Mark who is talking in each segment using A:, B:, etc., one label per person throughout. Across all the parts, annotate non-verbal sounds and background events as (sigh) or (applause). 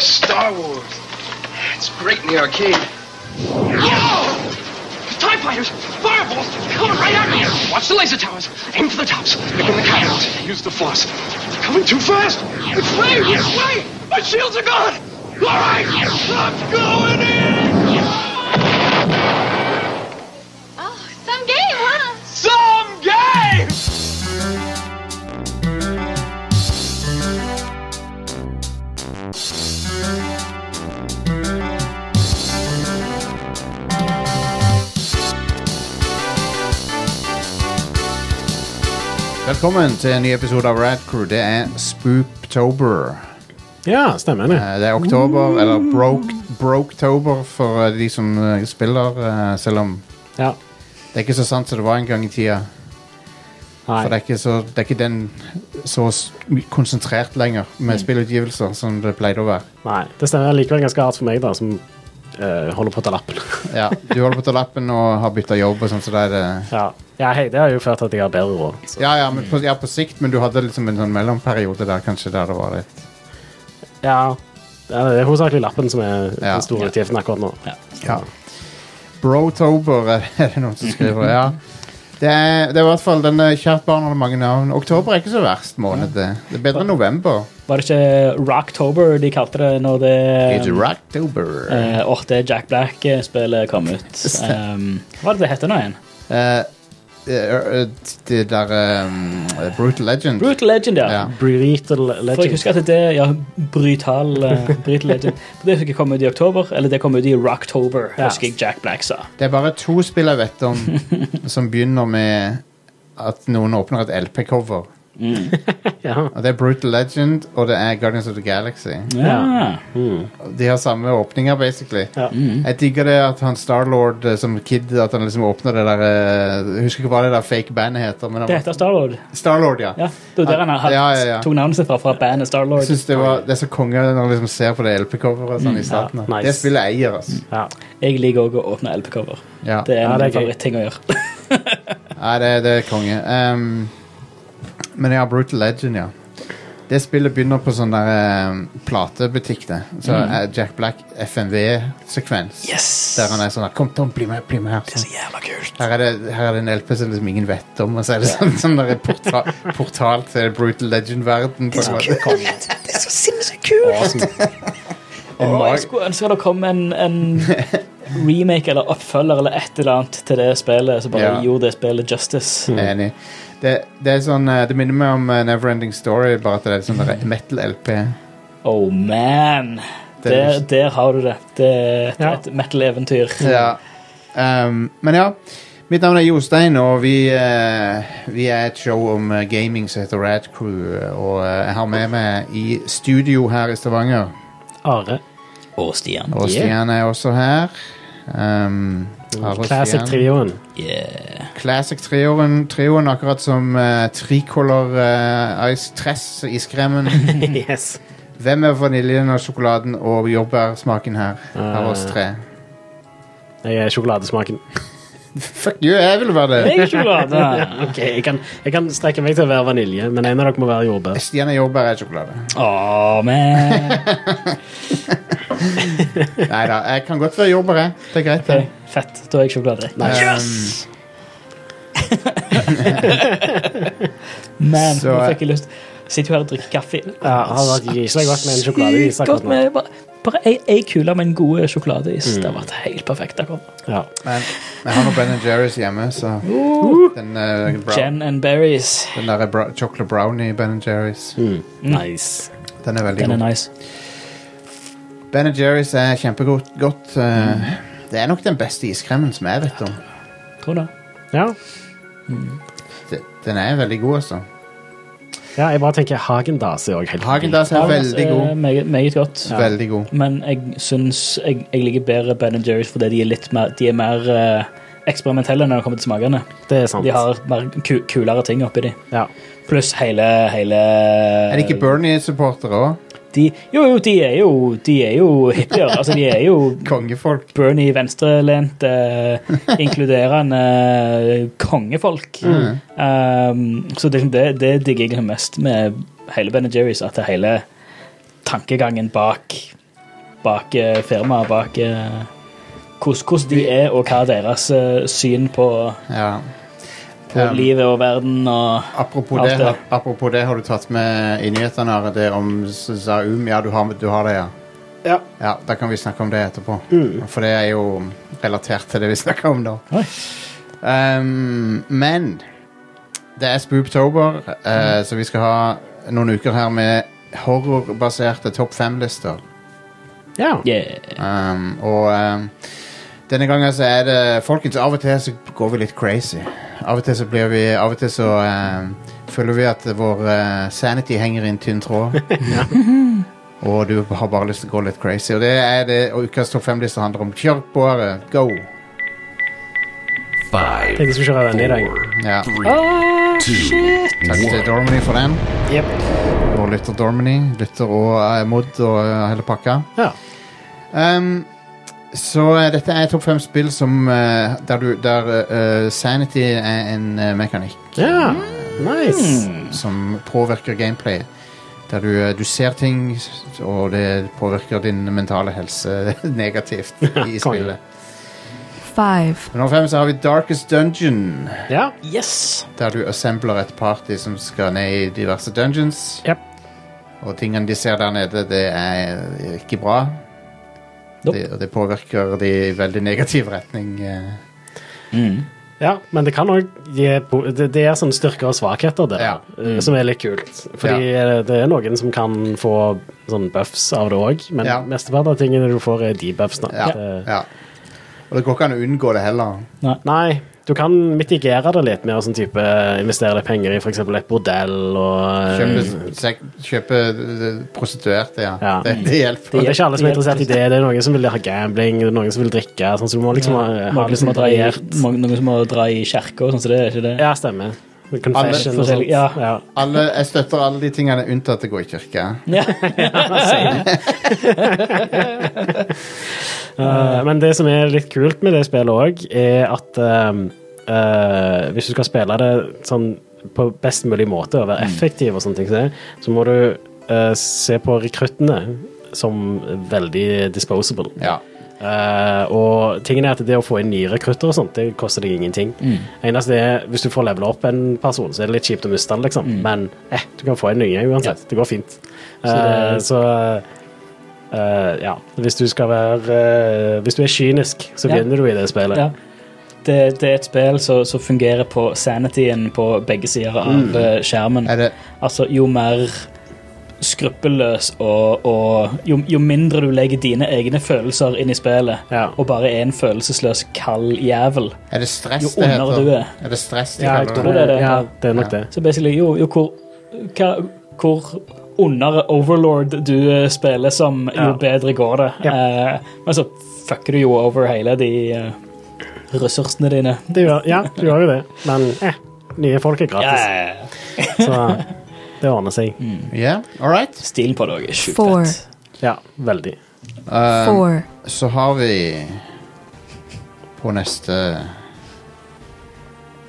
A: Star Wars. It's great in the arcade. Whoa! TIE fighters! Fireballs! Coming right at me! Watch the laser towers! Aim for the tops! Pick in the cannons! Use the force! They're coming too fast! It's way! It's way! My shields are gone! All right! I'm going in!
B: Oh, some game, huh?
A: Some game!
C: Velkommen til en ny episode av Rad Crew. Det er Spooptober.
D: Ja, stemmer det.
C: Eh, Det er oktober, eller broke, Broketober for eh, de som eh, spiller, eh, selv om
D: Ja.
C: det er ikke så sant som det var en gang i tida. For det
D: Nei.
C: er ikke, så, det er ikke den så s- konsentrert lenger med spillutgivelser som det pleide å være.
D: Nei. Det stemmer likevel ganske hardt for meg, da, som eh, holder på å ta (laughs) lappen.
C: Ja, Du holder på å ta lappen og har bytta jobb og sånn, så det er det
D: ja. ja, hei, det har jo ført til at jeg har bedre råd. Så.
C: ja, ja, men på, ja, på sikt, men du hadde liksom en sånn mellomperiode der kanskje der det var litt
D: Ja. ja. Det er hovedsakelig lappen som er
C: Ja.
D: den store utgiften akkurat nå.
C: Ja. Brotober, er det noen som skriver. ja. Det er, det er i hvert fall denne Kjært barn har mange navn. Oktober er ikke så verst måned. Det Det er bedre enn november.
E: Var det ikke Rocktober de kalte det når det
C: It's Rocktober.
E: eh, åh, det Jack Black-spillet kom ut? Um, hva var det det hette nå igjen?
C: Eh, det er- eh, det der eh, Brutal Legend.
E: Brutal Legend, ja.
C: Ja.
D: Brutal
E: For jeg
D: Legend.
E: husker at det ja, Brutal, eh, Brutal Legend For Det fikk komme ut i oktober, eller det kom ut i Rocktober,
D: Ja.
E: husker jeg Jack Black sa.
C: Det er bare to spill jeg vet om (laughs) som begynner med at noen åpner et LP-cover.
D: Ja.
C: Og Det er Brutal Legend og det er Guardians of the Galaxy.
E: Ja.
C: De har samme åpninger, basically.
D: Ja.
C: Jeg digger det at han Starlord eh, som kid At han liksom åpner det der eh, Jeg husker ikke hva det der fake bandet heter men han-
E: Det heter Starlord.
C: Starlord, ja,
E: Ja, det var der han hadde,
C: Ja, ja, ja.
E: tok navnet sitt fra, fra bandet Starlord.
C: Jeg synes det, var, det er så konge når han liksom ser på det LP-coveret sånn, i starten
D: nice.
C: Det spillet eier, altså
D: Ja.
E: Jeg liker òg å åpne LP-cover.
C: ja.
E: Det er en
D: Ja,
E: av
D: det
E: mine
D: er gøy.
E: favorittting å gjøre.
C: Nei, det, det er konge Ehm, Men ja, Brutal Legend, ja det spillet begynner på sånn der ehm, platebutikk det. Så eh, Jack Black FMV-sekvens
E: Yes!
C: Der han er sånn der, kom Tom, bli med, bli med her
E: Så jævla kult.
C: Her er, det, her er det en LP som liksom ingen vet om, og så er det sånn, sånn der porta, portal til Brutal Legend-verden. på en måte.
E: Det er så sinnssykt kult!
C: En
E: Åh, jeg
C: mag-
E: skulle ønske det kom en,
C: (laughs)
E: en remake eller oppfølger eller et eller annet til det spillet som bare
C: Ja. Mm.
E: gjorde det spillet justice.
C: Jeg er Enig. Det, det, er sånn, eh, det minner meg om eh, Neverending Story, bare at det er sånn der metal-LP.
E: Oh man!
C: Det er
E: Der, der har du det. Det er et,
D: Ja.
E: et metal-eventyr.
C: Ja. Um, men ja. Mitt navn er Jostein, og vi, eh, vi er et show om eh, gaming som heter Rad Crew. Og eh, jeg har med meg i studio her i Stavanger.
D: Are.
E: Og Stian.
C: Og Stian er også her. Um, Are og Stian.
D: (laughs) Classic-trioen.
E: Yeah.
C: Classic-trioen, trioen akkurat som uh, Tricolor eh, Ice Tress i
E: (laughs)
C: Skremmen.
D: yes.
C: Hvem er vaniljen og sjokoladen og jordbærsmaken her? Av oss tre.
D: Jeg er sjokoladesmaken.
C: Fuck you, jeg vil være det!
E: Jeg er
D: (laughs)
E: sjokolade.
D: Ok, jeg kan, jeg kan strekke meg til å være vanilje, men en av dere må være jordbær.
C: Stian er jordbær, jeg er sjokolade.
E: Åh,
C: (laughs)
E: man.
C: Nei da, jeg kan godt være jordbær, jeg. Det er greit, det.
E: Ok, Fett. Da er jeg sjokolade.
C: (laughs) Yes!
E: Man,
C: Så-
E: nå fikk jeg lyst. Sitter jo her og drikker kaffe.
D: Ja, hadde vært griselig godt med en sjokoladeis
E: Sykt
D: akkurat
E: godt
D: nå.
E: med bare, bare ei, ei kule med en god sjokoladeis.
D: Mm.
E: Det har vært helt perfekt akkurat.
D: Ja.
C: Men jeg har nå Ben Jerry's hjemme, så
E: Uh.
C: Den, eh, brown,
E: Jen and berries.
C: den der bra, chocolate brownie Ben Jerry's,
D: Nice.
C: den er veldig
E: Den
C: god.
E: er nice.
C: Ben Jerry's er kjempegodt. Godt. eh,
E: Mm.
C: Det er nok den beste iskremen som jeg vet om.
E: Tror du det?
D: Ja.
C: Det- Den er veldig god, altså.
D: ja, jeg bare tenker Hagendas er òg helt
C: Hagendas er
E: Hagendas
C: veldig
E: er
C: god.
E: Meget, meget godt.
C: Veldig god.
E: Men jeg syns jeg, jeg liker bedre Ben Jerry's fordi de er litt mer, de er mer eh, eksperimentelle når det kommer til smakene.
D: Det er sant.
E: De har mer ku, kulere ting oppi de.
D: Ja.
E: Pluss hele, hele
C: Er det ikke Bernie-supportere òg?
E: de, Jo, jo, de er jo, de er jo hippier. altså, de er jo
C: Kongefolk.
E: Bernie venstrelent, eh, inkluderende eh, kongefolk. Um, så det, det, det digger jeg liksom mest med hele Ben Jerry's, at det hele tankegangen bak bak eh, firmaet, bak eh, hvordan, hvordan de er, og hva deres eh, syn på,
C: Ja.
E: på
C: Um,
E: livet og verden og
C: Apropos
E: Alt
C: det,
E: det.
C: har- apropos det, har du tatt med i nyhetene Are, det om Zaum? Ja, du har, du har det, ja.
D: Ja.
C: Ja, Da kan vi snakke om det etterpå. For det er jo relatert til det vi snakker om nå.
E: Mm. Oi.
C: Um, men det er Spooptober,
E: Mm.
C: eh, så vi skal ha noen uker her med horrorbaserte topp fem-lister.
D: ja.
E: yeah.
C: Um, og um, denne gangen så er det Folkens, av og til så går vi litt crazy. Av og til så blir vi Av og til så um, føler vi at vår eh, sanity henger i en tynn tråd. (laughs) og du har bare lyst til å gå litt crazy. Og det er det og ukas topp fem-liste handler om. Kjør på, Are. Go!
F: Five,
D: Tenkte jeg skulle kjøre den i dag.
F: four,
C: Ja.
F: three, two,
C: Takk til
F: one.
C: Dormany for den.
D: Jep.
C: Og lytter Dormany. Lytter og eh, Mod og eh, hele pakka.
D: Ja.
C: Um, så eh, dette er topp fem spill som, eh, der, du, der eh, sanity er en eh, mekanikk
D: ja. Nice.
C: Hmm. som påvirker gameplay. Der du, eh, du ser ting, og det påvirker din mentale helse (laughs) negativt i
D: Konge.
C: spillet.
G: Five.
C: På Nummer fem så har vi Darkest Dungeon,
D: Ja.
E: Yes!
C: der du assembler et party som skal ned i diverse dungeons.
D: Jep.
C: Og tingene de ser der nede, det er eh, ikke bra.
E: Nope.
C: Det, og det påvirker de i veldig negativ retning. eh.
D: Ja, men det kan òg gi po- Det, det er sånne styrker og svakheter der,
C: Ja. Mm.
D: eh, som er litt kult. Fordi eh, det er noen som kan få sånn buffs av det òg, men
C: Ja.
D: mesteparten av tingene du får, er debuffs. da.
C: Ja.
D: Det-
C: ja. Og det går ikke an å unngå det heller.
D: Nei, du kan mitigere det litt med å sånn type investere litt penger i f.eks. et bordell og eh,
C: Kjøpe, sek- kjøpe eh, prostituerte, ja.
D: Ja.
C: Det, det hjelper.
D: Og det er ikke alle som er
E: Det hjelper
D: interessert i det. Det er noen som vil ha gambling, det er noen som vil drikke. Sånn, så du må liksom ha, ha
E: Mange
D: litt
E: som må
D: sånn
E: dra i,
D: variert
E: mange- noen som må dra i kirka og sånn, så det er ikke det.
D: Ja, stemmer. Confession
E: Alle-
D: og sånt.
E: Ja.
C: Alle, jeg støtter alle de tingene unntatt det går i kirke.
D: Eh, men det som er litt kult med det spillet òg, er at eh, eh, hvis du skal spille det sånn på best mulig måte og være effektiv, og sånne ting, som det, så må du eh, se på rekruttene som veldig disposable.
C: Ja.
D: Eh, og tingen er at det å få inn nye rekrutter og sånt, det koster deg ingenting. Eneste er, Hvis du får levela opp en person, så er det litt kjipt å miste den, liksom. Men eh, du kan få en ny uansett. Det går fint. Så,
E: det-
D: så eh, ja. Hvis du skal være eh, Hvis du er kynisk, så
E: Ja.
D: vinner du i det spillet.
E: Ja. Det, det er et spill som som fungerer på sanityen på begge sider av
D: Mm.
E: eh, skjermen.
C: Er det,
E: Altså, jo mer skruppelløs og, og jo, jo mindre du legger dine egne følelser inn i spillet,
D: Ja.
E: og bare er en følelsesløs kald jævel,
C: er det stress
E: Jo
C: det
E: ondere du
C: heter?
E: er.
C: Er det stress de
D: Ja, jeg
C: kaller
D: tror
C: det?
D: det er det. Ja, det er nok det.
E: så basically jo, jo hvor, hva, hvor ondere overlord du eh, spiller som, jo
D: Ja.
E: bedre går det.
D: Ja.
E: Eh, men så fucker du jo over hele de eh, ressursene dine.
D: Det gjør, ja, du gjør jo det. Men eh, nye folk er gratis, så det ordner seg.
C: Ja, all right.
E: Stilen på det også er sjukt
G: Four.
E: fett.
D: Ja, veldig.
C: Um,
G: Four.
C: så har vi på neste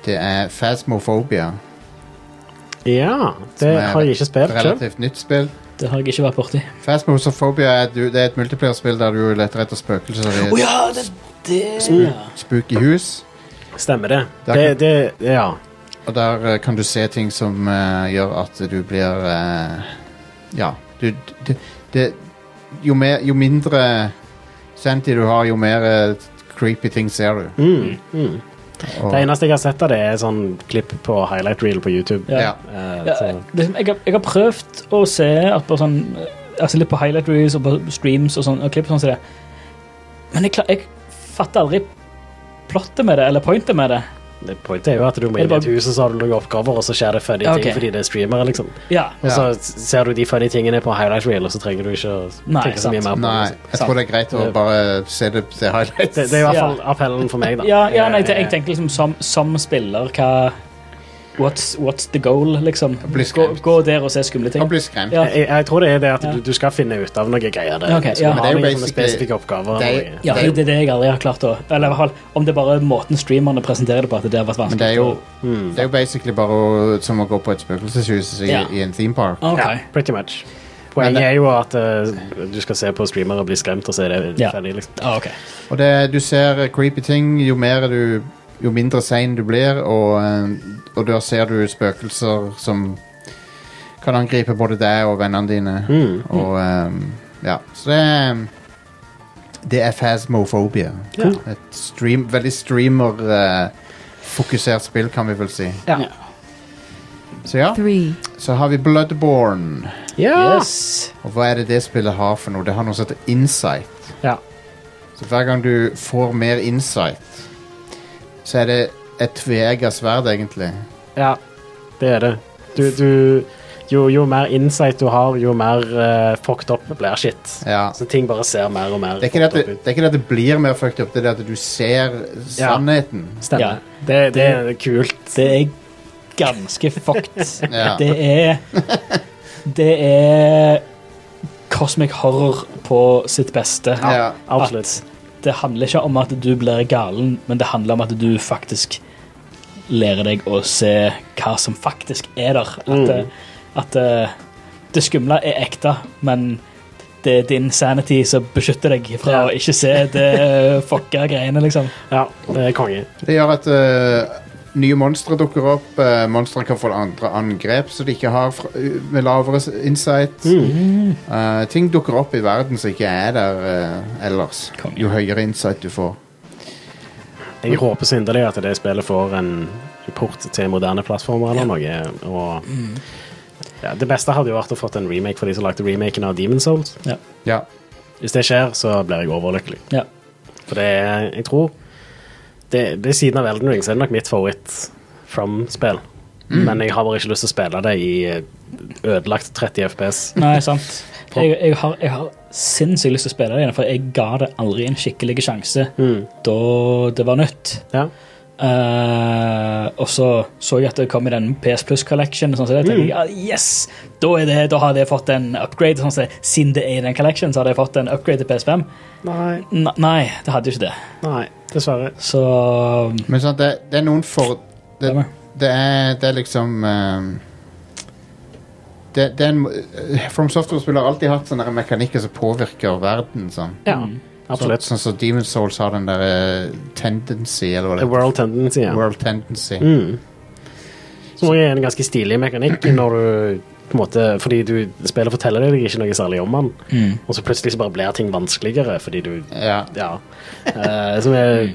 C: Det er Phasmophobia.
D: Ja, det
C: som er
D: har jeg ikke
C: et
D: spilt selv.
C: Relativt nytt spill.
E: Det har jeg ikke vært borti.
C: Phasmophobia er, et- det er et multiplierspill der du leter etter spøkelser i et
E: ja, det, det.
C: spooky hus.
D: Stemmer det.
C: Det er
D: Det,
C: ikke-
D: det, ja.
C: Og der eh, kan du se ting som eh, gjør at du blir eh, Ja, du det, det, jo, mer, jo mindre sanity du har, jo mer eh, creepy ting ser du.
D: Mm, mm.
C: Og,
D: Det eneste jeg har sett av det, er sånn klipp på highlight reel på YouTube.
E: Ja.
C: ja.
D: Eh,
E: Ja,
D: så,
E: jeg, liksom, jeg, har, jeg har prøvd å se at bare sånn eh, altså Litt på highlight reels og på streams og, sånn, og klipp og sånn som det. Men jeg, klar- jeg fatter aldri plottet med det, eller pointet med det.
D: det pointet er jo at du må
E: Er
D: inn
E: det
D: i et
E: bare-
D: hus, og så har du noen oppgaver, og så skjer det funny
E: Ja, ok.
D: ting fordi det er streamere, liksom.
E: Ja,
D: Og så s- ser du de funny tingene på highlight reel, og så trenger du ikke å
E: Nei,
D: tenke så mye mer
E: sant.
D: på
C: Nei,
D: det. liksom.
C: jeg tror det er greit å bare se det se highlights.
D: Det, det er i hvert
E: Ja.
D: fall appellen for meg, da.
E: ja, ja nei, jeg, jeg tenker liksom som, som spiller hva what's, what's the goal, liksom?
C: blir
E: Gå,
C: skremt.
E: gå der og se skumle ting.
C: Og bli skremt.
E: Ja.
D: Eh, Jeg, jeg- jeg tror det er det at du, du skal finne ut av noen greier der.
E: Ok,
D: så
E: ja.
D: du
E: Men
C: det er
D: har
C: jo
D: liksom
C: basically-
D: spesifikke oppgaver.
C: det-
D: og-
E: Ja, det er det jeg aldri har klart å Eller i hvert fall om det bare er måten streamerne presenterer det på, at det har vært
C: Men
E: vanskelig.
C: det er jo
E: å-
D: Mm.
C: Det er jo basically bare å, som å gå på et spøkelseshus i,
E: Ja.
C: i en theme park.
E: Ok.
D: Ja, pretty much.
C: Men
D: Poenget
C: det-
D: er jo at eh, du skal se på streamere og bli skremt, og så er det
E: Ja.
D: ferdig, liksom.
E: Ah, ok.
C: Og det, du ser creepy ting jo mer du Jo mindre sein du blir, og, eh, og da ser du spøkelser som kan angripe både deg og vennene dine.
D: Mm.
C: Og eh, Ja. Så det er Det er phasmophobia.
D: Ja.
C: Et stream, veldig streamer-fokusert spill, kan vi vel si.
D: Ja.
C: Så ja,
F: Three.
C: så har vi Bloodborne.
E: Yes.
C: Og hva er det det spillet har for noe? Det har noe som heter insight.
E: Ja.
C: Så hver gang du får mer insight, så er det et tveegget sverd, egentlig.
D: Ja, det er det. Du, du jo, jo mer insight du har, jo mer eh, fucked up blir shit.
C: Ja.
D: Så ting bare ser mer og mer
C: Det er, ikke det, at
D: fucked
C: det,
D: up ut.
C: det er ikke det at det blir mer fucked up, det er det at du ser sannheten.
D: Stemmer.
E: Ja.
D: Det, det er kult.
E: Det er ganske fucked.
C: Ja.
E: Det er Det er cosmic horror på sitt beste.
C: Ja.
D: Absolutt.
E: At det handler ikke om at du blir galen, men det handler om at du faktisk lærer deg å se hva som faktisk er der. At,
D: Mm.
E: det- at det, det skumle er ekte, men det er din sanity som beskytter deg fra
D: Ja.
E: å ikke se det fucka greiene, liksom.
D: Ja, det er konge.
C: Det gjør at eh, nye monstre dukker opp. Uh, Monstrene kan få andre angrep som de ikke har fra, med lavere s- insight. Eh, ting dukker opp i verden som ikke er der eh, ellers.
E: Konge.
C: Jo høyere insight du får.
D: Jeg håper så inderlig at det spillet får en port til moderne plattformer eller noe. Og
C: Mm.
D: ja, det beste hadde jo vært å fått en remake for de som lagde remaken av Demon's Souls.
E: Ja.
C: Ja.
D: Hvis det skjer, så blir jeg overlykkelig.
E: Ja.
D: For det er, jeg tror det, det er siden av Elden Ring, så er det nok mitt favoritt From-spill. Men jeg har bare ikke lyst til å spille det i eh, ødelagt 30 FPS.
E: Nei, sant. Jeg, jeg, har, jeg har sinnssykt lyst til å spille det igjen, for jeg ga det aldri en skikkelig sjanse
D: Mm.
E: da det var nytt.
D: Ja.
E: Eh, og så så jeg at det kom i den PS Plus Collection, sånn, så da tenkte jeg ah, yes, da, er det, da har det fått en upgrade. Sånn, så siden det er i den collection, så har det fått en upgrade til PS5.
D: Nei,
E: N nei, det hadde jo ikke det.
D: nei, dessverre.
E: Så
C: Men sant, det, det er noen for... Det,
E: Stemmer.
C: det, er, det er liksom ehm, det, det er en, eh, From Software-spill har alltid hatt sånne mekanikker som påvirker verden. Sånn
D: Ja,
C: som
D: absolutt.
C: sånn, som Demon's Souls har den der eh, tendency, eller hva det
D: The world tendency, ja.
C: World tendency.
D: Mm. Som også er en ganske stilig mekanikk når du på en måte, fordi du spillet forteller deg ikke noe særlig om den, og så plutselig så bare blir ting vanskeligere fordi du
C: Ja.
D: Ja. Eh, som er,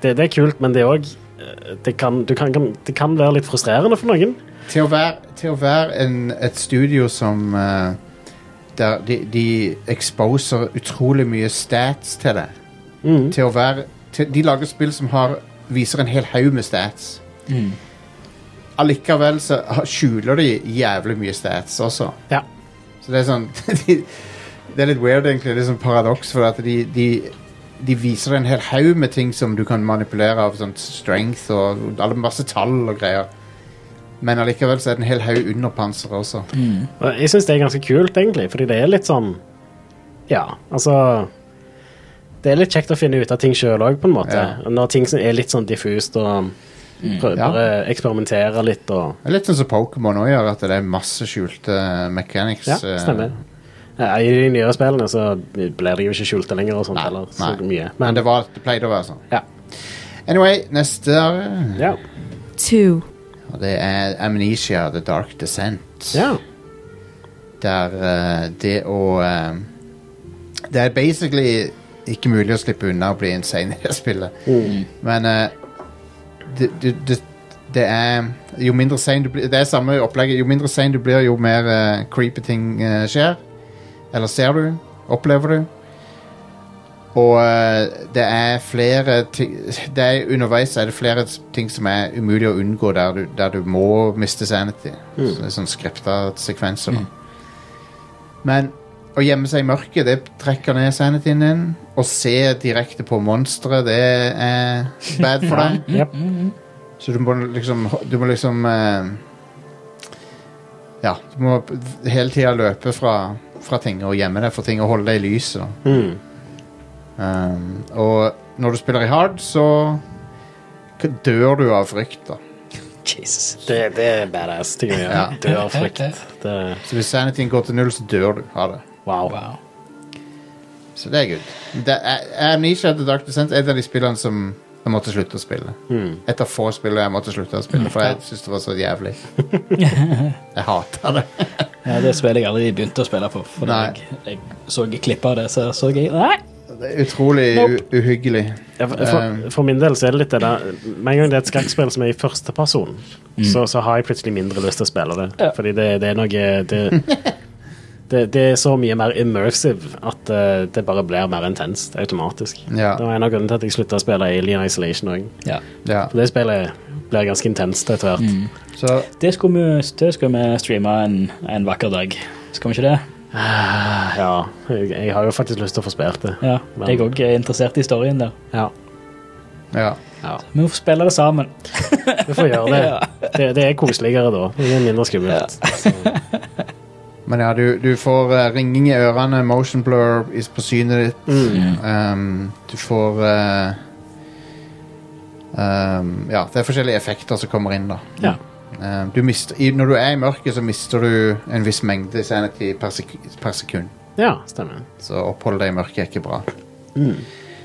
D: det, det er kult, men det er òg det, kan, du kan, kan, det kan være litt frustrerende for noen.
C: Til å være, til å være en, et studio som eh, Der de, de exposer utrolig mye stats til det.
D: Mm.
C: Til å være til, De lager spill som har, viser en hel haug med stats. Allikevel så har- skjuler de jævlig mye stats også.
D: Ja.
C: Så det er sånn (laughs) de, Det er litt weird, egentlig. Det er sånn paradoks, for at de, de de viser en hel haug med ting som du kan manipulere av sånn strength og alle masse tall og greier. Men allikevel så er det en hel haug under panseret også.
D: Mm. Og jeg syns det er ganske kult, egentlig, fordi det er litt sånn Ja, altså Det er litt kjekt å finne ut av ting sjøl òg, på en måte.
C: Ja. Mm,
D: Når ting som er litt sånn diffust, og prø-
C: Ja.
D: bare eksperimentere litt og
C: Det er litt sånn som Pokémon òg gjør, at det er masse skjulte mechanics.
D: Ja,
C: eh,
D: stemmer. Ja, I de nyere spillene så blir de jo ikke skjulte lenger og sånt
C: Nei,
D: heller. Så
C: nei.
D: mye.
C: Men det, var, det pleide å være sånn.
D: ja.
C: Anyway, neste er-
D: Ja.
F: Two.
C: Og det er Amnesia The Dark Descent.
D: ja.
C: Der eh, det å eh, Det er basically ikke mulig å slippe unna å bli insane i det spillet. Men eh, det, det, det, det er Jo mindre sein du blir Det er samme opplegget. Jo mindre sein du blir, jo mer eh, creepy ting eh, skjer. Eller ser du. Opplever du. Og eh, det er flere ting det er, Underveis er det flere ting som er umulig å unngå, der du, der du må miste sanity. Så det er sånn skripta sekvenser. da. Men å gjemme seg i mørket, det trekker ned sanityen din. Å se direkte på monstre, det er bad for deg.
D: Jep.
C: Så du må liksom Du må liksom eh, Ja, du må hele tida løpe fra, fra ting og gjemme deg for ting og holde deg i lyset.
D: Mm.
C: Um, og når du spiller i hard, så k- dør du av frykt, da.
D: Jesus. Det, det er badass ting å
C: (laughs)
D: gjøre.
C: Ja.
D: Dør av frykt. Det,
C: Så hvis sanityen går til null, så dør du av det.
D: wow.
E: Wow.
C: Så det er good. Det er, Amnesia The Dark Descent er et av de spillene som jeg måtte slutte å spille. Et av få spill jeg måtte slutte å spille, for jeg syntes det var så jævlig. Jeg hater det.
E: Ja, det spillet jeg aldri begynte å spille på. For
C: Nei.
E: jeg, jeg så klipp av det, så så jeg Nei!
C: Det er utrolig
E: Nope.
C: u uhyggelig.
D: Ja, for-
C: Um.
D: For, for min del så er det litt det der Med en gang det er et skrekkspill som er i første person,
C: Mm.
D: så, så har jeg plutselig mindre lyst til å spille det.
E: Ja.
D: Fordi det, det er noe det, det, det er så mye mer immersive at eh, det bare blir mer intenst automatisk.
C: Mm. Ja.
D: Det var en av grunnene til at jeg slutta å spille Alien Isolation òg.
E: Ja.
C: Ja.
D: For det spillet blir ganske intenst etter hvert.
C: Mm. Så
E: Det skulle vi, det skulle vi streame en, en vakker dag. Skal vi ikke det?
D: Ah, Ja. Jeg, jeg har jo faktisk lyst til å få spilt det.
E: Ja,
D: Men-
E: Jeg òg er interessert i historien der.
D: Ja.
C: ja.
E: Vi må få spille det sammen.
D: Vi får gjøre det. det. Det er koseligere da. Det er mindre skummelt.
C: Men ja, du, du får eh, ringing i ørene, motion blur is på synet ditt. Um, du får eh, um, Ja, det er forskjellige effekter som kommer inn, da.
D: Ja.
C: Um, du mister, i, når du er i mørket, så mister du en viss mengde sanity per, sek per sekund.
D: ja, stemmer.
C: Så opphold deg i mørket er ikke bra.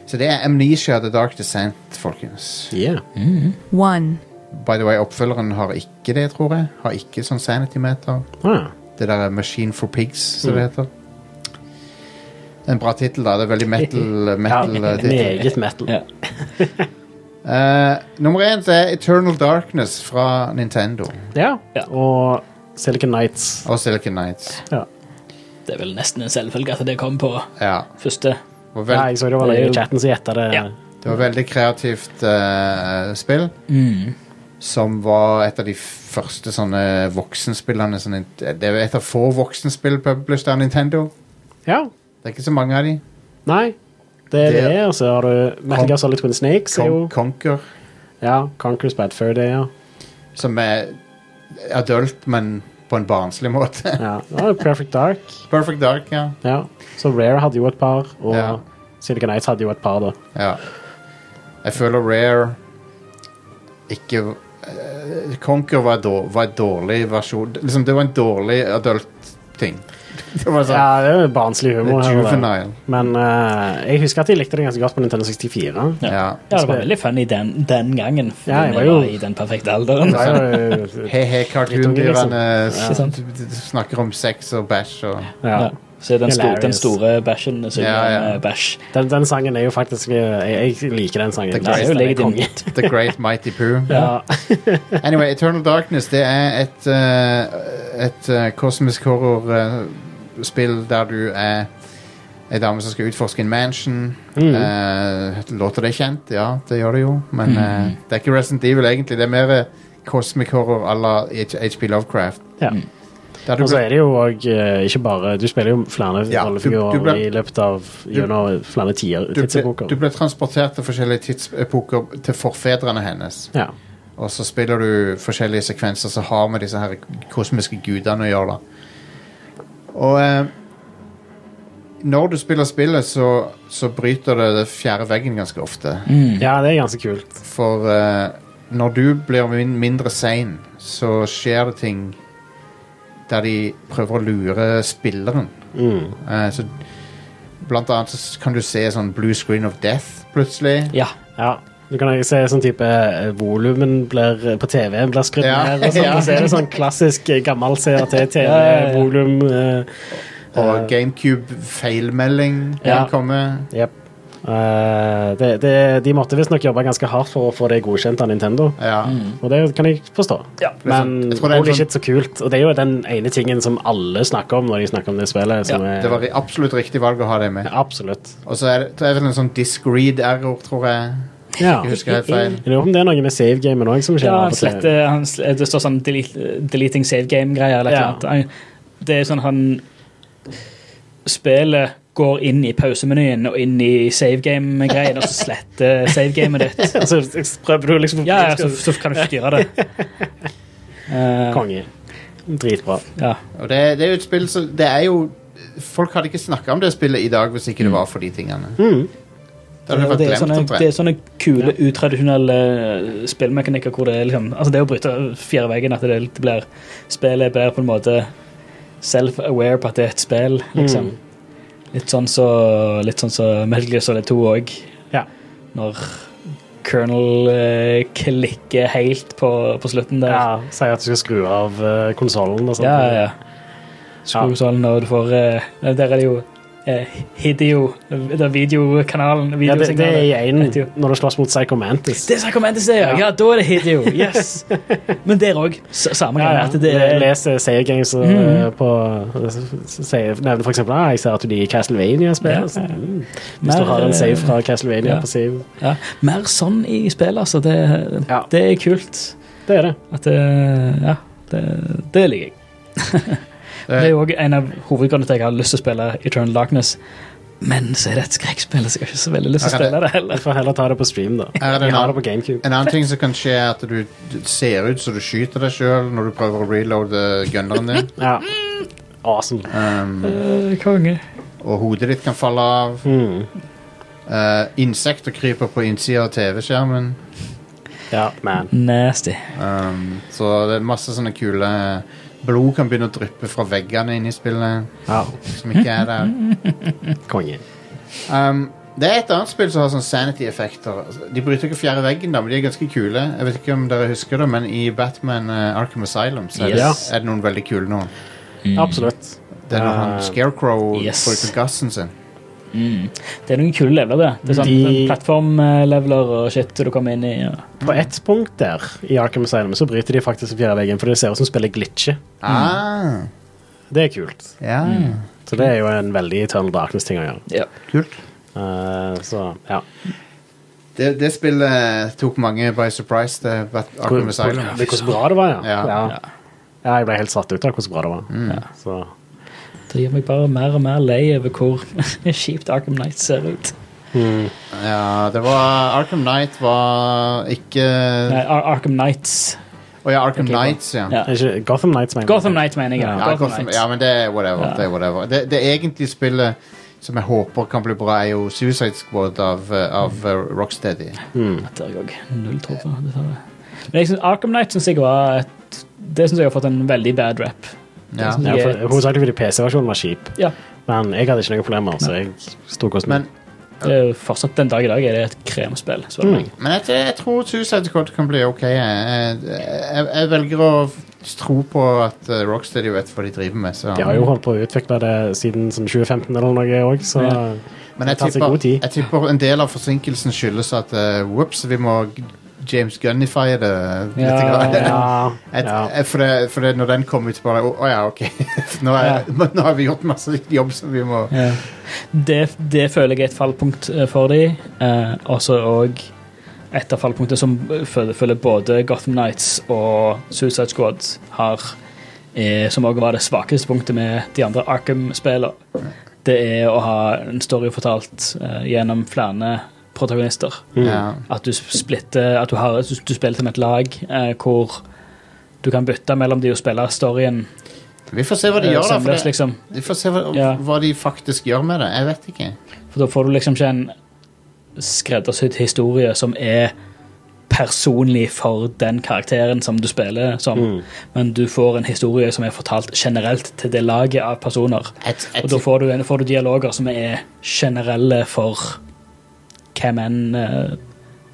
C: Så det er Amnesia The Dark Descent, folkens.
D: Yeah.
F: One.
C: By the way, oppfølgeren har ikke det, tror jeg. Har ikke sånn sanity-meter.
D: Ah.
C: Det der er Machine for Pigs, som det heter. En bra tittel, da. Det er veldig metal, metal eh, tittel.
D: Meget metal.
E: Ja.
C: Eh, nummer én så er Eternal Darkness fra Nintendo
D: Ja.
E: Ja.
D: Og Silicon Nights.
C: og Silicon Nights.
D: Ja.
E: Det er vel nesten en selvfølge at det kom på
C: Ja.
E: første.
C: Det var,
D: Ja,
C: veld,
D: jeg så det var
E: Det er
D: noen
E: jo-
D: i chatten som gjetta det.
E: Ja.
C: det var veldig kreativt eh, spill. Som var et av de første sånne voksenspillene som Nint- Det er jo et av få voksenspill published av Nintendo.
D: Ja.
C: Det er ikke så mange av de.
D: Nei. Det er det,
C: Det-
D: og så har du Metal Gear Solid Twin Snakes. er
C: Con
D: jo
C: Conquer,
D: Ja, Conquer's Bad Fur Day, ja.
C: som er adult, men på en barnslig måte. (laughs)
D: ja. Og Perfect Dark.
C: Perfect Dark, ja.
D: Ja. Så Rare hadde jo et par, og
C: Ja.
D: Silicon Nights hadde jo et par, da.
C: Ja. Jeg føler Rare ikke eh, Conquer var, då, var en dårlig versjon liksom, Det var en dårlig adult-ting. (laughs) Det var sånn
D: Ja, det er jo barnslig humor.
C: det er
D: her og der.
C: juvenile.
D: Men eh, jeg husker at jeg likte det ganske godt på Nintendo 64.
E: Ja.
C: Ja.
E: Ja, det var veldig funny den, den gangen. fordi
D: Ja, jeg
E: vi
D: var jo-
E: i den perfekte alderen.
D: Det var jo
C: He-he,
D: Drittunge,
C: kartundyrene
E: Ikke sant?
C: eh, snakker om sex og bæsj og
D: ja.
E: Ja. Så den, sto,
D: Hilarious.
E: den store bæsjen synger
C: Ja, ja.
E: om, eh, bæsj.
D: den, den sangen er jo faktisk eh, Jeg, jeg liker den sangen.
C: The
D: Den er
C: Great
D: jo
E: Legend.
D: konge.
C: The Great Mighty Poo.
D: Ja.
C: Anyway, Eternal Darkness det er et, eh, et eh, kosmisk horror-spill der du er ei dame som skal utforske en mansion. Eh, låter det kjent? Ja, det gjør det jo. Men eh, det er ikke Resident Evil egentlig. Det er mer eh, cosmic horror à la HP Lovecraft.
D: Ja.
C: Der du,
D: Og så
C: blir-
D: er det jo òg ikke bare Du spiller jo flere
C: Ja,
D: rollefigurer
C: du- du ble-
D: i løpet av gjennom flere tier,
C: du, ble-
D: tidsepoker.
C: du blir transportert til forskjellige tidsepoker til forfedrene hennes.
D: Ja.
C: Og så spiller du forskjellige sekvenser som har med disse her kosmiske gudene å gjøre. da. Og eh, når du spiller spillet, så, så bryter det den fjerde veggen ganske ofte.
D: ja, det er ganske kult.
C: For eh, når du blir min mindre sein, så skjer det ting der de prøver å lure spilleren. Eh, så blant annet så kan du se sånn blue screen of death plutselig.
E: Ja.
D: Ja. Du kan jo se sånn type eh, volumen blir, eh, på TV-en blir skrudd
C: Ja,
D: ned. Og sånn,
C: (laughs) ja.
D: og så er det sånn klassisk eh, gammel
E: Ja, ja, ja.
D: CRT-TV-volum.
C: Og GameCube-feilmelding
D: Ja.
C: kan komme.
D: Jepp. Eh, det, det, de måtte visstnok jobbe ganske hardt for å få det godkjent av Nintendo.
C: Ja.
D: Og det kan jeg forstå. Men
C: Jeg tror det er en
D: holy
C: sånn-
D: shit, så kult. Og det er jo den ene tingen som alle snakker om når de snakker om det spillet. Som
E: Ja,
D: er,
C: Det var ri- absolutt riktig valg å ha deg med.
D: Absolutt.
C: Og så er det, det er vel en sånn discreed error, tror jeg.
D: Ja.
C: Jeg husker helt feil.
D: Jeg lurer på om det er noe med save-gamen òg som skjer. av
E: Ja,
D: og
E: han
D: til.
E: sletter han, sl- Det står sånn delete, 'deleting save game'-greier eller et
D: Ja.
E: eller annet. Han- Det er sånn han Spillet går inn i pausemenyen og inn i save game-greien, og så sletter save gamet
D: (laughs)
E: ditt.
D: Og så prøver du liksom
E: Ja, ja så, så kan du ikke styre det. Eh,
D: Konge. Dritbra.
E: ja.
C: Og det, det er jo et spill som Det er jo Folk hadde ikke snakka om det spillet i dag hvis ikke det var for de tingene. Det hadde jeg
E: Mm. det, er
C: bare
E: sånne,
C: glemt å
E: det er sånne kule, utradisjonelle eh, spillmekanikker hvor det er liksom Altså, det å bryte fjerde veggen, at det litt blir Spillet blir på en måte self-aware på at det er et spill,
C: Mm.
E: liksom. Litt sånn så Litt sånn så Metal Gear Solid 2 òg.
D: Ja.
E: Når Colonel eh, klikker helt på, på slutten der.
D: Ja, Sier at du skal skru av uh, konsollen og sånt.
E: Ja, ja, ja. Skogsolden, og du får eh, Der er det jo eh, Hideo Det er videokanalen.
D: Ja, det, det er i
E: videosignalet.
D: én
E: Hideo.
D: når du slåss mot Psycho Mantis.
E: Det er Sacramentus, det, ja.
D: Ja.
E: ja! Da er det Hideo. Yes. Men der òg. Samme
D: Ja,
E: greie.
D: ja.
E: At det er
D: Les eh, Seier Games eh,
E: Mm.
D: på sier, Nevner for eksempel ah, jeg ser at du liker Castlevania-spill.
E: Ja.
D: så, Mm. Hvis
E: Mer, eh,
D: du har en save fra
E: ja.
D: Castlevania på save.
E: ja, mer sånn i spill, altså. Det,
D: Ja.
E: det er kult.
D: Det er det.
E: At det Ja, det, det liker jeg.
C: Eh,
E: Det er jo òg en av hovedgrunnene til at jeg har lyst til å spille Eternal Darkness. Men så er det et skrekkspill, så jeg har ikke så veldig lyst til å
C: Her er det-
E: spille det
D: Du
E: heller.
D: får heller ta det på stream, da.
C: Her er det
D: Vi har
C: nå.
D: det på GameCube.
C: En annen ting som kan skje, er at du du ser ut som du skyter deg sjøl når du prøver å reloade gunneren
E: (laughs)
C: din.
D: Ja. Awesome.
C: Um,
E: Eh, Konge.
C: og hodet ditt kan falle av.
D: Mm.
C: Eh, insekter kryper på innsida av TV-skjermen.
D: Ja, man.
E: Nasty.
C: Um, så det er masse sånne kule Blod kan begynne å dryppe fra veggene inne i spillet
D: Ja,
C: som ikke er der.
D: konge.
C: Um, det er et annet spill som har sånn sanity-effekter. De bryter ikke fjerde veggen, da, men de er ganske kule. Jeg vet ikke om dere husker det, men i Batman eh, Arkham Asylum så er,
D: Yes.
C: det, er det noen veldig kule noen.
D: Absolutt.
C: Det er når han
D: Eh,
C: Scarecrow
E: Ah, yes.
C: bruker gassen sin.
E: Det er noen kule leveler, det. Det er sånn
D: De-
E: Plattformleveler og shit du kommer inn i. Ja.
D: På ett punkt der i Arkham Asylum så bryter de faktisk fjerde veggen, for det ser ut som spillet glitcher.
E: Mm.
C: Ah,
D: Det er kult.
C: ja.
D: Så det er jo en veldig Eternal Darkness-ting å gjøre.
E: Ja.
C: Kult.
D: Eh, så ja.
C: Det, det spillet tok mange by surprise, det Bat Arkham Asylum.
D: Det, hvordan bra det var, ja.
C: Ja.
D: ja. Ja, jeg ble helt satt ut av hvordan bra det var. Så,
E: Det gjør meg bare mer og mer lei over hvor (laughs) kjipt Arkham Knight ser ut.
C: Ja, det var Arkham Knight var ikke
E: Nei, Ar Arkham Knights.
C: Å ja, Arkham
E: Ikke bra.
C: Knights, ja.
E: Ja.
D: Er ikke, Gotham Knights, mener jeg.
E: Gotham Knight, mener jeg.
C: Ja, Gotham,
E: Knights.
C: ja men det er whatever.
E: Ja.
C: Det, er whatever. Det, det egentlige spillet som jeg håper kan bli bra, er jo Suicide Squad av, eh, av eh, Rocksteady.
E: Der er jeg også. Null tro på det. tar jeg. Men jeg synes Arkham Knight synes jeg var et Det syns jeg har fått en veldig bad rap.
C: Ja.
E: Det som-
D: Ja, for, hovedsakelig fordi PC-versjonen var kjip,
E: Ja,
D: men jeg hadde ikke noen problemer, så jeg sto kost
C: Men,
D: med.
E: det er jo fortsatt Den dag i dag er det et kremspill. spør du meg.
C: men jeg, jeg tror Suicide Squad kan bli ok. Jeg, jeg, jeg velger å f- tro på at eh, Rocksteady vet hva de driver med. Så.
D: De har jo holdt på å utvikle det siden sånn 2015 eller noe òg, så
E: Ja.
C: Men jeg
D: Det tar seg
C: tipper,
D: god tid.
C: jeg tipper en del av forsinkelsen skyldes at eh, Whoops, vi må g- James Gunnify det litt.
E: Ja,
C: grann.
D: ja,
C: Et,
D: ja.
C: eh, For, det, for det, når den kom ut, så bare Å å ja, ok. (laughs) nå, er, (laughs) nå har vi gjort masse jobb som vi må
E: Ja. Det, det føler jeg er et fallpunkt eh, for dem. Eh, også og et av fallpunktene som eh, føler, føler både Gotham Nights og Suicide Squad har, eh, som også var det svakeste punktet med de andre Arkham-spillene, det er å ha en story fortalt eh, gjennom flere protagonister.
C: ja.
E: At du splitter At du, har, du, du spiller som et lag eh, hvor du kan bytte mellom de og spille storyen
C: Vi får se hva de
E: eh,
C: gjør, da. For
E: samles,
C: det,
E: liksom.
C: vi får se hva,
E: Ja.
C: hva de faktisk gjør med det. Jeg vet ikke.
E: For da får du liksom ikke en skreddersydd historie som er personlig for den karakteren som du spiller som, men du får en historie som er fortalt generelt til det laget av personer.
C: Et,
E: Og da får du, en- får du dialoger som er generelle for hvem enn eh,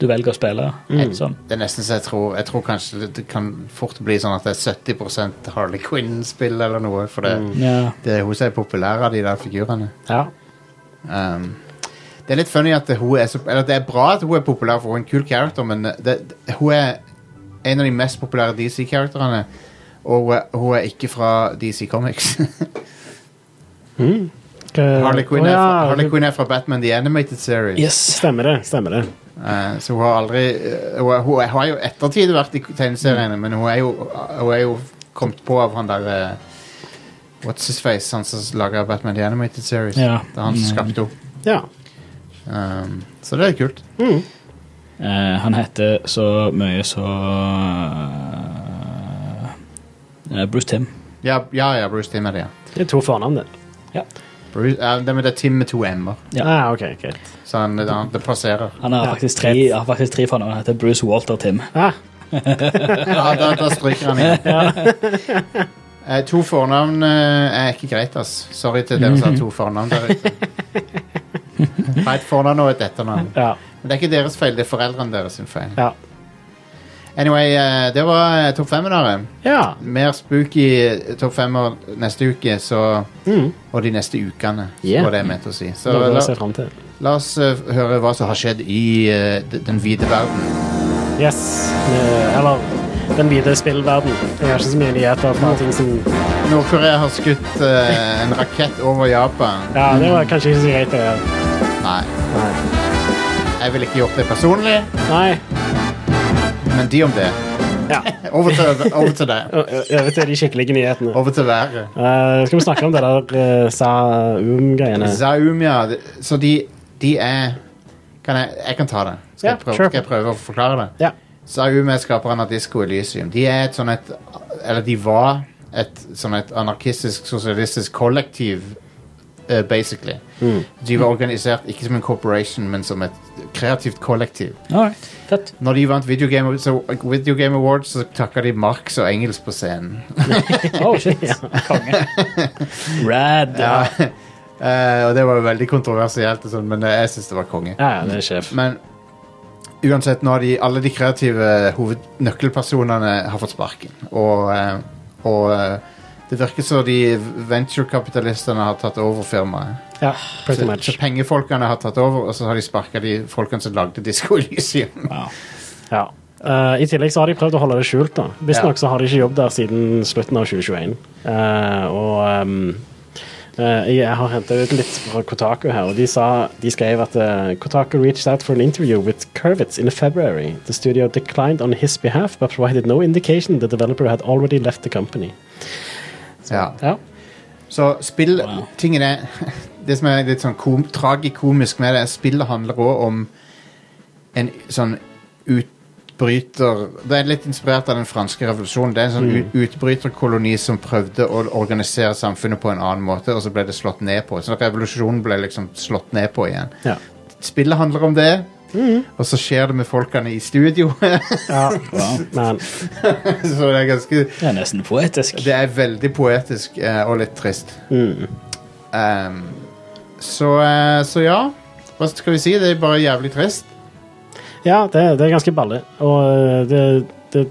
E: du velger å spille. Sånn.
C: det er nesten så jeg tror Jeg tror kanskje det- det kan fort bli sånn at det er 70 Harley Quinn-spill eller noe. For det,
E: Ja.
C: det er hun som er populær av de der figurene.
D: ja.
C: Um, det er litt funny at hun er så Eller det er bra at hun er populær, for hun er en kul character, men det, det- hun er en av de mest populære DC-characterene. Og hun er, hun er ikke fra DC
D: (laughs)
C: Comics.
D: Hva-
C: Harley Quinn,
D: Å,
C: er,
D: ja,
C: fra, Harley Quinn er fra Batman The Animated Series.
E: Yes.
D: Stemmer det. stemmer det
C: Eh, så hun har aldri eh, hun, hun har jo ettertid vært i tegneseriene,
D: Mm.
C: men hun er, jo, hun er jo kommet på av han der eh, What's His Face, han som laga Batman The Animated Series.
E: Ja.
C: Det er han
D: Mm.
C: som skapte henne.
D: Ja.
C: Um, så det er kult.
E: Eh, han heter så mye så eh, Bruce Tim. eh,
C: Ja, ja, ja Bruce Timm er det, ja.
D: Det er to fornavn, det.
E: Ja.
C: Bruce, ja, det, men det er Tim med to m-er.
E: Ja.
D: Ah, ok, greit.
C: Så han, det, det passerer.
E: Han har
D: Ja,
E: faktisk tre,
D: greit.
E: har faktisk tre for noe. Han heter Bruce Walter Tim.
D: Ah,
C: Ja, da, da stryker han igjen. (laughs) Eh, to fornavn eh, er ikke greit, ass. Sorry til dere som har to fornavn der
D: (laughs)
C: ute. Ha et fornavn og et etternavn.
D: ja,
C: Men det er ikke deres feil, det er foreldrene deres sin feil.
D: ja.
C: Anyway, eh, det var eh, topp femmere.
D: ja.
C: Mer spooky eh, topp femmer neste uke, så
D: Mm.
C: Og de neste ukene,
D: Yeah.
C: var det jeg mente å si. Så
D: Noe å
C: la,
D: se frem til.
C: la oss eh, høre hva som har skjedd i eh, d- den vide verden.
D: Yes. Eh, Eller den vide spillverden. Jeg har ikke så mye nyheter fra ting som
C: Nord-Korea har skutt eh, en rakett over Japan.
D: Ja, det var kanskje ikke så greit å gjøre.
C: Nei,
D: Nei.
C: jeg ville ikke gjort det personlig,
D: Nei.
C: men de om det.
D: Ja.
C: Over til, over til deg.
D: Ø- ø- Over til de skikkelige nyhetene.
C: Over til været.
D: Eh, skal vi snakke om det der uh, Saum-greiene?
C: Zaumia, det- så de, de er kan jeg, jeg kan ta det. Skal,
D: Ja,
C: jeg prøve,
D: sure.
C: skal jeg prøve å forklare det?
D: Ja.
C: Saum er skaperen av Disco Elysium. De er et sånn et Eller de var et sånn et anarkistisk, sosialistisk kollektiv, eh, basically. De var organisert ikke som en corporation, men som et kreativt kollektiv.
E: Alright. Fett.
C: Når de vant Video Game, så, video Game Awards, så takka de Marx og engelsk på scenen. (laughs)
D: (laughs)
E: Oh, shit. Konge. Rad.
C: Ja. Eh, og det var jo veldig kontroversielt, og sånn, men eh, jeg syns det var konge.
D: Ja, ja, det er sjef.
C: Men uansett, nå har de, alle de kreative hovednøkkelpersonene har fått sparken. Og, eh, og eh, det virker som de venturekapitalistene har tatt over firmaet.
D: Ja, pretty
C: Så,
D: much.
C: så pengefolkene har tatt over, og så har de sparka de folkene som lagde Disco Elysium.
E: Wow.
D: Ja. Eh, I tillegg så har de prøvd å holde det skjult. da. Visstnok så har de ikke jobb der siden slutten av 2021. Eh, og ehm, eh, jeg har henta ut litt fra Kotaku her, og de, sa, de skrev at eh, Kotaku reached out for an interview with Kurvitz in February. The studio declined on his behalf, but provided no indication the developer had already left the company.
C: Ja.
D: Ja.
C: Så spill
E: Wow.
C: Tingen er (laughs) Det som er litt sånn kom, tragikomisk med det, er spillet handler òg om en sånn utbryter Det er litt inspirert av den franske revolusjonen. Det er en sånn ut- utbryterkoloni som prøvde å organisere samfunnet på en annen måte, og så ble det slått ned på. Så revolusjonen ble liksom slått ned på igjen.
D: Ja.
C: Spillet handler om det, og så skjer det med folkene i studio. (laughs)
D: ja.
E: Wow.
D: Men
C: så det er ganske
E: Det er nesten poetisk.
C: det er veldig poetisk eh, og litt trist. Um, så, eh, så ja. Hva skal vi si? Det er bare jævlig trist.
D: Ja, det, det er ganske balle. Og eh, det, det,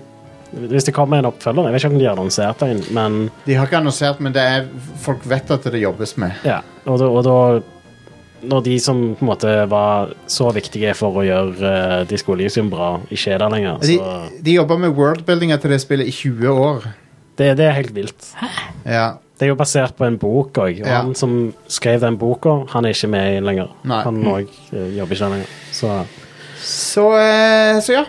D: hvis det kommer en oppfølger Jeg vet ikke om de har annonsert en, men
C: De har ikke annonsert, men det er, folk vet at det jobbes med.
D: ja. Og da, og da Når de som på en måte var så viktige for å gjøre uh, Disko Elysium bra, ikke er der lenger,
C: De,
D: så
C: de jobber med worldbuildinga til det spillet i 20 år.
D: det, det er helt vilt.
C: Ja.
D: Det er jo basert på en bok òg, og
C: Ja.
D: han som skrev den boka, han er ikke med i lenger.
C: Nei.
D: Han òg eh, jobber ikke der lenger. Så
C: Så, eh, så ja.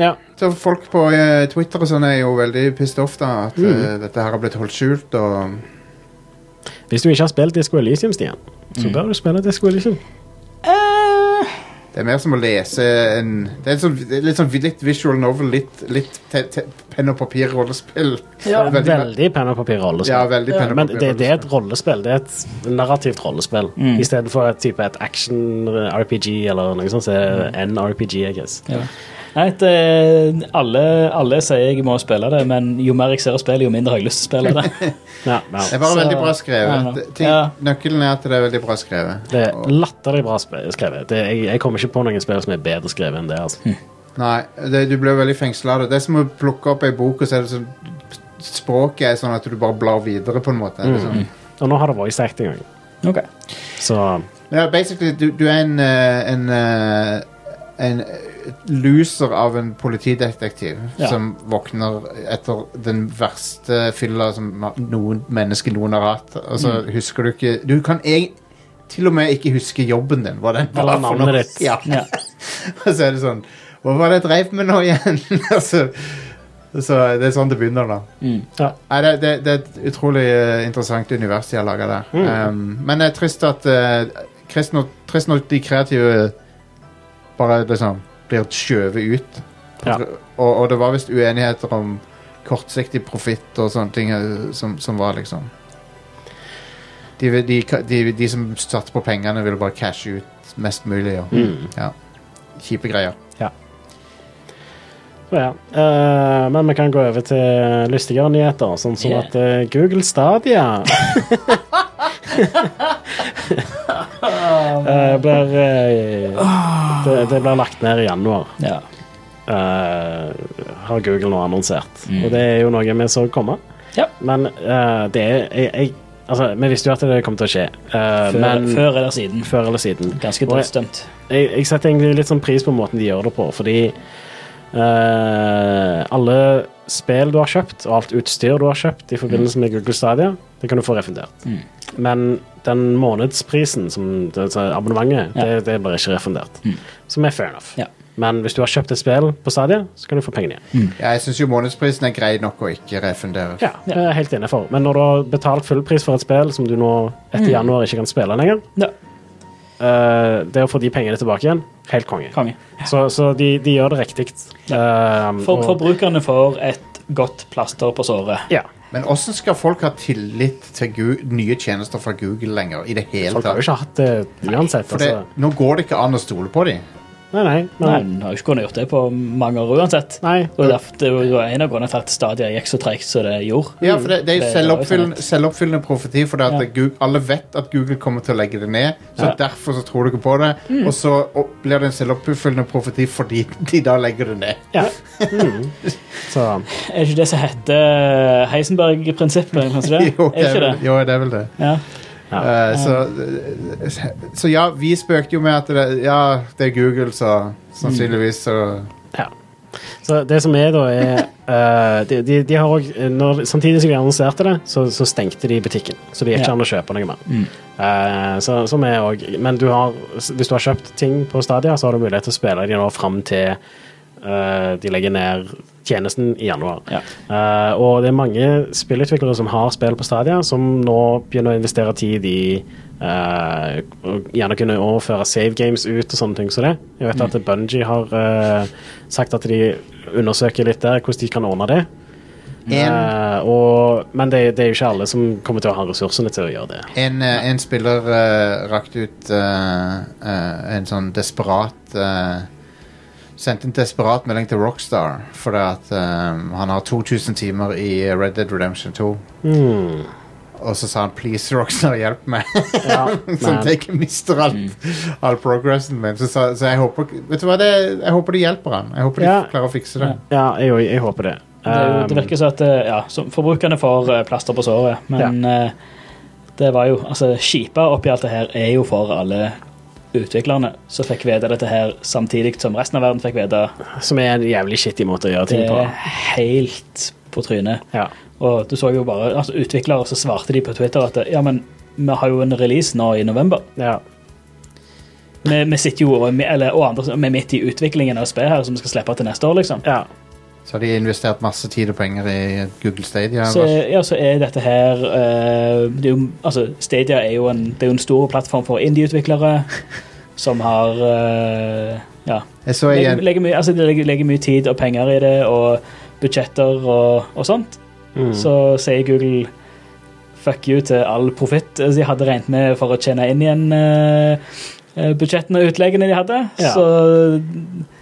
D: ja.
C: Så folk på eh, Twitter og sånn er jo veldig pissed off da at eh, dette her har blitt holdt skjult. Og
D: Hvis du ikke har spilt Disko Elysium, Stian, så bør du spille Disko Elysium.
C: det er mer som å lese en Det er, en sånn, det er litt sånn litt visual novel, litt, litt te, te, penn og papir-rollespill.
D: Ja,
C: Veldig-
D: veldig, penn og papir-rollespill.
C: Ja, veldig penn og
D: Men
C: papir
D: det, det er et rollespill. Det er et narrativt rollespill. I stedet for et type et action-RPG eller noe sånt, så er det en RPG, I guess.
E: Ja. Nei, det, alle, alle sier jeg må spille det, men jo mer jeg ser og spiller, jo mindre har jeg lyst til å spille
C: (laughs)
E: det.
D: Ja,
C: Det
D: ja.
C: er bare
E: Så-
C: veldig bra
E: I don't
C: skrevet.
E: know.
C: Ting,
E: Ja.
C: Nøkkelen er at det er veldig bra skrevet.
D: Det er latterlig bra spe- skrevet. Det, jeg, jeg kommer ikke på noen spill som er bedre skrevet enn det. altså.
C: Nei, det, du blir veldig fengsla av det. Det er som å plukke opp ei bok, og så er det sånn Språket er sånn at du bare blar videre, på en måte. Liksom.
D: Og nå har det voice acting òg,
E: Ok.
D: så
C: Ja, basically, du, du er en, eh, en, eh, en eh, loser av en politidetektiv
E: Ja.
C: som våkner etter den verste fylla som ma- noen menneske noen har hatt. Og så husker du ikke Du kan eg- til og med ikke huske jobben din. Hva den
D: Eller
C: for
D: navnet
C: noe.
D: ditt.
C: Ja. (laughs)
E: Ja.
C: Og så er det sånn Hva var det jeg dreiv med nå igjen? (laughs) altså, så det er sånn det begynner, da.
D: ja.
C: Nei, det, det, det er et utrolig eh, interessant univers de har laga der.
D: Mm.
C: Um, men det er trist at eh, trist når, trist når de kreative bare liksom blir skjøvet ut.
D: Ja.
C: Og, og det var visst uenigheter om kortsiktig profitt og sånne ting eh, som, som var, liksom. de, vil- de, ka- de, de som satser på pengene, vil bare cashe ut mest mulig. Og,
D: Mm.
C: ja. Kjipe greier.
D: Så ja. eh, men vi kan gå over til lystigere nyheter, sånn som
E: Yeah.
D: at eh, Google
E: (laughs)
D: Stadia (laughs) eh, blir eh, det, det blir lagt ned i januar.
E: Ja.
D: eh, har Google nå annonsert.
E: Mm.
D: Og det er jo noe vi så komme.
E: Ja.
D: Men eh, det er jeg, jeg, Altså, vi visste jo at det kom til å skje, eh,
E: Før,
D: men
E: før eller siden.
D: før eller siden.
E: Ganske
D: Og jeg-
E: dødsdømt.
D: jeg, jeg setter egentlig litt sånn pris på måten de gjør det på, fordi eh, alle spill du har kjøpt, og alt utstyr du har kjøpt i forbindelse med Google Stadia, det kan du få refundert.
E: Mm.
D: Men den månedsprisen, som det, så abonnementet,
E: Ja. Mm.
D: det, det blir ikke refundert. Som er fair enough.
E: Ja.
D: Men hvis du har kjøpt et spill på Stadia, så kan du få pengene igjen.
E: Mm.
C: Ja, jeg syns jo månedsprisen er grei nok å ikke refundere.
D: Ja, det er jeg helt inne for. Men når du har betalt fullpris for et spill som du nå etter
E: Mm.
D: januar ikke kan spille lenger,
E: Ja.
D: eh, det å få de pengene tilbake igjen, helt konge.
E: Konge.
D: Så, så de, de gjør det riktig. Um,
E: For,
D: og-
E: forbrukerne får et godt plaster på såret.
D: ja.
C: Men åssen skal folk ha tillit til Gu- nye tjenester fra Google lenger? I det hele
D: Folk har jo
C: tatt?
D: ikke hatt det uansett.
C: For det,
D: altså.
C: nå går det ikke an å stole på dem.
D: Nei, nei.
E: Nei,
D: Men,
E: den har jo ikke kunnet gjort det på mange år uansett.
D: nei.
E: Og derfor, det var jo en av grunnene til at Stadia gikk så tregt som det gjorde.
C: Ja, for det, det er jo
E: Mm, Det-
C: selvoppfyllende, selvoppfyllende profeti, for det at
E: Ja.
C: Gu- alle vet at Google kommer til å legge det ned, så derfor så tror du ikke på det, og så og blir det en selvoppfyllende profeti fordi (laughs) de da legger det ned.
D: Ja. Mm. Så
E: Er det ikke det som heter eh, Heisenberg-prinsippet? eller noe sånt?
C: (laughs) Jo,
E: Er det ikke
C: vel-
E: det?
C: jo, det er vel det.
E: Ja.
C: Eh, så, så ja, vi spøkte jo med at det, ja, det er Google, så sannsynligvis så
D: ja. Så det som er, da, er eh, de, de, de har òg når- Samtidig som de annonserte det, så, så stengte de butikken. Så det gikk
E: Ja.
D: ikke an
E: Mm.
D: å kjøpe noe mer. Eh, så, som er også, men du har, hvis du har kjøpt ting på Stadia, så har du mulighet til å spille de nå fram til eh, de legger ned tjenesten i januar.
E: Ja.
D: Eh, og det er mange spillutviklere som har spill på Stadia, som nå begynner å investere tid i eh, og gjerne kunne overføre save games ut og sånne ting som det. Jeg vet at
E: Mm.
D: Bungie har eh, sagt at de undersøker litt der hvordan de kan ordne det.
E: Mm.
C: En,
D: Eh, og, men det, det er jo ikke alle som kommer til å ha ressursene til å gjøre det.
C: en, eh, en spiller uh, rakte ut eh, eh, en sånn desperat eh, Sendte en desperat melding til Rockstar fordi at eh, han har 2000 timer i Red Dead Redemption 2.
D: Hmm.
C: Og så sa han 'please, Rockstar, hjelp meg'.
D: (laughs) Ja,
C: (laughs) Sånn
D: men-
C: at jeg ikke mister alt All progressen min. Så, sa- så jeg håper Vet du hva, det, jeg håper de hjelper han. Jeg håper de
D: Ja.
C: klarer å fikse det.
D: Ja, jeg, òg, jeg håper det.
E: Det, er jo- det
D: Um,
E: virker som at eh, ja, som forbrukerne får eh, plaster på såret, men eh, det var jo altså Skipa oppi alt det her er jo for alle utviklerne som fikk vite dette her samtidig som resten av verden fikk vite
D: som er en jævlig shitty måte å gjøre
E: det
D: ting på.
E: er helt på trynet.
D: Ja.
E: Og du så jo bare altså Utviklere så svarte de på Twitter at ja, men vi har jo en release nå i november.
D: Ja.
E: Vi, vi sitter jo og, eller, og andre, vi er midt i utviklingen av spillet her, som vi skal slippe til neste år, liksom.
D: ja.
C: Så har de investert masse tid og penger i Google Stadia.
E: Så, ja, så er dette her eh, det er jo, altså, Stadia er jo en, det er jo en stor plattform for (laughs) indie-utviklere som har eh, ja,
C: Jeg så
E: legger,
C: igjen
E: legger, mye, altså, de legger, legger mye tid og penger i det, og budsjetter og, og sånt.
D: Mm.
E: Så sier Google fuck you til all profitt eh, de hadde regnet med for å tjene inn igjen eh, eh, budsjettene og utleggene de hadde.
D: Ja.
E: Så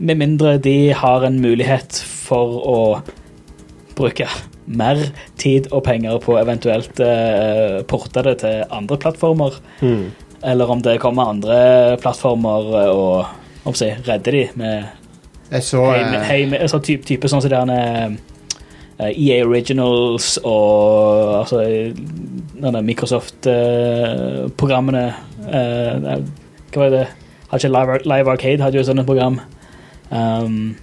E: med mindre de har en mulighet for å bruke mer tid og penger på eventuelt eh, porte det til andre plattformer,
D: Mm.
E: eller om det kommer andre plattformer eh, og om å si, redde de med
C: Jeg så
E: Hei,
C: eh,
E: men- hei, men- altså, typ, type sånn som det derne eh, EA Originals og altså, denne Microsoft-programmene eh, Hva var det? Har ikke Live, Ar- Live Arcade hadde jo et sånt program ehm,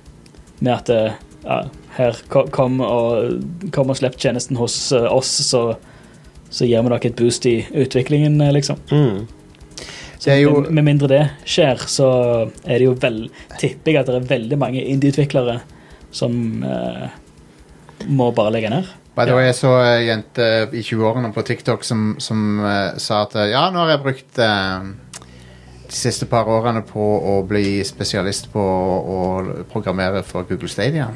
E: med at eh, ja, her, ko- kom og, kom og slipp tjenesten hos eh, oss, så, så gir vi dere et boost i utviklingen, eh, liksom.
D: Mm.
E: Så
C: Det er jo-
E: med, med mindre det skjer, så er det jo vel, tipper jeg at det er veldig mange indie-utviklere som eh, må bare legge ned.
C: By the way, jeg så ei jente eh, i 20-årene på TikTok som, som eh, sa at eh, ja, nå har jeg brukt eh, de siste par årene på å bli spesialist på å, å programmere for Google Stadia.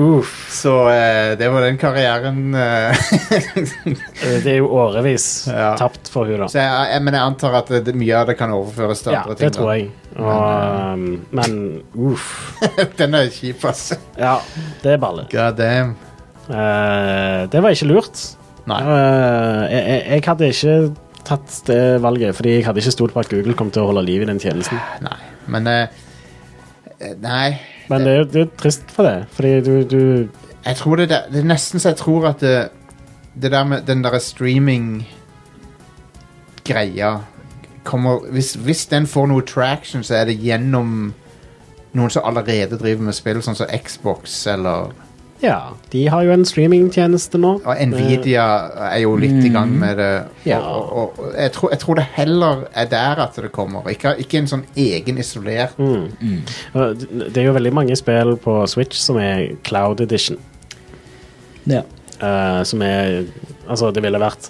C: Uff. (laughs) Så eh, det var den karrieren. eh, (laughs)
D: Eh, Det er jo årevis
C: Ja.
D: tapt for hun da.
C: så jeg, jeg, men jeg antar at eh, det, mye av det kan overføres til
D: Ja,
C: andre ting.
D: det tror jeg. Og, um, men uff.
C: jeg. (laughs) den er kjip, altså. ass.
D: (laughs) Ja, det er balle.
C: God damn.
D: Eh, det var ikke lurt.
C: Nei.
D: Eh, jeg, jeg- jeg hadde ikke tatt det valget, fordi jeg hadde ikke stolt på at Google kom til å holde liv i den tjenesten.
C: Nei. Men eh, eh, Nei.
D: Men det er jo det er jo trist for det, fordi du, du
C: Jeg tror det, der, det er nesten så jeg tror at det, det der med den derre streaming-greia kommer hvis, hvis den får noe traction, så er det gjennom noen som allerede driver med spill, sånn som Xbox eller
D: Ja, de har jo en streamingtjeneste nå. Eh,
C: Og Nvidia er jo litt i gang med det.
D: Ja.
C: Og, og, og jeg, tror, jeg tror det heller er der at det kommer. Ikke, ikke en sånn egen isolert
D: Og Det er jo veldig mange spill på Switch som er Cloud Edition.
E: Ja.
D: eh, som er Altså, det ville vært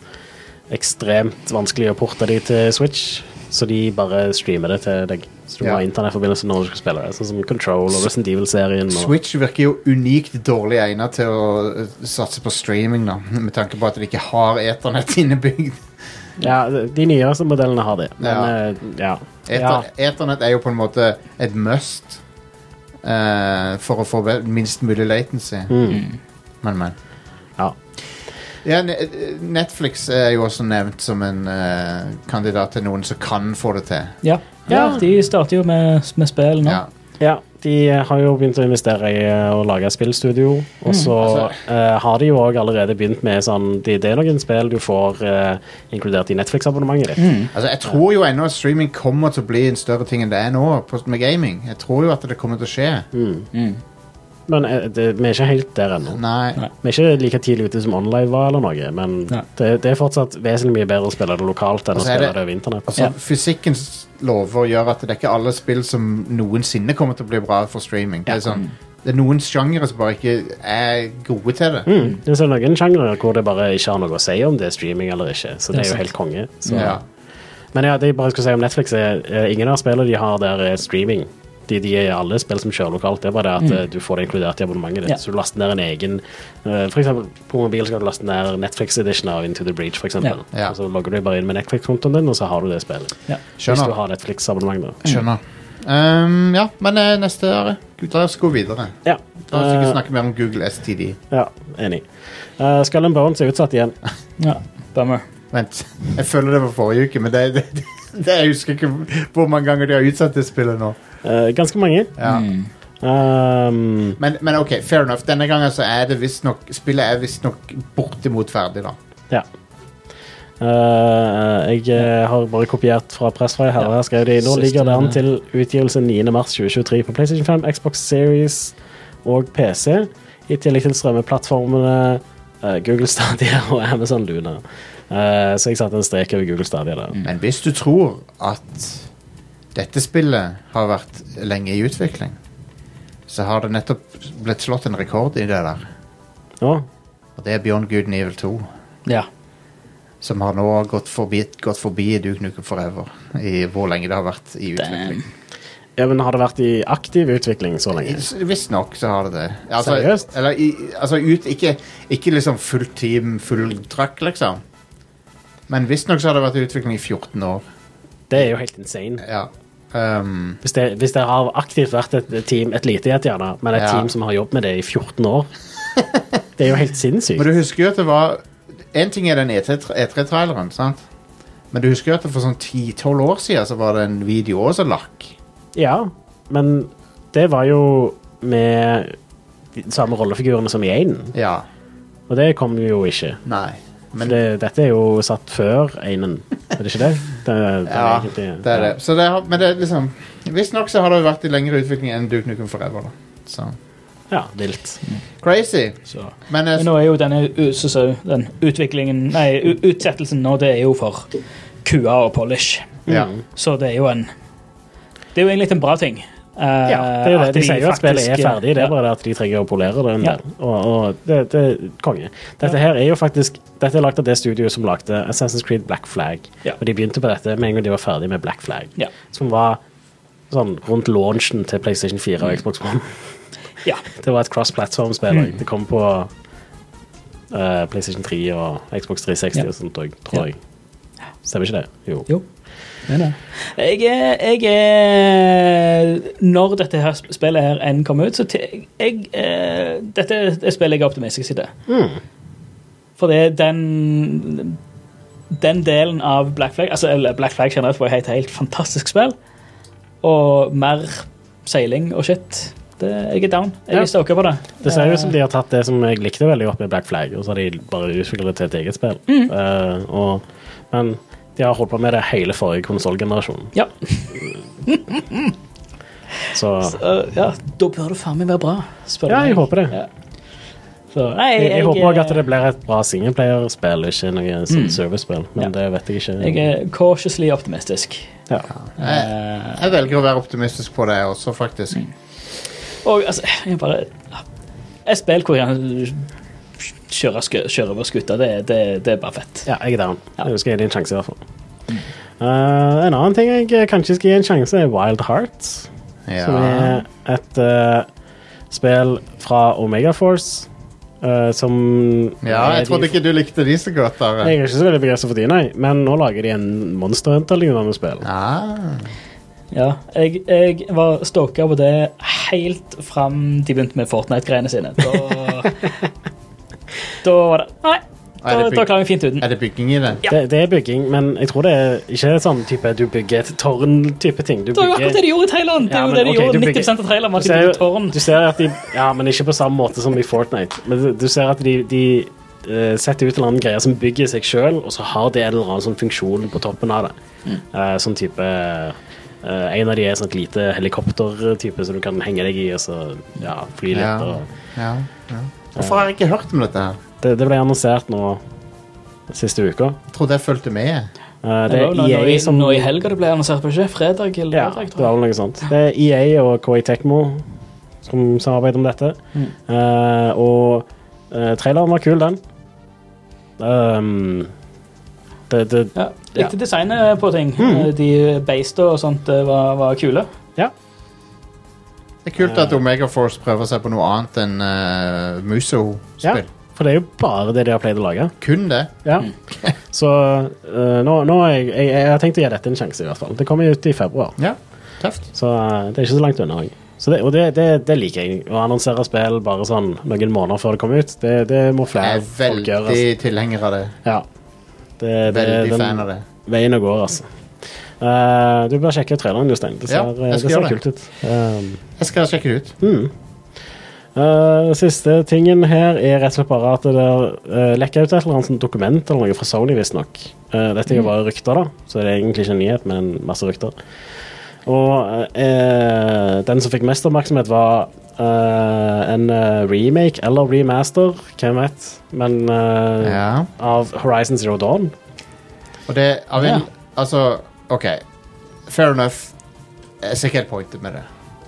D: ekstremt vanskelig å porte de til Switch, så de bare streamer det til deg. Så du må
C: Ja.
D: ha internettforbindelse når du skal spille det. Sånn som Control og Resident Evil-serien. og-
C: Switch virker jo unikt dårlig egnet til å eh, satse på streaming, da. Med tanke på at de ikke har eternett (laughs) innebygd.
D: Ja, de nyeste modellene har det. Men
C: Ja.
D: eh, ja. ja.
C: Eter, Eternett er jo på en måte et must eh, for å få ve- minst mulig latency. Men, men.
D: ja.
C: Ja, ne- Netflix er jo også nevnt som en eh, kandidat til noen som kan få det til.
E: Ja.
D: Ja.
E: de starter jo med, med spill nå.
C: Ja.
D: Ja, de eh, har jo begynt å investere i eh, å lage spillstudio,
C: Mm.
D: og så
C: Altså-
D: eh, har de jo òg allerede begynt med sånn Det, det er noen spill du får eh, inkludert i Netflix-abonnementet ditt.
C: Altså, jeg tror jo ennå at streaming kommer til å bli en større ting enn det er nå på, med gaming. Jeg tror jo at det kommer til å skje.
D: Men eh, det, vi er ikke helt der ennå.
C: Nei.
D: Vi er ikke like tidlig ute som online var, eller noe, men
E: Nei.
D: det, det er fortsatt vesentlig mye bedre å spille det lokalt enn
C: Og
D: å
C: så er
D: spille
C: det-
D: det over internett.
C: Altså,
E: Ja.
C: Fysikkens lover gjør at det er ikke alle spill som noensinne kommer til å bli bra for streaming. Det er, sånn, det er noen sjangere som bare ikke er gode til det.
D: Mm. Det er så noen sjangre hvor det bare ikke har noe å si om det er streaming eller ikke, så det
E: Det
D: er
E: er
D: jo helt konge. Så.
C: Ja.
D: Men ja, det jeg bare skulle si om Netflix er, eh, Ingen av spillene de har der er streaming de, de er alle spill som kjører lokalt Det er bare det at eh, du får det inkludert i abonnementet ditt
E: Ja.
D: Så du laster ned en egen eh, For eksempel på mobil skal du laste ned Netflix edition av Into the Breach for eksempel
C: Ja. Ja.
D: Og så logger du bare inn med Netflix-kontoen din Og så har du det spillet
E: Ja.
D: Hvis du
C: Skjønner.
D: har Netflix-abonnement da
C: Skjønner. Um, ja, men eh, neste Are. La oss gå videre.
D: Ja,
C: La oss ikke
D: eh,
C: snakke mer om Google STD.
D: ja enig Eh, Skull and Bones er
C: (laughs)
D: utsatt igjen
E: Ja. Bummer.
C: Vent. Jeg føler det var forrige uke, men det, det, det, jeg husker ikke hvor mange ganger de har utsatt det spillet nå.
D: Eh, Ganske mange
C: Ja.
D: um,
C: Men, men ok, fair enough. Denne gangen så er det visstnok Spillet er visstnok bortimot ferdig, da.
D: Ja. Eh, jeg eh, har bare kopiert fra Pressfire. Her, her skrev de nå
E: Siste
D: ligger det an
E: det.
D: til utgivelse 9.3.2023 på PlayStation 5, Xbox Series og PC. I tillegg til strømmeplattformene eh, Google Stadia (laughs) og Amazon Luna. Eh, så jeg satte en strek over Google Stadia der.
C: Men hvis du tror at dette spillet har vært lenge i utvikling, så har det nettopp blitt slått en rekord i det der.
D: Å,
C: Og det er Beyond Good and Evil 2,
E: Ja.
C: som har nå gått forbi, gått forbi Duke Nukem Forever i hvor lenge det har vært i utvikling.
D: ja, men har det vært i aktiv utvikling så lenge?
C: Visstnok så har det det. Altså,
D: Seriøst?
C: Eller, i- altså ut, ikke, ikke liksom fullt team, full trøkk, liksom. Men visstnok så har det vært i utvikling i 14 år.
D: Det er jo helt insane.
C: Ja. Um,
D: Hvis det, hvis det har aktivt vært et team, et lite et gjerne, men et
C: Ja.
D: team som har jobbet med det i 14 år (laughs) Det er jo helt
C: men
D: sinnssykt.
C: du husker jo at det var En ting er den E E3-traileren, sant? Men du husker jo at det for sånn 10-12 år siden så var det en video også som lakk.
D: Ja, men det var jo med de samme rollefigurene som i Einen,
C: Ja.
D: og det kom jo ikke.
C: Nei.
D: For
C: Men
D: det, dette er jo satt før Einen, er det ikke det? det, det
C: ja, det er det. Så det har, men det er liksom Visstnok så har det jo vært i lengre utvikling enn Duke Nukem Forever, da. Så
D: Ja, vilt.
C: Crazy.
E: Så.
C: Men
E: Men
C: eh,
E: nå er jo denne u- så, så, den utviklingen Nei, u- utsettelsen nå, det er jo for kua og polish.
C: ja.
D: Mm.
E: Så det er jo en Det er jo egentlig en bra ting. Eh,
D: Ja, det er jo det.
E: at
D: De sier jo at spillet er
E: faktisk-
D: ferdig, det
E: ja.
D: er bare det at de trenger å polere det en
E: Ja.
D: del. Og, og det, det er konge. Dette her er jo faktisk Dette er lagd av det studioet som lagde Assassin's Creed Black Flag.
E: Ja.
D: Og de begynte på dette med en gang de var ferdig med Black Flag,
E: Ja. Mm.
D: som var sånn rundt launchen til PlayStation 4 og Xbox One. (laughs)
E: Ja.
D: Det var et cross-platform-spill.
E: Mm.
D: og Det kom på eh, PlayStation 3 og Xbox 360
E: Ja.
D: og sånt òg, tror
E: Ja.
D: jeg. Stemmer ikke det? Jo.
E: Jo. Det er det. Jeg er, jeg er Når dette her sp- spillet her enn kommer ut, så te- jeg, eh, Dette er et spill jeg er optimistisk til. For det er den Den delen av Black Flag altså, eller Black Flag generelt var et helt fantastisk spill. Og mer seiling og shit. Det, jeg er down. Jeg
D: Ja.
E: er stoka på det.
D: Det ser ut
E: Eh.
D: som de har tatt det som jeg likte veldig godt med Black Flag, og så har de bare utviklet det til et eget spill.
E: Mm.
D: Eh, og, men de har holdt på med det hele forrige konsollgenerasjon,
E: Ja,
D: så
E: så, Eh, ja, da bør det faen meg være bra. Spør du
D: Ja, jeg
E: meg.
D: håper det.
E: Ja.
D: Så,
E: Nei,
D: jeg, jeg
E: jeg- eh, Mm.
D: håper òg at det blir et bra singleplayerspill, ikke noe sånn servicespill, men
E: Ja.
D: det vet jeg ikke.
E: eh, Jeg er cautiously optimistisk.
D: Ja.
E: Eh,
C: Jeg velger å være optimistisk på det også, faktisk.
D: Mm.
E: Og altså, jeg bare Et spill hvor han kjører, skø- kjører over skuta, det, det, det er bare fett.
D: Ja, jeg er down.
E: Ja. Mm.
D: Jeg skal gi det en sjanse, i hvert fall. Eh, en annen ting jeg kanskje skal gi en sjanse, er Wild Hearts. Som
C: Ja.
D: er et eh, spill fra Omegaforce. Uh, som
C: ja, jeg trodde ikke du likte de så godt.
D: Jeg
C: Are.
D: er ikke så veldig begeistra for de, nei, men nå lager de en Monster Hunter-lignende spill.
C: Ah,
E: Ja, jeg, jeg var stoka på det helt fram de begynte med Fortnite-greiene sine.
D: (laughs)
E: Da, da var det Nei, da,
C: Nei, det er
E: da klarer vi fint uten.
C: er det bygging i det?
E: Ja.
D: Det, det er bygging, men jeg tror det er ikke sånn type du bygger et tårn-type ting. Du
E: Det var jo akkurat det
D: bygger
E: de gjorde i traileren! Det
D: Ja,
E: er jo
D: men
E: det de
D: ok, du
E: gjorde.
D: bygger-
E: 90 av traileren var
D: du
E: at de
D: ser,
E: bygde
D: jo-
E: tårn.
D: du ser at de Ja, men ikke på samme måte som i Fortnite. Men du, du ser at de, de eh, setter ut en eller annen greie som bygger seg sjøl, og så har det en eller annen sånn funksjon på toppen av det.
E: Mm.
D: Eh, sånn type eh, En av de er sånn et lite helikopter-type som du kan henge deg i og så ja, fly litt.
C: Ja.
D: Og,
C: ja, ja. Hvorfor har jeg ikke hørt om dette? her?
D: det, det ble annonsert nå siste uka.
C: Jeg trodde jeg fulgte med.
D: Eh,
E: Det
D: det
E: var jo nå-
D: er
E: nå i-
D: EA som
E: Nå i helga det ble annonsert, på ikke? Fredag eller
D: Ja,
E: lørdag,
D: det
E: tror jeg.
D: var vel noe sånt. Det er EA og KI Tekmo som samarbeider om dette.
E: Mm.
D: Eh, og eh, traileren var kul, den. Ehm, det, det,
E: Ja, likte designet på ting.
D: Hmm.
E: Eh, De beista og sånt eh, var, var kule.
D: ja.
C: Det er kult at Omega Force prøver seg på noe annet enn uh,
D: ja.
C: Muso-spill.
D: For det er jo bare det de har pleid å lage.
C: Kun det.
D: Ja. (laughs) Så eh, nå, nå er jeg, jeg, jeg har tenkt å gi dette en sjanse, i hvert fall. Det kommer ut i februar,
C: Ja, tøft.
D: så eh, det er ikke så langt unna. jeg. Så det, og det, det, det liker jeg. Å annonsere spill bare sånn noen måneder før det kommer ut, det, det må
C: Jeg
D: flere
C: er
D: folk gjøre. altså.
C: veldig tilhenger av det.
D: Ja. Det, det,
C: Veldig
D: den-
C: fan av det.
D: veien å gå, altså. Eh, du bør sjekke ut traileren, Jostein. Det ser, eh,
C: Ja, jeg
D: det
C: skal
D: ser
C: gjøre
D: kult ut. Um,
C: Jeg skal sjekke det ut.
D: eh, siste tingen her er rett og slett bare at det der, eh, lekker ut et eller annet sånt dokument eller noe fra Sony, visstnok. Uh, dette er
C: Mhm.
D: jo bare rykter, da, så det er egentlig ikke en nyhet, men en masse rykter. Og eh, den som fikk mest oppmerksomhet, var eh, en eh, remake eller remaster, hvem vet, men eh,
C: Ja.
D: av Horizon Zero Dawn.
C: Og det av en,
E: Ja.
C: Altså, OK. Fair enough. Jeg ser ikke helt pointet med det.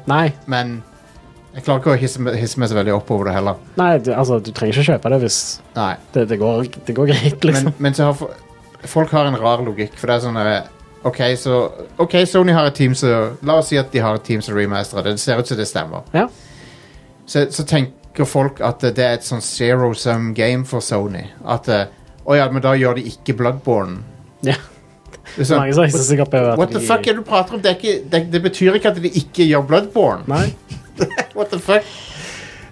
D: Nei,
C: Men jeg klarer ikke å hisse, meg- hisse meg så veldig opp over det heller.
D: nei du, altså, du trenger ikke kjøpe det hvis
C: Nei.
D: det, det, går, det går greit, liksom.
C: Men, men så har fo- folk har en rar logikk, for det er sånn eh, OK, så OK, Sony har et team som La oss si at de har et team som remasterer det. Det ser ut som det stemmer.
D: ja.
C: Så, så tenker folk at eh, det er et sånn zero sum game for Sony. At eh, Å ja, men da gjør de ikke Bloodborne.
D: ja.
C: Det er
D: Så
C: sånn,
D: mange som heiser seg opp over at
C: What the
D: de-
C: fuck er det du prater om? Det, er ikke, det, det betyr ikke at de ikke gjør Bloodborne.
D: Nei,
C: What the fuck?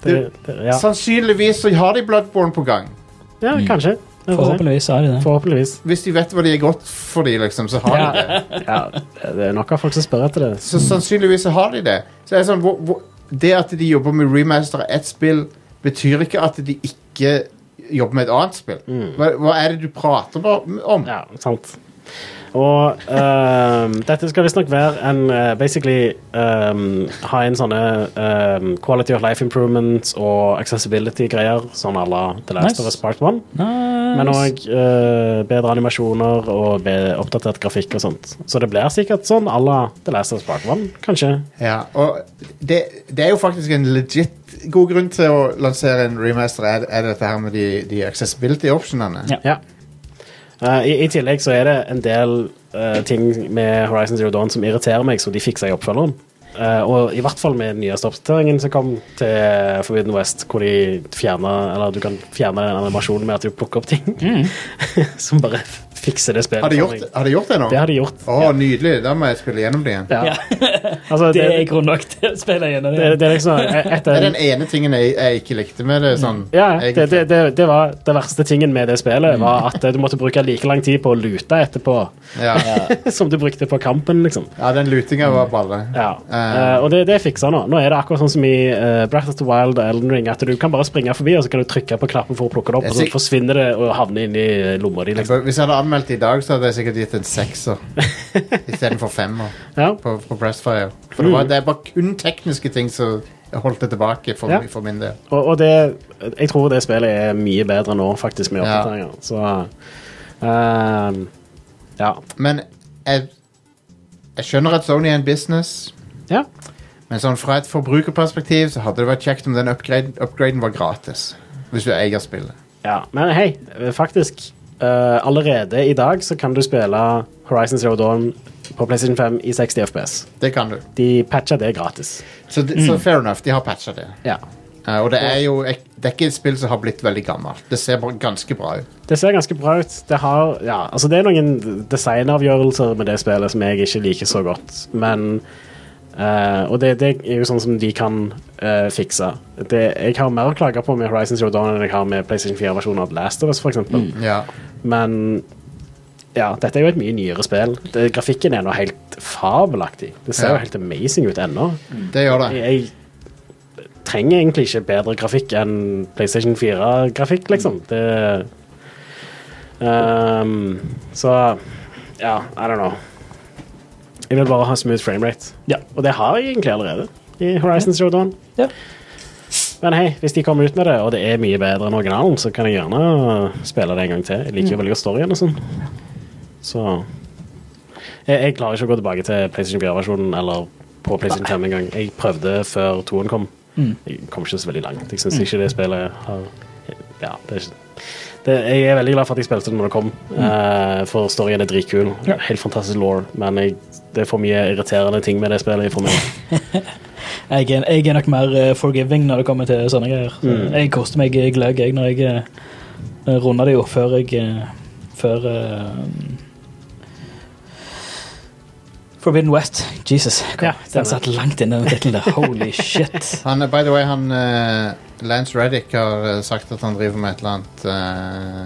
D: det, det, ja.
C: Sannsynligvis så har de Bloodborne på gang.
D: ja, kanskje. Vi får se.
E: Forhåpentligvis har de det.
D: Forhåpentligvis.
C: Hvis de vet hva de er godt for de, liksom, så har de det.
D: Ja. ja, det er nok av folk som spør etter det.
C: Så sannsynligvis så har de det. Så det, er sånn, hvor, hvor, det at de jobber med remaster av ett spill, betyr ikke at de ikke jobber med et annet spill. Hva, hva er det du prater ba- om?
D: Mm. Ja, sant. Og ehm, dette skal visstnok være en eh, Basically ehm, ha inn sånne ehm, quality of life improvements og accessibility-greier, sånn à la The Last
E: Nice.
D: of Us Part 1.
E: Ah,
D: Men òg bedre animasjoner og be oppdatert grafikk og sånt. Så det blir sikkert sånn à la The Last of Us Part 1, kanskje.
C: Ja, og det, det er jo faktisk en legit god grunn til å lansere en remaster, er, er dette her med de, de accessibility-optionene.
E: Ja.
D: Ja. Eh, i, I tillegg så er det en del eh, ting med Horizon Zero Dawn som irriterer meg, så de fikser i oppfølgeren. Eh, og i hvert fall med den nyeste oppdateringen som kom til Forbidden West, hvor de fjerner, eller du kan fjerne den animasjonen med at du plukker opp ting.
E: Mm.
D: (laughs) som bare fikser det spillet.
C: Har de
D: for
C: gjort,
D: meg.
C: har de gjort det nå?
D: Det har de gjort.
C: Å, nydelig. Da må jeg spille gjennom det igjen.
D: Ja.
E: Ja.
D: Altså,
E: Det
D: det,
E: er grunn nok til å spille gjennom
D: det,
E: det.
D: det er liksom et
C: Det
D: av
C: er den ene tingen jeg, jeg ikke likte med det. Sånn,
D: Ja, det,
C: egentlig. Mm.
D: det, det, det var det verste tingen med det spillet, var at eh, du måtte bruke like lang tid på å lute etterpå
C: Ja.
D: (laughs) som du brukte på kampen, liksom.
C: ja, den lutinga var balle.
D: Ja.
C: Eh.
D: Eh, og det, det fiksa nå. Nå er det akkurat sånn som i eh, Breath of the Wild og Elden Ring, at du kan bare springe forbi, og så kan du trykke på knappen for å plukke det opp,
C: Det er
D: og så
C: sikk-
D: forsvinner det og havner inn i lomma di,
C: Jeg
D: liksom.
C: bør- Hvis jeg hadde anmeldt i dag, så hadde jeg sikkert gitt en
D: (laughs)
C: sekser istedenfor femmer
D: Ja.
C: på, på Breastfire.
D: Mm.
C: For det, var, det er bare kun tekniske ting som holdt det tilbake for,
D: Ja.
C: for min del.
D: Og, og det Jeg tror det spillet er mye bedre nå, faktisk, med
C: Ja.
D: oppdateringer. Så eh, Ja.
C: Men jeg, jeg skjønner at Sony er en business,
D: Ja.
C: men sånn fra et forbrukerperspektiv så hadde det vært kjekt om den upgrade, upgraden var gratis. Hvis du eier spillet.
D: Ja, men hei, faktisk eh, Allerede i dag så kan du spille Horizon Zero Dawn på PlayStation 5 i 60 FPS.
C: Det kan du.
D: De patcha det gratis.
C: Så, det- så fair enough, de har patcha det.
D: Ja.
C: Eh, og det er jo ek- det er ikke et spill som har blitt veldig gammelt. Det ser bare ganske bra ut.
D: Det ser ganske bra ut. Det har Ja, altså det er noen designavgjørelser med det spillet som jeg ikke liker så godt, men eh, og det, det er jo sånn som de kan eh, fikse. Det, jeg har mer å klage på med Horizon Zero Dawn enn jeg har med PlayStation 4-versjonen av Last of Us, for eksempel.
C: Ja.
D: Men ja, dette er jo et mye nyere spill. Det, grafikken er nå helt fabelaktig. Det ser
C: Ja. Mm.
D: jo helt amazing ut ennå.
C: Det gjør det.
D: Jeg, jeg trenger egentlig ikke bedre grafikk enn PlayStation 4-grafikk, liksom. Det Ehm, Så ja, I don't know. Jeg vil bare ha smooth framerate.
E: Ja.
D: Og det har jeg egentlig allerede i Horizon Zero Dawn.
E: Ja.
D: Men hei, hvis de kommer ut med det, og det er mye bedre enn originalen, så kan jeg gjerne spille det en gang til. Jeg liker jo veldig godt storyen og sånn. Så jeg, jeg klarer ikke å gå tilbake til PlayStation 4-versjonen eller på PlayStation 5 engang. Jeg prøvde før 2-en kom. Jeg kom ikke så veldig langt. Jeg syns ikke det spillet har Ja, det er ikke det, Jeg er veldig glad for at jeg spilte det når det kom, eh, for storyen er dritkul.
E: Ja.
D: Helt fantastisk law, men jeg, det er for mye irriterende ting med det spillet for meg.
E: Jeg er, jeg er nok mer eh, forgiving når det kommer til sånne greier.
D: Mm.
E: Jeg koster meg gløgg jeg, når jeg eh, runder det jo før jeg eh, Før eh, Forbidden West. Jesus. Kom,
D: Ja,
E: den
D: stemmer.
E: satt langt inne, den tittelen der.
D: (laughs)
E: Holy shit.
C: Han, eh, by the way, han eh, Lance Reddick har eh, sagt at han driver med et eller annet eh,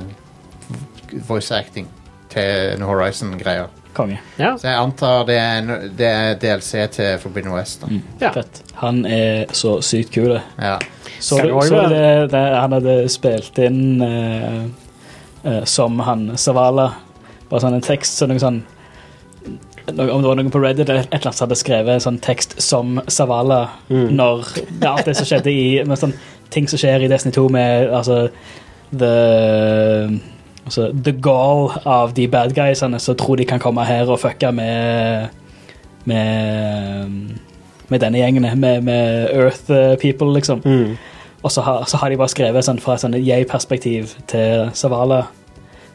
C: voice acting til Horizon-greier.
E: Konge.
D: Ja,
C: Så jeg antar det er, en, det er DLC til Forbidden West. Da.
D: ja.
E: Fett. Han er så sykt kul. det.
C: Ja.
E: Så,
D: Skal
E: du,
D: det også
E: så
D: være-
E: det, det, han hadde spilt inn eh, eh, som han Savala Bare sånn en tekst så noe sånn noe, Om det var noen på Reddit eller et eller annet som hadde skrevet sånn tekst som Savala
D: Mm.
E: når ja, alt det som skjedde i med sånn, Ting som skjer i Destiny 2 med altså, the, altså, the goal av de bad guysene som tror de kan komme her og fucke med med, med denne gjengen, med, med Earth eh, people, liksom.
D: Mm.
E: Og så har, så har de bare skrevet sånn fra et sånn jeg-perspektiv til Savala.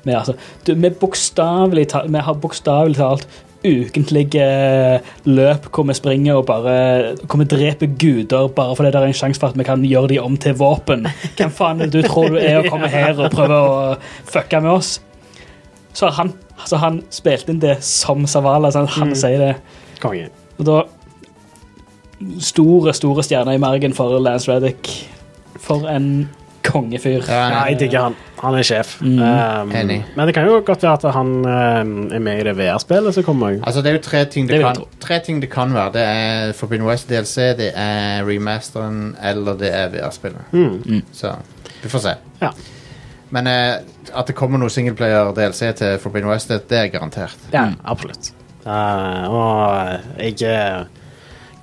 E: Med, altså, du, vi, bokstavelig ta, vi har bokstavelig talt ukentlige løp hvor vi springer og bare Hvor vi dreper guder bare fordi det er en sjanse for at vi kan gjøre de om til våpen. Hvem faen er det du tror du er å komme her og prøve å fucke med oss? Så har han, så han spilte inn det som Savala. Sånn, at han sier det.
D: Konge.
E: Og da Store, store stjerner i margen for Lance Reddick. For en kongefyr.
C: Ja,
D: Ja, jeg digger han. Han er sjef. Um,
C: Eh, Mm. Enig.
D: men det kan jo godt være at han um, er med i det VR-spillet som kommer.
C: Altså, det er jo tre ting det,
E: Det vil jeg
C: kan, tre ting det kan være. Det er Forbidden West DLC, det er remasteren, eller det er VR-spillet. Så vi får se.
D: Ja.
C: Men eh, at det kommer noe singleplayer-DLC til Forbidden West, det, det er garantert.
D: Ja, absolutt. Uh, og jeg eh,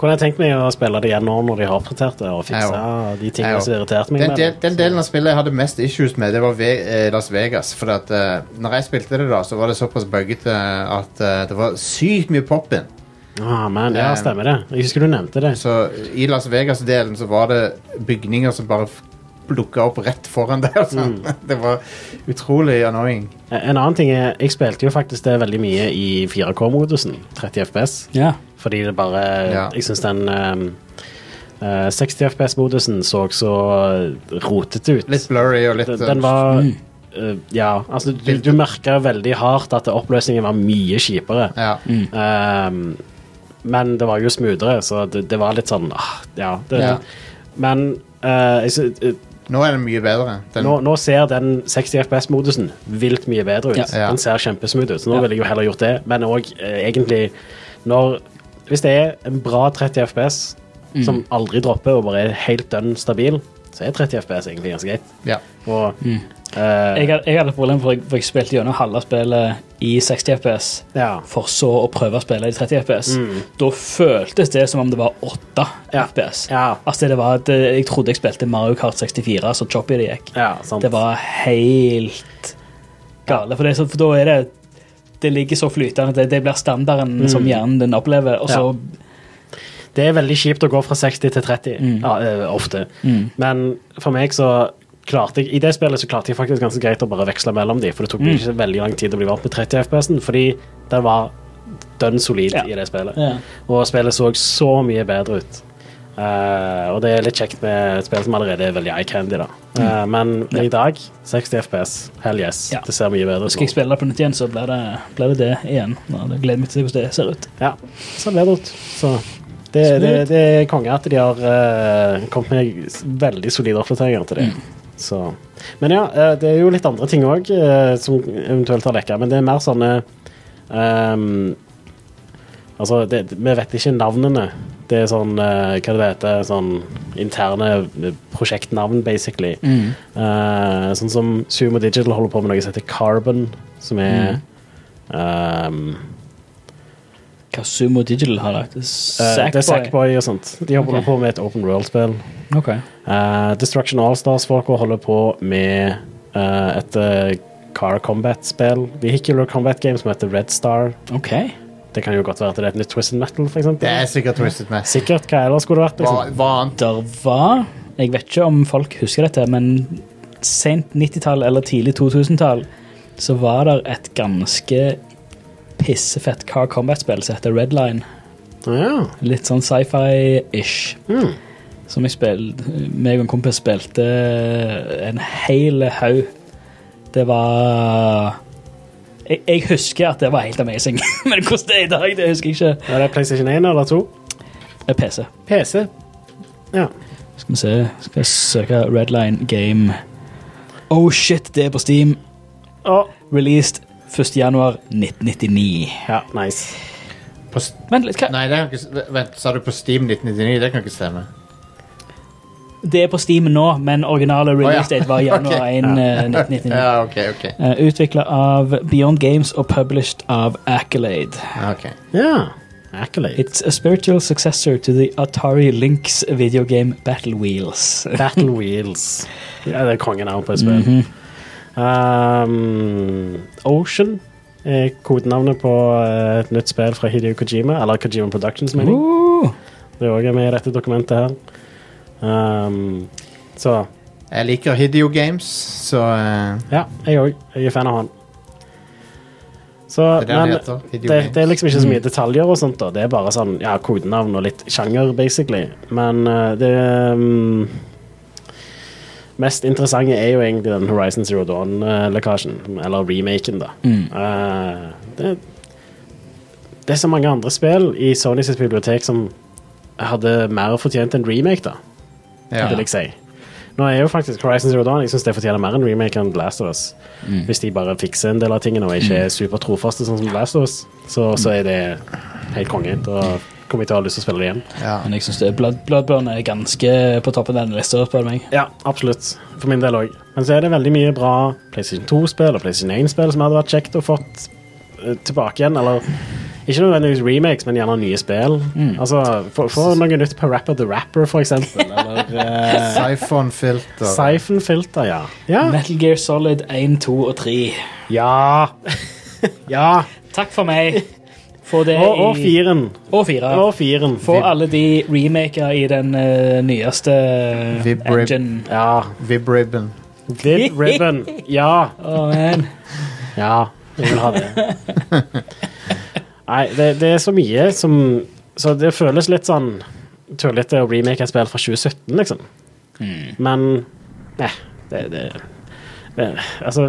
D: kunne jeg tenkt meg å spille det igjen nå når de har oppdatert det, og
C: Jeg
D: fikse de
C: Jeg
D: tingene
C: òg.
D: som irriterte meg.
C: Den,
D: med
C: del,
D: det.
C: den delen av spillet jeg hadde mest issues med, det var ve eh, Las Vegas. For at eh, når jeg spilte det, da, så var det såpass buggete at eh, det var sykt mye pop-in.
D: Ah, man, ja,
C: Eh,
D: stemmer det. Jeg husker du nevnte det.
C: Så i Las Vegas-delen så var det bygninger som bare lukka opp rett foran (laughs) deg. og
D: Mm.
C: sånn. Det var utrolig annoying.
D: Eh, En annen ting er, jeg spilte jo faktisk det veldig mye i 4K-modusen, 30 FPS.
E: Ja.
D: Fordi det bare
C: Ja.
D: Jeg syns den ehm, eh, 60 FPS-modusen så så rotete ut.
C: Litt blurry og litt
D: Den, den var eh, Ja, altså du, du merka veldig hardt at oppløsningen var mye kjipere.
C: ja. Mm.
D: Ehm, men det var jo smoothere, så det, det var litt sånn ah, Ja. Det,
C: Ja.
D: Men eh, jeg sy- eh,
C: Nå er den mye bedre. Den,
D: nå, nå ser den 60 FPS-modusen vilt mye bedre ut.
E: Ja.
C: Ja.
D: Den ser kjempesmooth ut, så nå
E: Ja.
D: ville jeg jo heller gjort det. Men òg eh, egentlig når Hvis det er en bra 30 FPS
C: Mm.
D: som aldri dropper og bare er helt dønn stabil, så er 30 FPS egentlig ganske greit.
C: ja.
D: Og
C: Mm.
D: eh,
E: Jeg, had- jeg hadde et problem, for jeg, for jeg spilte gjennom halve spillet i 60 FPS,
D: ja. Mm.
E: for så å prøve å spille i 30 FPS. Da føltes det som om det var 8
D: Ja.
E: FPS.
D: Ja.
E: Altså, det var at eh, Jeg trodde jeg spilte Mario Kart 64, så choppy det gikk.
D: ja, sant.
E: Det var helt gale. For, det, er så- for da er det Det ligger så flytende. Det, det blir
D: Mm.
E: standarden som hjernen din opplever. Og så
D: Det er veldig kjipt å gå fra 60 til 30,
E: Mm.
D: ja, eh, ofte. Men for meg så klarte jeg, i det spillet så klarte jeg faktisk ganske greit å bare veksle mellom de, for det tok
E: Mm.
D: meg ikke veldig lang tid å bli vant med 30 FPS-en, fordi den var dønn solid
E: Ja.
D: i det spillet.
E: Ja.
D: Og spillet så så mye bedre ut. Eh, og det er litt kjekt med et spill som allerede er veldig eye-candy, da. Eh, men i dag, 60 FPS, hell yes.
E: Mm. Ja.
D: Det ser mye bedre ut.
E: skal
D: nå.
E: jeg spille det på nytt igjen, så blir det, blir det det igjen. Ja, det gleder meg til å se hvordan det ser ut.
D: Ja, så ble det ut. Så det, det, det er konge at de har eh, kommet med s- veldig solide oppdateringer til det. Så. Men ja, eh, det er jo litt andre ting òg som eventuelt har lekka, men det er mer sånne ehm, Altså, det, vi vet ikke navnene. Det er sånn eh, Hva det heter Sånn interne eh, prosjektnavn, basically. Eh, sånn som Sumo Digital holder på med noe som heter Carbon, som er ehm,
E: Hva Sumo Digital har lagt?
D: Eh, det er
E: Sackboy.
D: Sackboy og sånt. De holder
E: Ok.
D: på med et open world-spill.
E: Ok.
D: Eh, Destruction Allstars-folka holder på med eh, et eh, car combat-spill. Vehicular combat game som heter Red Star.
E: Ok.
D: Det kan jo godt være at det er et nytt Twist and Metal, for eksempel.
C: Det er sikkert Twisted Mess.
D: Sikkert. Hva ellers skulle det vært?
C: Hva,
D: Liksom?
C: hva annet?
E: Der var Jeg vet ikke om folk husker dette, men sent 90-tall eller tidlig 2000-tall så var det et ganske pissefett Car Combat-spill som heter Redline.
D: Ja.
E: Litt sånn sci-fi-ish.
D: Mm.
E: Som jeg spilte meg og en kompis spilte en hel haug. Det var jeg, jeg husker at det var helt amazing, (laughs) men hvordan det er i dag, det husker jeg ikke.
D: Er det PlayStation 1 eller 2?
E: Eh, PC.
D: PC. Ja.
E: Skal vi se Skal jeg søke Redline Game. Oh shit, det er på Steam.
D: Å,
E: Released 1.1.1999.
D: ja, nice.
C: På, s-
E: Vent litt, hva?
C: nei, det kan ikke s- Vent, sa du på Steam 1999? Det kan ikke stemme.
E: Det er på Steam nå, men originale release
C: Å, ja.
E: date var
C: (laughs)
E: januar 1, eh, 1999.
C: Ja, OK. ok,
E: Utvikla Eh, av Beyond Games og published av Accolade.
C: ok
D: Ja. Accolade.
E: It's a spiritual successor to the Atari Lynx video game Battle Wheels.
D: Battle Wheels. Ja, det er kongenavn på et spill. um, Ocean er kodenavnet på eh, et nytt spill fra Hideo Kojima, eller Kojima Productions, mener jeg.
E: Uh,
D: Det òg er med i dette dokumentet her. Um, så
C: Jeg liker Hideo Games, så eh,
D: ja, jeg òg. Jeg er fan av han. Så,
C: Det er det han
D: men
C: heter, Hideo
D: det,
C: Games.
D: det er liksom ikke så mye detaljer og sånt, da. Det er bare sånn ja, kodenavn og litt sjanger, basically. Men eh, det mm, mest interessante er jo egentlig den Horizon Zero Dawn-lekkasjen. Eller remaken, da. Eh, det, det er så mange andre spill i Sony sitt bibliotek som hadde mer fortjent en remake, da
C: ja.
D: vil jeg si. Nå er jo faktisk Horizon Zero Dawn Jeg synes det fortjener mer enn remake enn The Last of Us. Hvis de bare fikser en del av tingene og ikke er supertrofaste, sånn som The Last of Us, så, så er det helt konge. Da kommer jeg til å ha lyst til å spille det igjen.
C: Ja.
E: men jeg syns Blood, Bloodborne er ganske på toppen av denne lista, spør du meg.
D: Ja, absolutt. For min del òg. Men så er det veldig mye bra PlayStation 2-spill og PlayStation 1-spill som hadde vært kjekt å fått eh, tilbake igjen. Eller ikke nødvendigvis remakes, men gjerne nye spill. Altså, få- få noe nytt på Rapper the Rapper, for (laughs) eksempel. Eller uh,
C: (laughs) Siphon-filter.
D: Siphon-filter, ja. ja.
E: Metal Gear Solid 1, 2 og 3.
D: (laughs) Ja. ja.
E: Takk for meg. Få det
D: Og, og
E: i
D: firen.
E: Og fire.
D: Og firen.
E: Få alle de remaker i den eh, nyeste
C: Vib-
E: engine.
D: Ja.
C: Vibribbon.
D: Did
E: (laughs)
D: ribbon. Ja.
E: Å, man.
D: (laughs) Ja. Jeg vil ha det. Nei, det, det er så mye som Så det føles litt sånn tullete å remake et spill fra 2017, liksom. Men nei, det, det, det Altså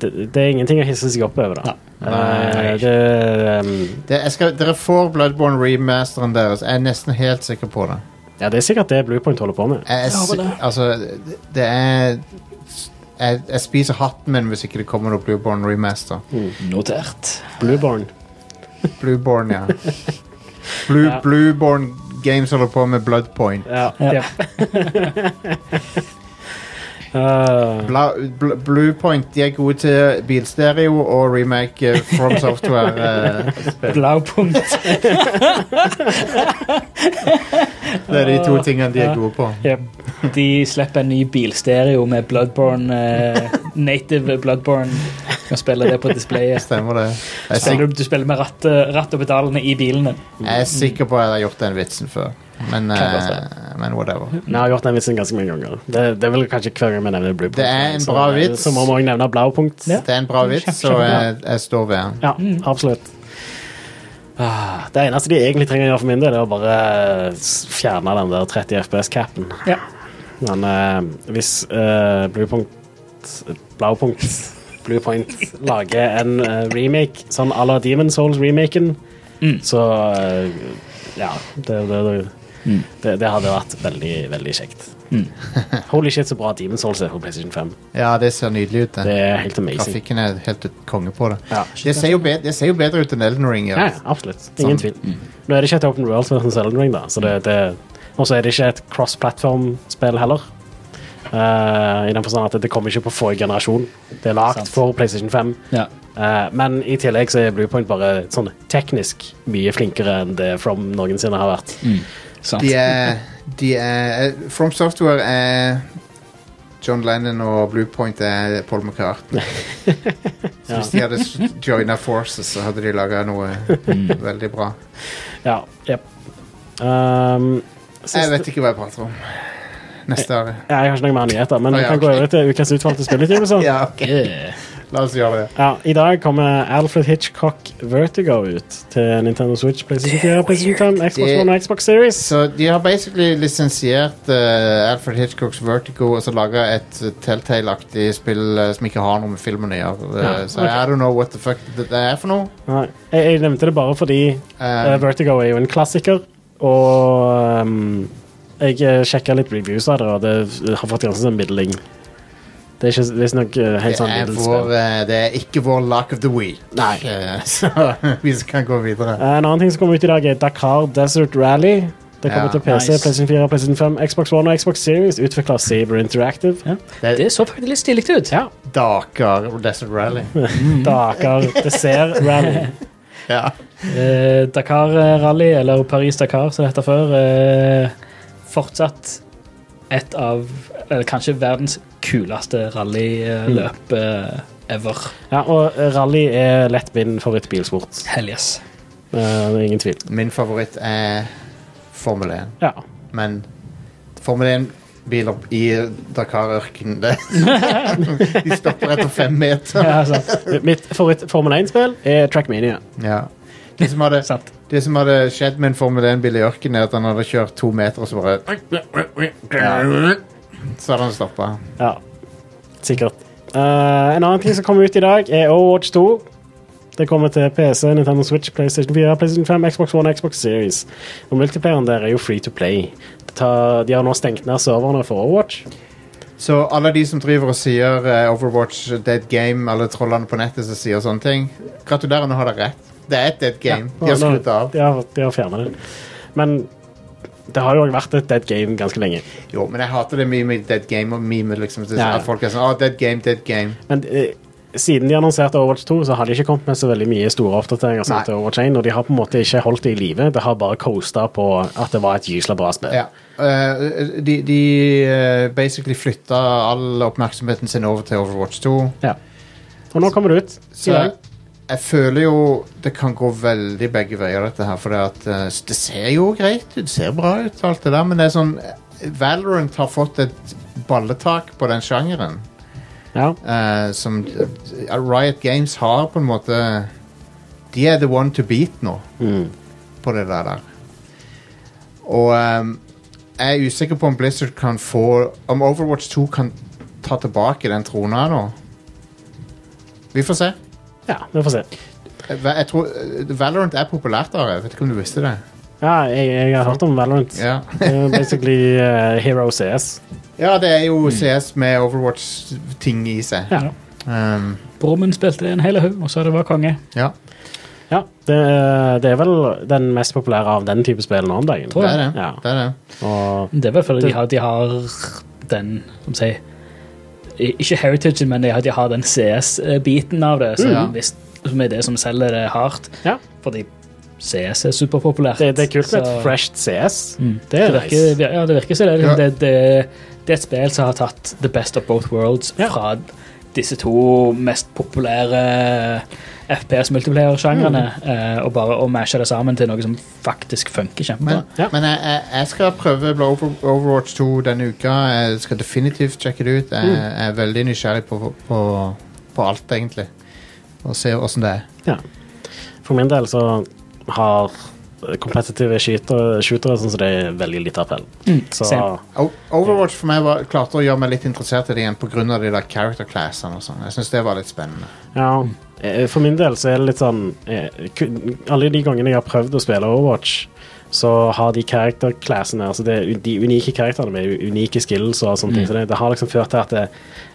D: det, det er ingenting å hisse seg opp over, da. Eh, det, ehm,
C: Det, jeg skal, dere får Bloodborne remasteren deres. Jeg er nesten helt sikker på det.
D: ja, det er sikkert det Bluepoint holder på med.
C: Jeg, er si- altså, det- det er jeg, jeg spiser hatten min hvis ikke det kommer noe Blueborne remaster.
E: Notert.
D: Blueborn.
C: Blueborne, (laughs) ja. Blue,
D: Ja.
C: Blueborne Games holder på med Bloodpoint.
D: Ja.
E: Ja. (laughs)
D: ja.
E: Ah.
D: Eh,
C: Bla, bl, Bluepoint de er gode til bilstereo og remake eh,
D: (laughs)
C: From Software. eh,
E: Blaupunkt.
C: det er de to tingene de er gode på.
D: jep.
E: De slipper en ny bilstereo med Bloodborne, eh, native Bloodborne. Kan spille det på displayet.
C: Stemmer det. Jeg er,
E: Så
C: sik,
E: du, du spiller med rattet ratt og pedalene i bilene.
C: jeg er sikker på at jeg har gjort den vitsen før, men,
E: godt
C: eh, men whatever.
D: Vi har gjort den vitsen ganske mange ganger. Det, det er vel kanskje hver gang vi nevner Bluepoint.
C: Det er en
D: Så-
C: bra vits.
D: Så må vi også nevne Blaupunkt.
E: Ja. Mm.
C: Det er en bra vits, så jeg, jeg står ved den.
D: Ja, absolutt. Ah, Det eneste de egentlig trenger å gjøre for min del, er å bare s- fjerne den der 30 FPS-capen.
E: Ja.
D: Men eh, hvis eh, Bluepunkt Blaupunkt Bluepoint lager en eh, remake sånn à la Demon Souls-remaken, så eh, Ja. Det, det, det, det, det hadde vært veldig, veldig kjekt. Holy shit, så bra Demon Souls er på PlayStation 5.
C: Ja, det ser nydelig ut.
D: Det
C: Det.
D: er helt amazing.
C: Grafikken er helt ut- konge på det.
D: Ja.
C: Det ser, jo bedre, det ser jo bedre ut enn Elden Ring.
D: Ja,
C: Ja.
D: ja, absolutt. Ingen
C: Sånn.
D: tvil. Nå er det ikke et Open World versus Elden Ring, da. Så det, det, og så er det ikke et cross-platform-spill heller. Eh, I den forstand at det kommer ikke på forrige generasjon. Det er lagd
E: Sant.
D: for PlayStation 5.
E: Ja.
D: Eh, men i tillegg så er Bluepoint bare sånn teknisk mye flinkere enn det From noensinne har vært.
C: Mm.
E: Sant.
C: De er, de er eh, From Software er John Lennon og Bluepoint er Paul McCartney. Så hvis de hadde s- joina forces, så hadde de laga noe veldig bra.
D: Ja, jep. Um,
C: Jeg
D: siste, jeg,
C: vet ikke hva jeg prater om. Neste år.
D: har ikke noe mer nyheter, men
C: Å,
D: vi
C: ja,
D: kan gå
C: ok.
D: over til ukas utvalgte spilletime.
C: (laughs) Ja, ok. La oss gjøre det.
D: Ja, I dag kommer Alfred Hitchcock Vertigo ut til Nintendo Switch, PlayStation 4, PlayStation 5, Xbox
C: Det-
D: One og Xbox Series.
C: Så de har basically lisensiert eh, Alfred Hitchcocks Vertigo og så laga et eh, Telltale-aktig spill eh, som ikke har noe med filmen å gjøre. Eh,
D: Ja,
C: Så I don't know what the fuck det det er for noe.
D: Nei, jeg, jeg nevnte det bare fordi eh, Vertigo er jo en klassiker, og um, jeg sjekka litt reviews av det, og det har fått ganske sånn middeling. Det er ikke visstnok uh,
C: Det
D: helt sånn
C: er,
D: middels
C: vår, eh, det er ikke vår lock of the week.
D: Nei.
C: (laughs) Eh, Så vi kan gå videre.
D: (laughs) Eh, En annen ting som kommer ut i dag, er Dakar Desert Rally. Det kommer
C: Ja,
D: til PC,
E: nice.
D: PlayStation 4, PlayStation 5, Xbox One og Xbox Series, utvikla av Saber Interactive.
E: Ja.
C: Det
E: Det
C: er
E: så faktisk litt stilig ut.
D: Ja.
C: Dakar Desert Rally. Mm.
D: Dakar Dessert
C: (laughs)
D: Rally.
C: Ja.
E: Eh, Dakar Rally, eller Paris Dakar som det heter før, eh, fortsatt et av Eller kanskje verdens kuleste rallyløp eh, ever.
D: Ja, og rally er lett min favorittbilsport.
E: Hell yes.
D: Eh, det er ingen tvil.
C: Min favoritt er Formel 1,
D: Ja.
C: men Formel 1-biler i Dakar-ørkenen det- (laughs) De stopper etter fem meter.
E: Ja, sant.
D: altså, Mitt favoritt Formel 1-spill er Trackmania.
C: Ja. Det som hadde
E: sant.
C: Det som hadde skjedd med en Formel 1-bil i ørkenen, er at han hadde kjørt to meter, og så bare Så hadde han stoppa.
D: Ja, sikkert. Eh, en annen ting som kommer ut i dag, er Overwatch 2. Det kommer til PC, Nintendo Switch, PlayStation 4, PlayStation 5, Xbox One og Xbox Series. Og Multiplayeren der er jo free to play. Det tar, de har nå stengt ned serverne for Overwatch.
C: Så alle de som driver og sier eh, Overwatch dead game, alle trollene på nettet som sier sånne ting, gratulerer, nå har dere rett. Det er et dead game. De har
D: Og nå-
C: skrudd av.
D: De har, de har fjernet det. Men det har jo også vært et dead game ganske lenge.
C: Jo, men jeg hater det mye med dead game og meme, liksom. Det, er
D: Ja.
C: sånn At folk er sånn Å, dead game, dead game.
D: Men eh, siden de annonserte Overwatch 2, så har de ikke kommet med så veldig mye store oppdateringer. som
C: Nei.
D: til Overwatch 1, Og de har på en måte ikke holdt det i live. Det har bare coasta på at det var et gysla bra spill.
C: Ja. Eh, de de eh, basically flytta all oppmerksomheten sin over til Overwatch 2.
D: Ja. Og nå kommer det ut.
C: Så
D: I
C: jeg,
D: dag.
C: jeg føler jo det kan gå veldig begge veier, dette her. For det, at, eh, s- det ser jo greit ut, det ser bra ut, alt det der, men det er sånn eh, Valorant har fått et balletak på den sjangeren.
D: Ja.
C: eh, som eh, Riot Games har på en måte De er the one to beat nå. på det der. der. Og ehm, jeg er usikker på om Blizzard kan få Om Overwatch 2 kan ta tilbake den trona nå. Vi får se.
D: Ja, vi får se.
C: Jeg, jeg tror, eh, Valorant er populært, Are. Jeg vet ikke om du visste det.
D: Ja, jeg, jeg har hørt om Valorant.
C: Ja,
D: Det er jo basically eh, Hero CS.
C: ja det er jo CS med Overwatch-ting i seg.
D: Ja.
C: Ehm,
E: Brumund spilte en hel haug, og så det var konge.
C: ja,
D: ja det, er- det er vel den mest populære av den type spill nå om dagen.
C: det er det.
D: Ja.
C: det, er det.
D: Og
E: Det er vel fordi de har, de har den som sier, i- Ikke heritagen, men de har, de har den CS-biten av det, som,
C: Mhm.
E: hvis, som er det som selger det hardt.
D: Mm. Ja.
E: Fordi CS er superpopulært.
D: det, det er kult med
E: så-
D: et fresht CS.
E: Mm.
D: Det er
E: virker,
D: nice.
E: vir- Ja, det virker som det.
C: Ja.
E: Liksom, det, det. Det er et spill som har tatt the best of both worlds
D: Ja.
E: fra disse to mest populære FPS-multiplayer-sjangrene,
D: Mm.
E: eh, og bare å mashe det sammen til noe som faktisk
C: Men,
E: funker kjempebra.
D: Ja.
C: men jeg, jeg, jeg skal prøve Blow- Overwatch 2 denne uka. Jeg skal definitivt sjekke det ut. Jeg, jeg er veldig nysgjerrig på, på, på alt, egentlig. Og se åssen det er.
D: For min del så har kompetitive skytere, skytere sånn som det er veldig lite appell.
C: Mm,
D: Så
E: same.
C: O- Overwatch for meg var, klarte å gjøre meg litt interessert i det igjen pga. de der character classene og sånn. Jeg syns det var litt spennende.
D: ja. eh, For min del så er det litt sånn eh, kun- Alle de gangene jeg har prøvd å spille Overwatch, så har de karakterklassene altså det, De unike karakterene med u- unike skills og sånne
C: Mm.
D: ting. Så det, det har liksom ført til at det,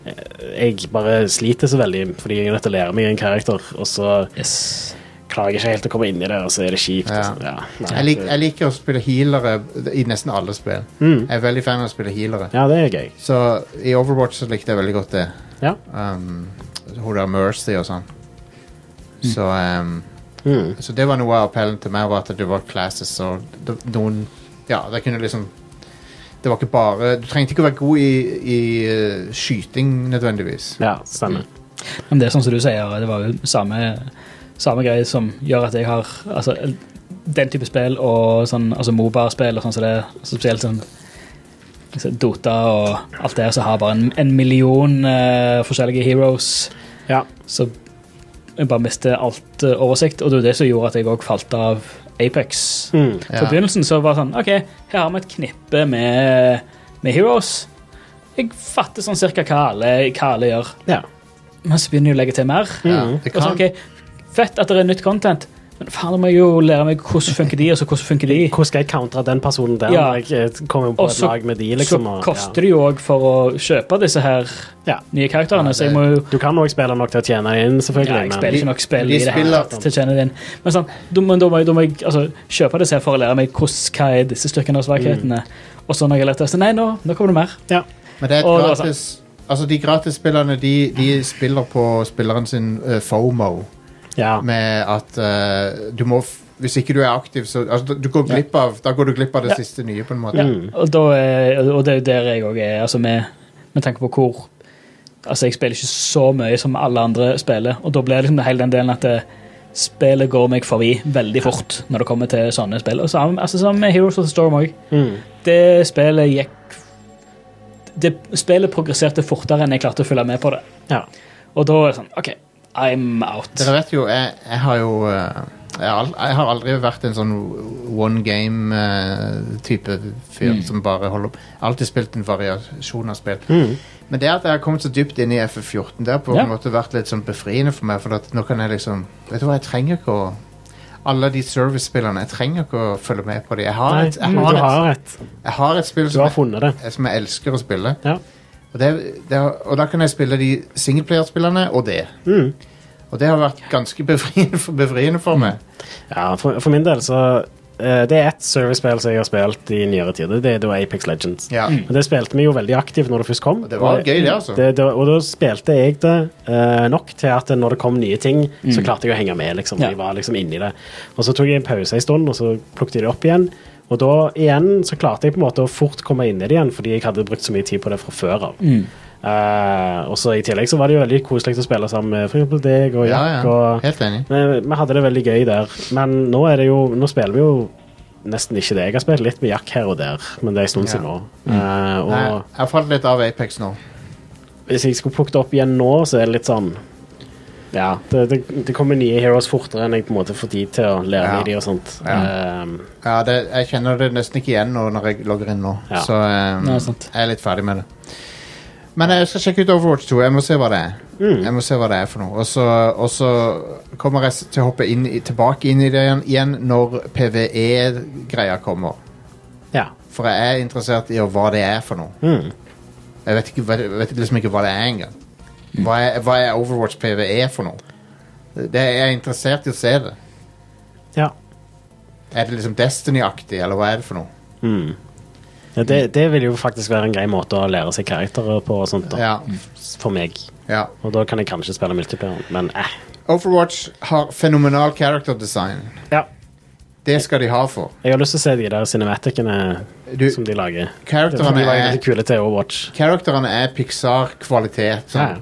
D: eh, jeg bare sliter så veldig fordi jeg er nødt til å lære meg en karakter, og så
E: Yes.
D: klarer jeg ikke helt å komme inn i det, og så er det kjipt.
C: Ja.
D: og sånn. Ja, nei,
C: Jeg, lik,
D: det-
C: jeg liker å spille healere i nesten alle spill.
D: Mm.
C: Jeg er veldig fan av å spille healere.
D: ja, det er gøy.
C: Så i Overwatch så likte jeg veldig godt det.
D: Ja.
C: Um, Hun der Mercy og sånn. Så um,
D: Mm.
C: Så det var noe av appellen til meg, var at det var classes og det, noen Ja, det kunne liksom Det var ikke bare Du trengte ikke å være god i, i eh, skyting nødvendigvis.
D: ja stemmer.
C: Mm.
E: Men det er sånn som du sier, det var jo samme, samme greie som gjør at jeg har altså, den type spill og sånn, altså Mobar-spill og sånn som det, altså spesielt sånn altså Dota og alt det, så har bare en, en million eh, forskjellige heroes,
D: Ja.
E: så jeg bare mister alt eh, oversikt, og det er jo det som gjorde at jeg òg falt av Apex.
D: Mm.
E: På
C: Ja.
E: begynnelsen så var det sånn OK, her har vi et knippe med, med heroes. Jeg fatter sånn cirka hva alle, hva alle gjør.
D: ja.
E: Men så begynner jeg å legge til mer.
C: Ja,
D: Mm.
C: det
E: Og så,
C: kan,
E: ok, Fett at det er nytt content, men faen, da må jeg jo lære meg hvordan funker de, og så hvordan funker de.
D: Hvordan skal jeg countre den personen der
E: Ja.
D: når jeg eh, kommer på
E: Og
D: et
E: så-
D: lag med de, liksom?
E: så
D: og-
E: koster det jo òg for å kjøpe disse her
D: ja. ja.
E: nye
C: Ja,
E: karakterene, så jeg må jo
D: Du kan òg spille nok til å tjene inn,
E: ja,
D: selvfølgelig.
E: jeg
D: men-
E: spiller ikke nok spill
C: de
E: i det hele
C: spiller-
E: tatt til å tjene det inn. Men sånn, da må, da må, jeg- da må jeg altså, kjøpe disse her for å lære meg hvordan, hva er disse styrkene og svakhetene.
C: Mm.
E: Og så når jeg har lært det, så nei, nå, nå kommer det mer.
D: ja.
C: men det er et
E: og det var sånn.
C: gratis Altså, de gratisspillerne, de, de spiller på spilleren sin eh, FOMO.
D: Ja.
C: Med at eh, du må f Hvis ikke du er aktiv, så altså, du går glipp av, Da går du glipp av det
E: Ja.
C: siste nye, på en måte.
E: Ja,
D: Mm.
E: og, da er, og det er jo der jeg òg er, altså med, med tanke på hvor Altså, jeg spiller ikke så mye som alle andre spiller, og da blir liksom det hele den delen at det, spillet går meg forbi veldig fort når det kommer til sånne spill. Og sammen, altså, sammen med Heroes of the Storm òg.
D: Mm.
E: Det spillet gikk det Spillet progresserte fortere enn jeg klarte å følge med på det.
D: ja.
E: Og da er det sånn OK, I'm out.
C: Dere vet jo, jeg, jeg har jo eh, jeg, har al- jeg har aldri vært en sånn one game-type fyr
D: Mm.
C: som bare holder opp. Jeg har alltid spilt en variasjon av spill.
D: Mm.
C: Men det at jeg har kommet så dypt inn i FF14, det har på
E: Ja.
C: en måte vært litt sånn befriende for meg. For at nå kan jeg liksom Vet du hva, jeg trenger ikke å Alle de service-spillerne, jeg trenger ikke å følge med på dem. Jeg har,
D: Nei,
C: et, jeg,
D: Mm, du
C: har et,
D: har rett.
C: jeg har et spill
D: Du
C: som
D: har funnet det.
C: jeg, som jeg elsker å spille.
D: Ja.
C: Og, det, det, har- og da kan jeg spille de singleplayerspillerne og det.
D: Mm.
C: Og det har vært ganske befriende for, befriende for meg.
D: Ja, for, for min del så eh, Det er ett servicespill som jeg har spilt i nyere tid. Det er da Apex Legends.
C: Ja.
D: Og det spilte vi jo veldig aktivt når det først kom.
C: Og det var
D: Og-
C: gøy, det, altså.
D: Det, det, og da spilte jeg det eh, nok til at når det kom nye ting, så klarte jeg å henge med. liksom.
E: Ja.
D: Jeg var liksom inni det. Og så tok jeg en pause en stund, og så plukket jeg det opp igjen. Og da igjen så klarte jeg på en måte å fort komme inn i det igjen, fordi jeg hadde brukt så mye tid på det fra før av. Eh, og så I tillegg så var det jo veldig koselig å spille sammen med for eksempel deg og
C: Ja,
D: Jack.
C: ja.
D: og...
C: Helt enig.
D: Vi, vi hadde det veldig gøy der, men nå, er det jo, nå spiller vi jo nesten ikke det. Jeg har spilt litt med Jack her og der, men det er en stund siden
C: Ja.
D: nå. Eh, og
C: Nei, jeg har falt litt av Apex nå.
D: hvis jeg skulle plukket opp igjen nå, så er det litt sånn Ja, det, det, det kommer nye heroes fortere enn jeg på en måte får tid til å lære
C: Ja.
D: i de og sånt.
C: Ja.
D: Ehm,
C: Ja, det, jeg kjenner det nesten ikke igjen nå når jeg logger inn nå.
D: Ja.
C: Så ehm,
E: Nei, sant.
C: jeg er litt ferdig med det. Men jeg skal sjekke ut Overwatch 2. Jeg må se hva det er.
D: Mm.
C: Jeg må se hva det er for noe. Og så, og så kommer jeg s- til å hoppe inn, i- tilbake inn i det igjen- igjen når PVE-greia kommer.
D: ja.
C: For jeg er interessert i å- hva det er for noe.
D: Mm.
C: Jeg vet, ikke, vet, vet liksom ikke hva det er engang. Hva, er- hva er Overwatch PVE for noe? Det, jeg er interessert i å se det.
D: ja.
C: Er det liksom Destiny-aktig, eller hva er det for noe?
D: Mm. ja det, det vil jo faktisk være en grei måte å lære seg karakterer på og sånt, da.
C: Ja,
D: for meg.
C: ja.
D: Og da kan jeg kanskje spille multiplayer, men eh.
C: Overwatch har fenomenal character design.
D: Ja.
C: Det skal de ha for.
D: Jeg har lyst til å se de der cinematicene
C: Du,
D: som de lager. Det er fordi
C: karakterene,
D: de lager
C: er,
D: veldig kule til Overwatch.
C: karakterene er Pixar-kvalitet. Sånn,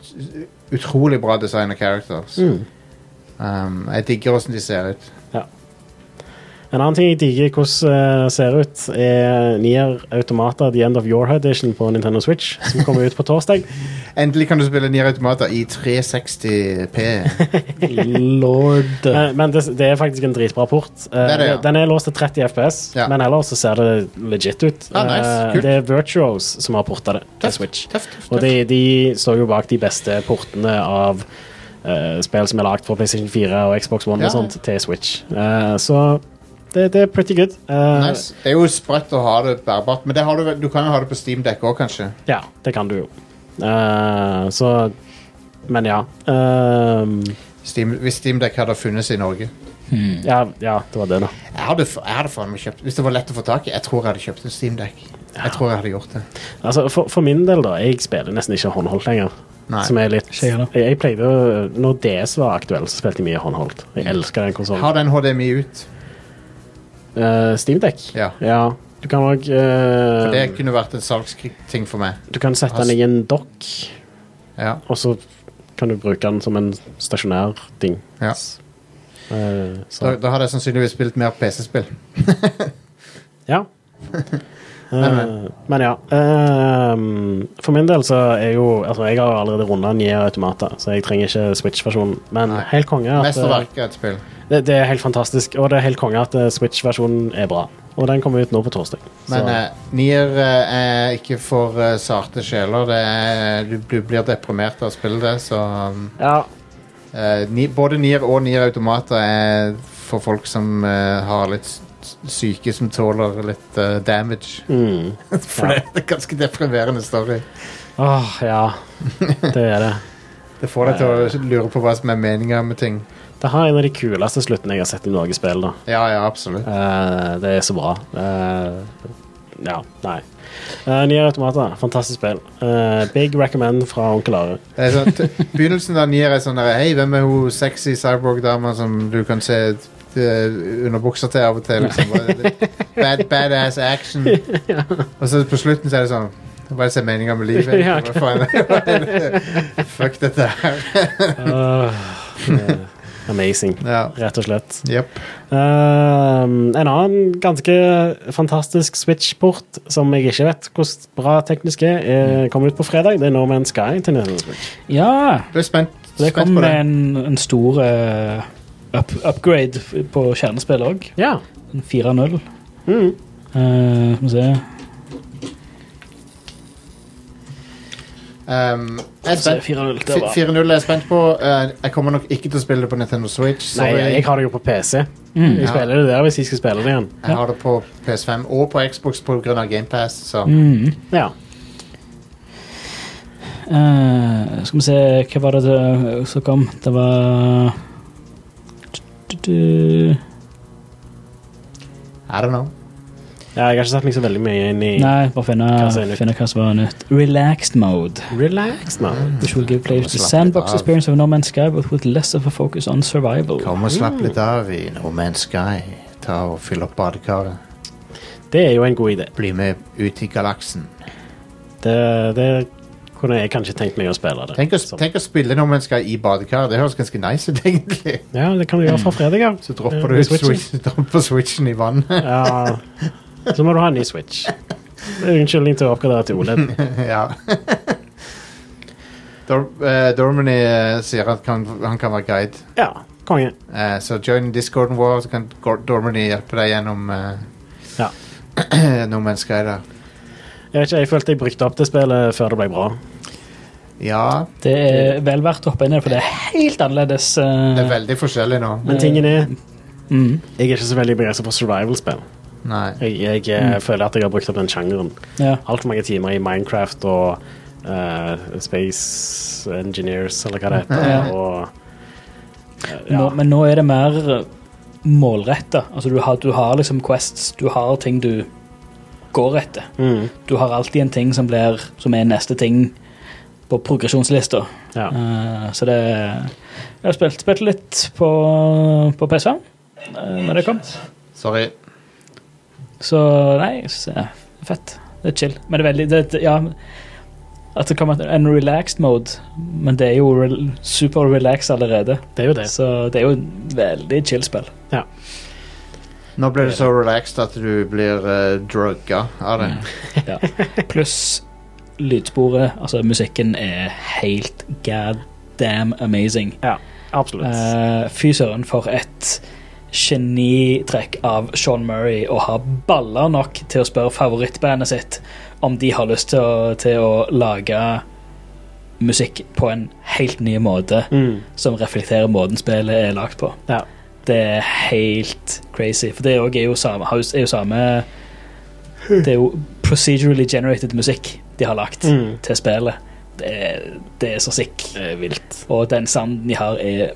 C: Utrolig bra design av characters.
D: Mm.
C: Um, jeg digger åssen de ser ut.
D: En annen ting jeg digger hvordan det ser ut, er Nier Automata The End of Your Edition på Nintendo Switch, som kommer ut på torsdag.
C: Endelig kan du spille Nier Automata i 360P.
E: Lord
D: Men, men det, det er faktisk en dritbra port. Eh,
C: Det er det, ja.
D: Den er låst til 30 FPS,
C: Ja.
D: men ellers så ser det legit ut.
C: Ah, nice.
D: Eh,
C: Kult.
D: Det er Virtuos som har porta det til Switch.
C: Tøft, tøft,
D: Og
C: tøft.
D: de, de står jo bak de beste portene av eh, spill som er lagd for PlayStation 4 og Xbox One
C: Ja.
D: og sånt, til Switch. Eh, så det, det er pretty good. Eh,
C: Nice. Det er jo sprøtt å ha det bærbart, men det har du, vel- du kan jo ha det på Steamdeck òg, kanskje.
D: Ja, det kan du jo. Eh, så Men ja. Ehm,
C: Steam, hvis Steamdeck hadde funnes i Norge.
D: ja. Ja, det var det, da.
C: Jeg hadde, f- jeg hadde faen meg kjøpt Hvis det var lett å få tak i, jeg tror jeg hadde kjøpt en Steamdeck. Jeg tror jeg hadde gjort det.
D: Altså, for, for min del, da. Jeg spiller nesten ikke håndholdt lenger.
C: Nei.
D: Som er litt
E: Skjer
D: jeg,
E: det.
D: jeg pleide å Når DS var aktuell, så spilte jeg mye håndholdt.
C: Mm.
D: Jeg elsker den konsollen.
C: Har den HDMI ut?
D: Uh, Steamdeck.
C: Ja.
D: Du kan òg
C: Det kunne vært en salgsting for meg.
D: Du kan sette den i en dokk,
C: Ja.
D: og så kan du bruke den som en stasjonær ting.
C: Ja.
D: Eh, så-
C: Da, da hadde jeg sannsynligvis spilt mer PC-spill. (laughs)
D: Ja. Eh, men ja. ehm, for min del så er jo Altså, jeg har jo allerede runda Nier Automata, så jeg trenger ikke Switch-versjonen. Men
C: Nei.
D: helt konge at eh,
C: Mesterverk er et spill.
D: det, det er helt fantastisk. Og det er helt konge at eh, Switch-versjonen er bra. Og den kommer ut nå på torsdag. Så-
C: Men eh, Nier eh, er ikke for eh, sarte sjeler. Det er, du, du blir deprimert av å spille det, så um,
D: ja.
C: eh, ni, Både Nier og Nier Automata er for folk som eh, har litt s- syke som tåler litt eh, damage.
D: Mm.
C: (laughs) For det er en ganske deprimerende story.
D: Åh,
C: (laughs)
D: ja. Det er det.
C: Det får deg til å lure på hva som er meninga med ting.
D: Det har en av de kuleste sluttene jeg har sett i noe spill, da.
C: Ja, ja, absolutt.
D: Eh, det er så bra. Eh, ja, nei. Uh, Nye automater. Fantastisk spill. Eh, big recommend fra onkel Are.
C: Det er sånn, t- begynnelsen av Nier er sånn der Hei, hvem er hun sexy cyborg-dama som du kan se eh, under buksa til av og til? Liksom. Bare litt Bad, badass action.
E: (laughs)
C: Og så på slutten så er det sånn Hva er det som er meninga med livet?
D: Ja,
E: (laughs)
C: egentlig? Hva faen? Hva er det? (laughs) Fuck dette her.
D: Eh, amazing,
C: Ja.
D: rett og slett.
C: Jepp.
D: Eh, en annen ganske fantastisk Switch-port som jeg ikke vet hvordan bra teknisk er,
C: Mm.
D: eh, kommer ut på fredag. Det er No Man's Sky til Nintendo Switch.
E: Ja!
C: Ble spent,
E: Det
C: spent
E: kom
C: på
E: med
C: det.
E: en, en stor eh, up upgrade f- på kjernespillet òg.
D: Ja.
E: 4-0.
D: Mm.
E: Eh, Skal vi se
C: Um, jeg er
E: Se,
C: spent.
E: 4-0. Det
C: Fi-
E: var
C: 4-0 er jeg spent på. Eh, jeg kommer nok ikke til å spille det på Nintendo Switch.
D: Nei,
C: sorry.
D: jeg har det jo på PC.
E: Mm.
D: Jeg spiller det der hvis jeg skal spille det igjen.
C: Jeg har det på PS5 og på Xbox pga. GamePass. Så.
E: mm.
D: Ja.
E: Eh, Skal vi se Hva var det det- som kom? Det var du, du.
C: I don't know.
D: ja. Jeg har ikke satt meg så veldig mye inn i
E: Nei, bare finne
D: Hva som er nytt?
E: finne hva som var nytt. Relaxed mode.
D: Relax nå.
E: Which will give players the
C: Slapp litt
E: sandbox
C: av.
E: experience of No Man's Sky, but with less of a focus on survival.
C: Kom og slapp litt av i No Man's Sky. Ta og Fyll opp badekaret.
D: Det er jo en god idé.
C: Bli med ut i galaksen.
D: Det, det kunne jeg kanskje tenkt meg å spille det.
C: Tenk å,
D: Sånn.
C: tenk å spille No Man's Sky i badekaret. Det høres ganske nice ut, (laughs) egentlig.
D: Ja, det kan du gjøre fra fredag av.
C: Så dropper du
D: Ja, Eh, med switchen.
C: switch, dropper switchen i vannet.
D: Ja. Så må du ha en ny
C: (laughs)
D: E Switch. Det er Unnskyldning til å oppgradere til OLED.
C: ja. (laughs) Dor eh, Dormany eh, sier at kan, han kan være guide.
D: Ja, konge.
C: Eh, så join discorden vår, så kan Gor- Dormany hjelpe deg gjennom uh,
D: Ja.
C: (clears throat) No Man's Sky der.
D: Jeg vet ikke, jeg følte jeg brukte opp det spillet før det ble bra.
C: Ja,
E: Det er vel verdt å hoppe inn i det, for det er helt annerledes. eh,
C: det er veldig forskjellig nå.
D: Men tingen er,
E: mm,
D: jeg er ikke så veldig begeistra for survival-spill.
C: Nei.
D: Jeg, jeg
E: Mm.
D: eh, føler at jeg har brukt opp den sjangeren.
E: ja.
D: Altfor mange timer i Minecraft og eh, Space Engineers, eller hva det heter.
E: Ja.
D: Og, eh, ja.
E: Nå, men nå er det mer målretta. Altså, du, har- du har liksom quests, du har ting du går etter.
D: Mm,
E: Du har alltid en ting som, blir, som er neste ting på progresjonslista.
D: ja.
E: Eh, så det Jeg har spilt, spilt litt på, på PC eh, når det kom.
C: Sorry.
E: Så nei, jeg synes det er fett. Det er chill. Men det er veldig det, det- Ja. At det kommer en relaxed mode, men det er jo rel super relaxed allerede.
D: Det er jo det.
E: Så det er jo et veldig chill spill.
C: Nå ble du så relaxed at du blir uh, drugga av det.
E: Ja. Pluss lydsporet. Altså, musikken er helt god damn amazing.
D: Absolutt.
E: Eh, Fy søren, for et genitrekk av Sean Murray å ha baller nok til å spørre favorittbandet sitt om de har lyst til å, til å lage musikk på en helt ny måte
D: mm,
E: som reflekterer måten spillet er lagt på.
D: ja.
E: Det er helt crazy, for det òg er jo samme, har jo- er jo samme Det er jo procedurally generated musikk de har lagt
D: Mm.
E: til spillet. Det er, det er så sick.
D: Det er vilt.
E: Og den sounden de har, er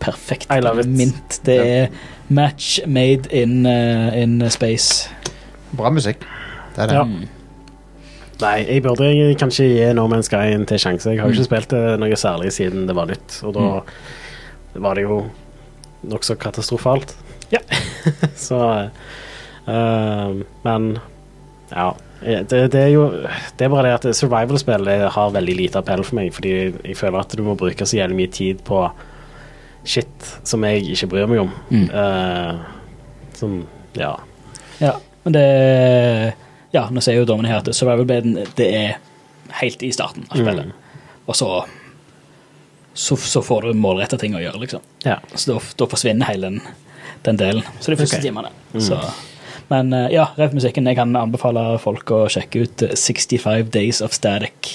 E: perfekt.
D: I love it.
E: Mint. Det er match made in, uh, in space.
C: Bra musikk. Det er det.
D: Ja. Nei, jeg burde egentlig kanskje gi No Man's Sky en til sjanse. Jeg har jo ikke spilt det noe særlig siden det var nytt, og da var det jo nokså katastrofalt. Mm. Ja. (laughs) Så eh, Men ja. eh, Det, det er jo Det er bare det at survival-spill det har veldig lite appell for meg, fordi jeg føler at du må bruke så jævlig mye tid på shit som jeg ikke bryr meg om.
E: Mm.
D: Eh, som Ja.
E: Ja, men det Ja, nå sier jo dommen her at Survival Bladen det er helt i starten av spillet.
D: Mm.
E: Og så, så så får du målretta ting å gjøre, liksom.
D: ja.
E: Så da, da forsvinner hele den, den delen. Så de første
D: Ok. Mm.
E: timene. Så. Men eh, ja, rappmusikken. Jeg kan anbefale folk å sjekke ut eh, 65 Days of Static.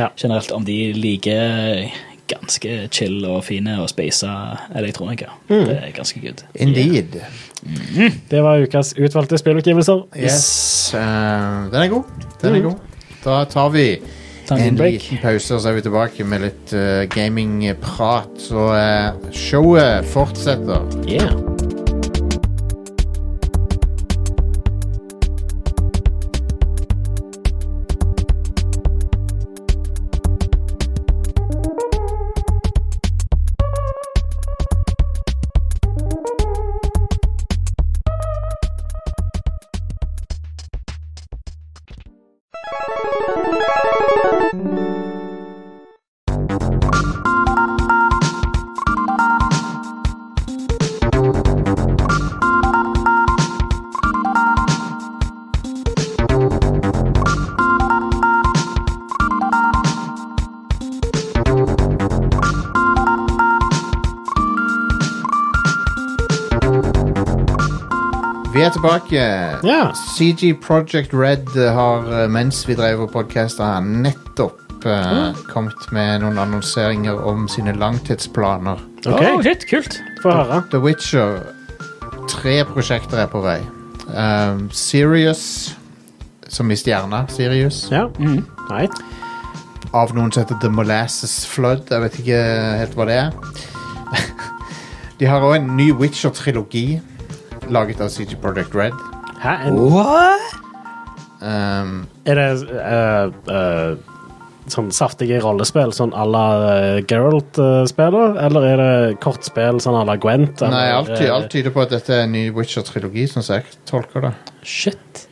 D: Ja.
E: Generelt om de liker ganske chill og fine og speisa elektronika.
D: Mm.
E: Det er ganske good.
C: Indeed.
D: Det var ukas utvalgte spillutgivelser.
C: Yes. eh, den er god. Den er god. Da tar vi
E: Ta en
C: en
E: break.
C: liten pause, og så er vi tilbake med litt eh, gamingprat. Så eh, showet fortsetter.
D: Yeah.
C: Vi er tilbake.
D: Ja.
C: CG Project Red har, eh, mens vi drev og podkasta her, nettopp eh, kommet med noen annonseringer om sine langtidsplaner.
D: Ok,
E: Oh, shit, kult.
D: Få høre.
C: The Witcher. Tre prosjekter er på vei. Um, Sirius, som i stjerna Sirius.
D: Ja.
E: Mm-hmm.
D: Right.
C: Av noen som heter The Molasses Flood. Jeg vet ikke helt hva det er. (laughs) De har òg en ny Witcher-trilogi laget av CG Project Red.
D: Hæ? En,
C: Oh. Um,
D: Er det eh, eh, sånn saftige rollespill, sånn à la eh, Geralt-spiller? Eller er det kortspill sånn à la Gwent? Eller,
C: Nei, alt, ty
D: eh,
C: alt tyder på at dette er en ny Witcher-trilogi, sånn som jeg tolker det.
E: Shit.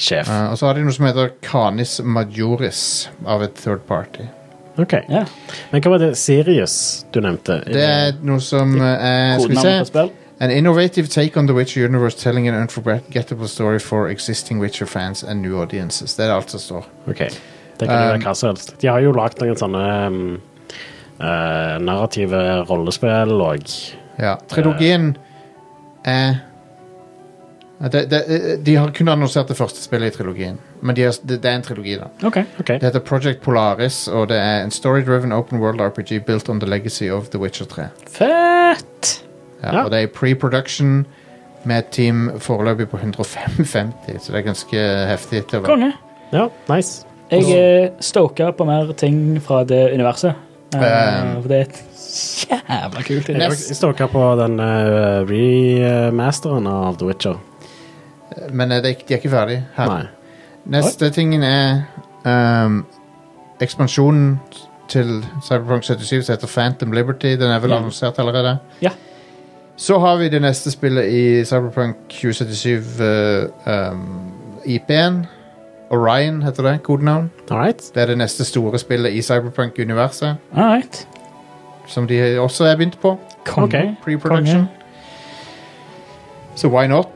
D: Sjef.
C: Eh, og så har de noe som heter Canis Majoris av et third party.
D: Ok.
E: Ja.
D: Men hva var det Sirius du nevnte?
C: Det er noe som eh, er Skal vi
E: Kodenavn på
C: se
E: spill.
C: An innovative take on the Witcher universe telling an unforgettable story for existing Witcher fans and new audiences. Det er alt som står.
D: Ok. Det kan jo
C: Um,
D: være hva som helst. De har jo lagd noen sånne um, eh, narrative rollespill og
C: Ja. Trilogien er ja, det, det, De har kun annonsert det første spillet i trilogien, men de har, det, det er en trilogi, da.
E: OK.
D: OK.
C: Det heter Project Polaris, og det er en story-driven open world RPG built on the legacy of The Witcher 3.
E: Fett!
C: Ja,
D: Ja.
C: Og det er i pre-production med et team foreløpig på 155, så det er ganske heftig. til å være.
E: Konge.
D: Ja, nice.
E: Jeg er stoka på mer ting fra det universet. Eh,
C: Um,
E: for det er et jævla kult
D: Jeg
E: univers.
D: jeg stalka på den eh, remasteren av The Witcher.
C: Men eh, det er ikke- de er ikke ferdig her.
D: Nei.
C: Neste tingen er ehm, ekspansjonen til Cyberpunk 77 som heter Phantom Liberty. Den er vel
E: Ja.
C: annonsert allerede?
E: Ja.
C: Så har vi det neste spillet i Cyberpunk 2077 eh, ehm, IP-en. Orion heter det, kodenavn.
D: All right.
C: Det er det neste store spillet i Cyberpunk-universet,
E: All right.
C: som de også har begynt på.
E: Konge.
C: Pre-production. Så why not?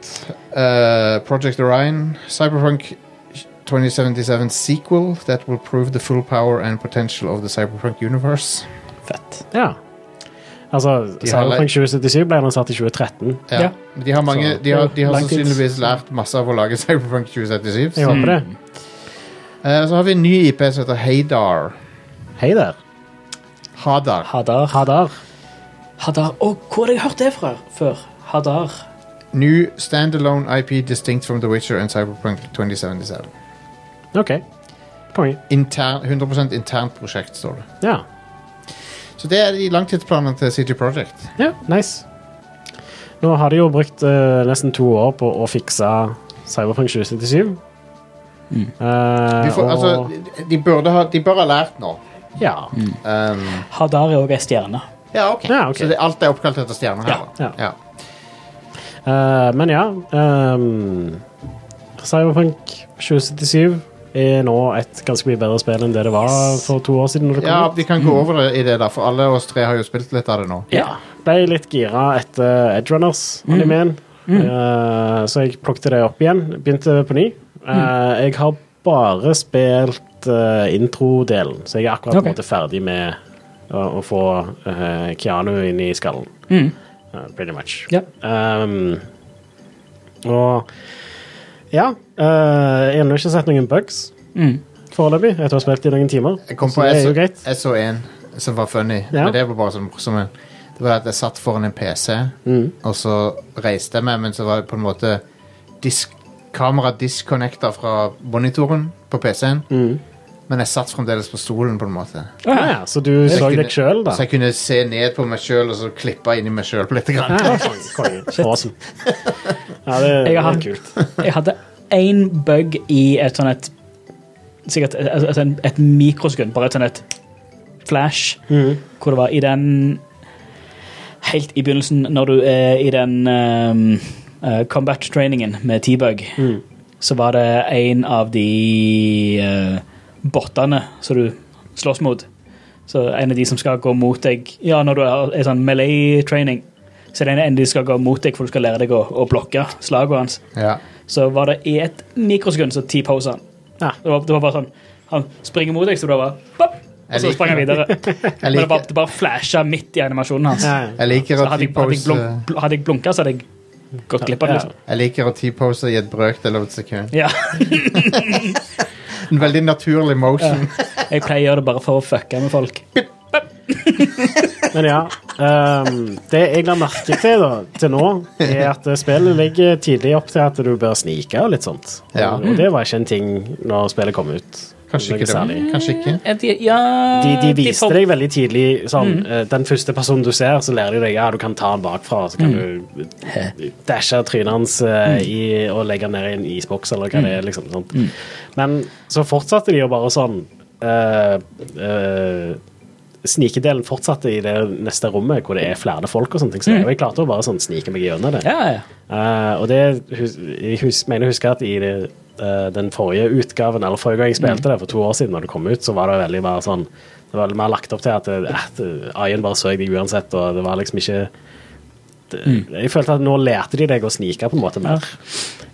C: Uh, Project Orion, Cyberpunk 2077 sequel that will prove the full power and potential of the Cyberpunk universe.
E: Fett.
D: Ja. Altså,
C: De har
D: Cyberpunk 2077 ble annonsert i 2013.
C: Ja.
E: Ja.
C: De har, mange,
D: Så-
C: de har, de har
E: Langt ut.
C: sannsynligvis lært masse av å lage (laughs) Cyberpunk 2077.
D: Jeg håper det.
C: Hmm. Eh, så har vi en ny IP som heter Hadar.
D: Hei der.
C: Hadar.
E: Hadar.
D: Hadar.
E: Hadar. Å, hvor har jeg hørt det fra før? Hadar.
C: New standalone IP distinct from The Witcher and Cyberpunk 2077.
D: OK. Konge.
C: Intern, 100 internt prosjekt, står det.
D: Ja.
C: Så det er de langtidsplanene til CG Project.
D: ja. Nice. Nå har de jo brukt eh, nesten to år på å fikse Cyberpunk 2077. Eh,
C: Hmm. Vi får,
D: og,
C: altså, de, burde ha, de bør ha lært nå.
D: ja.
C: Um,
E: Hadar er òg ei stjerne.
C: ja, ok.
D: Ja, ok.
C: Så det, alt er oppkalt etter stjerner her.
D: Ja,
C: da.
D: ja. Eh, men ja ehm, Cyberpunk 2077 er nå et ganske mye bedre spill enn det det var for to år siden. Når det
C: Ja,
D: kom ut.
C: vi kan gå over det i det, da, for alle oss tre har jo spilt litt av det nå.
D: Ja. Ble litt gira etter Edrunners,
E: Mm.
D: animeen. Eh, så jeg plukket det opp igjen. Begynte på ny.
E: Mm.
D: Eh, Jeg har bare spilt eh, introdelen, så jeg er akkurat på en
E: Ok.
D: måte ferdig med å, å få eh, Keanu inn i skallen. Eh, pretty much.
E: Mm. Ja.
D: Ehm, og ja eh, Jeg har ennå ikke sett noen bugs
E: Mm.
D: foreløpig. Jeg tror jeg har spilt i noen timer.
C: Jeg kom
D: så
C: på
D: det er jo greit.
C: SO1, som var funny.
D: Ja.
C: Men det var bare sånn morsom en. Det var at jeg satt foran en PC,
D: Mm.
C: og så reiste jeg meg, men så var det på en måte disk, kamera disconnecta fra monitoren på PC-en.
D: Mm.
C: Men jeg satt fremdeles på stolen, på en måte.
D: Ja, ja, så du
C: jeg
D: så
C: kunne-
D: deg sjøl, da?
C: Så jeg kunne se ned på meg sjøl og så klippe inni meg sjøl litt. Grann.
D: Ja, konge,
C: (laughs)
D: konge. Awesome. Ja, det, det
E: Jeg har-
D: er kult.
E: Jeg hadde én bug i et sånn et Sikkert et, altså en- et mikrosekund, bare et sånn et flash, hvor det var i den Helt i begynnelsen, når du er i den ehm, eh, combat-trainingen med T-bug, så var det en av de eh, bottene som du slåss mot. Så en av de som skal gå mot deg Ja, når du har en sånn melee-training, så er det en av de som skal gå mot deg, for du skal lære deg å, å blokke slagene hans
C: Ja.
E: så var det i et mikrosekund så T-posa han.
D: Ja.
E: Det, var, det var bare sånn Han springer mot deg, så det var bare pop, Og
C: Jeg
E: så
C: liker
E: sprang han (laughs) videre.
C: Jeg
E: Men det bare,
C: liker,
E: det bare flasha midt i animasjonen hans.
D: Ja,
C: jeg liker
E: Så
C: at
E: hadde jeg, hadde, jeg
C: T-pose
E: blunk, bl- hadde jeg blunka, så hadde jeg gått glipp av det.
D: Ja.
E: Liksom.
C: Jeg liker at T-pose i et brøkdel av et sekund.
E: Ja. (laughs)
C: En veldig naturlig motion.
E: Jeg pleier å gjøre det bare for å fucke med folk.
D: Men ja. ehm, det jeg la merke til da, til nå, er at spillet ligger tidlig opp til at du bør snike og litt sånt.
C: Ja.
D: Og det var ikke en ting når spillet kom ut.
C: Kanskje
D: Noe
C: ikke det.
D: særlig.
C: Kanskje ikke.
E: Ja, de, ja,
D: De, de viste
E: for-
D: deg veldig tidlig sånn, eh, Den første personen du ser, så lærer de deg ja, du kan ta han bakfra, så kan du dæsje trynet hans eh, i, og legge han ned i en isboks, eller hva det er. Liksom, sånt. Men så fortsatte de jo bare sånn eh, eh, Snikedelen fortsatte i det neste rommet hvor det er flere folk. og sånne ting Så jeg klarte å bare sånn snike meg gjennom det.
E: Ja, ja.
D: Eh, og det hus, jeg hus, mener jeg husker at i det, eh, den forrige utgaven, eller forrige gang jeg
E: Mm.
D: spilte det, for to år siden, når det kom ut, så var det veldig bare sånn Det var veldig mer lagt opp til at Ayen bare så deg uansett, og det
E: Mm.
D: var liksom ikke det, Jeg følte at nå lærte de deg å snike på en måte mer.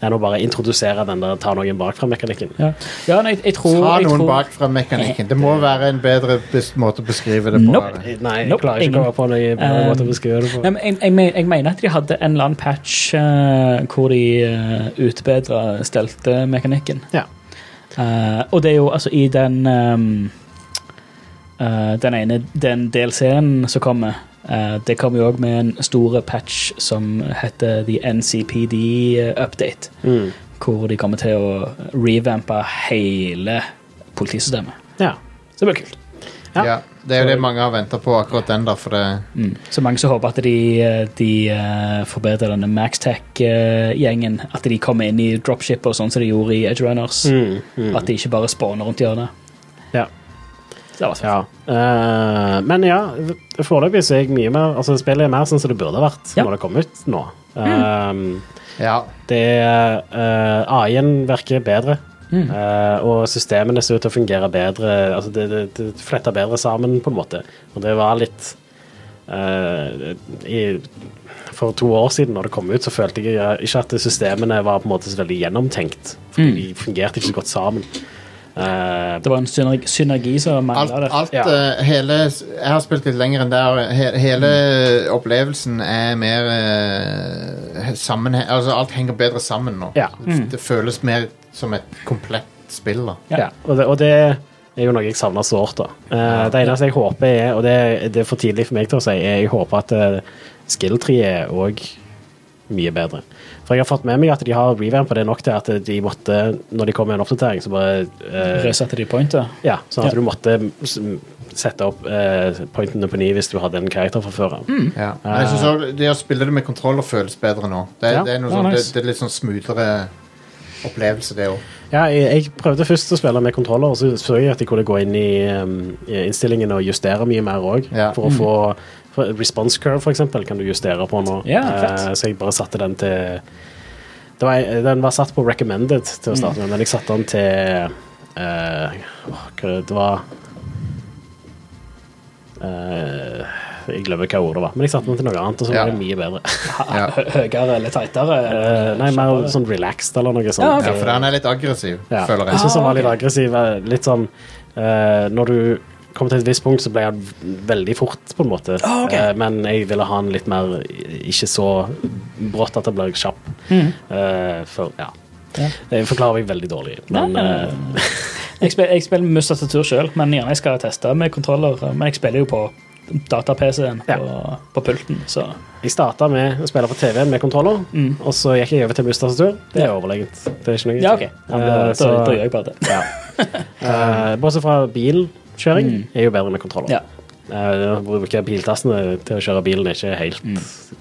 D: enn å bare introdusere den der ta noen bakfra-mekanikken.
E: Ja, ja nei, jeg, jeg tror
C: Ta
E: jeg
C: noen
E: tror-
C: bak fra mekanikken. Det må være en bedre bes- måte å beskrive det på.
E: Nope.
C: eller?
D: Nei, jeg
E: Nope,
D: klarer ikke
E: ingen.
D: å komme på noen bedre måte å beskrive det på.
E: Eh, Nei, men jeg, jeg, men- jeg mener at de hadde en eller annen patch eh, hvor de uh, utbedra steltemekanikken.
D: Ja.
E: Eh, og det er jo altså i den ehm, eh, Den ene Den DLC-en som kommer eh, Det kommer jo òg med en stor patch som heter The NCPD Update.
D: Mm.
E: Hvor de kommer til å revampe hele politisystemet.
D: Ja.
E: Så det blir kult.
D: Ja.
C: Ja, det er jo det mange har venta på akkurat den, da, for det
E: Mm. Så mange som håper at de, de eh, forbedrer denne Maxtech-gjengen. At de kommer inn i dropship og sånn som de gjorde i Edge Runners.
D: Mm. Mm.
E: At de ikke bare spawner rundt hjørnet.
D: Ja.
E: Så Det var fett.
D: Ja. Eh, men ja, foreløpig så er jeg mye mer Altså, spillet er mer sånn som det burde vært
E: Ja.
D: når det kom ut nå. Um,
C: Ja.
D: det uh, AI-en virker bedre. Eh, og systemene ser ut til å fungere bedre. Altså det, det, det fletter bedre sammen, på en måte. Og det var litt eh, i, For to år siden, når det kom ut, så følte jeg eh, ikke at systemene var på en måte så veldig gjennomtenkt. Fordi de fungerte ikke så godt sammen. Eh,
E: Det var en synergi, synergi som
C: Alt,
E: mangla der.
C: alt
D: Ja.
C: eh, hele Jeg har spilt litt lenger enn der. He, hele opplevelsen er mer uh, sammenheng... Altså, alt henger bedre sammen nå.
D: Ja.
E: Mm.
C: Det, det føles mer som et komplett spill, da.
D: Ja. Og, det, og det er jo noe jeg savner sårt. da. Eh, det eneste jeg håper er, og det, det er for tidlig for meg til å si, er jeg håper at eh, skill-treet er òg mye bedre. For jeg har fått med meg at de har revampa det nok til at de måtte, når de kom med en oppdatering, så bare eh,
E: Resatte de pointet?
D: ja, Sånn at
E: Ja.
D: du måtte s- sette opp eh, pointene på ny hvis du hadde en karakter fra før av.
C: Ja. Men Jeg synes også, det å spille det med kontroller føles bedre nå. Det,
D: Ja.
C: det, er, noe
E: Ja,
C: sånn,
E: nice.
C: det, det er litt sånn smoothere opplevelse, det òg.
D: Ja, jeg, jeg prøvde først å spille med kontroller, og så så jeg at jeg kunne gå inn i, um, i innstillingen og justere mye mer òg.
C: Ja.
E: Mm.
D: For å få for response curve, for eksempel, kan du justere på nå.
E: Ja,
D: Eh,
E: fett.
D: så jeg bare satte den til det var, Den var satt på recommended
E: Mm.
D: til å starte med, men jeg satte den til eh, åh, hva det var Eh, Jeg glemmer hva ordet var, men jeg satte den til noe annet, og så
C: Ja.
D: var det mye bedre.
C: Ja.
E: Hø- Høyere eller tightere?
D: (laughs) Eh, nei, mer sånn relaxed eller noe sånt.
E: Ja, ok.
C: Ja, for han er litt aggressiv,
D: Ja.
C: føler
D: Jeg
C: jeg.
D: synes han var litt
E: Ah,
D: aggressiv. eh, Litt sånn eh, Når du kom til et visst punkt, så ble han veldig fort, på en måte.
E: Ah, ok.
D: Eh, men jeg ville ha han litt mer i- Ikke så brått at han blir kjapp. Eh, for ja.
E: Ja.
D: Det forklarer jeg veldig dårlig, men
E: Nei, nei,
D: eh,
E: Jeg spiller, jeg spiller med tastatur sjøl, men gjerne jeg skal teste med kontroller. Men jeg spiller jo på data-PC-en
D: Ja.
E: på, på pulten, så
D: jeg starta med å spille på TV-en med kontroller, og så gikk jeg over til mustastatur. Det er overlegent. Det er ikke noe
E: Ja, OK. Ja, men da,
D: Eh,
E: da,
D: så-
E: da gjør jeg bare det.
D: Ja. Eh, bortsett fra bilkjøring er jo bedre med kontroller.
E: Ja.
D: Eh, å bruke biltassene til å kjøre bilen er ikke helt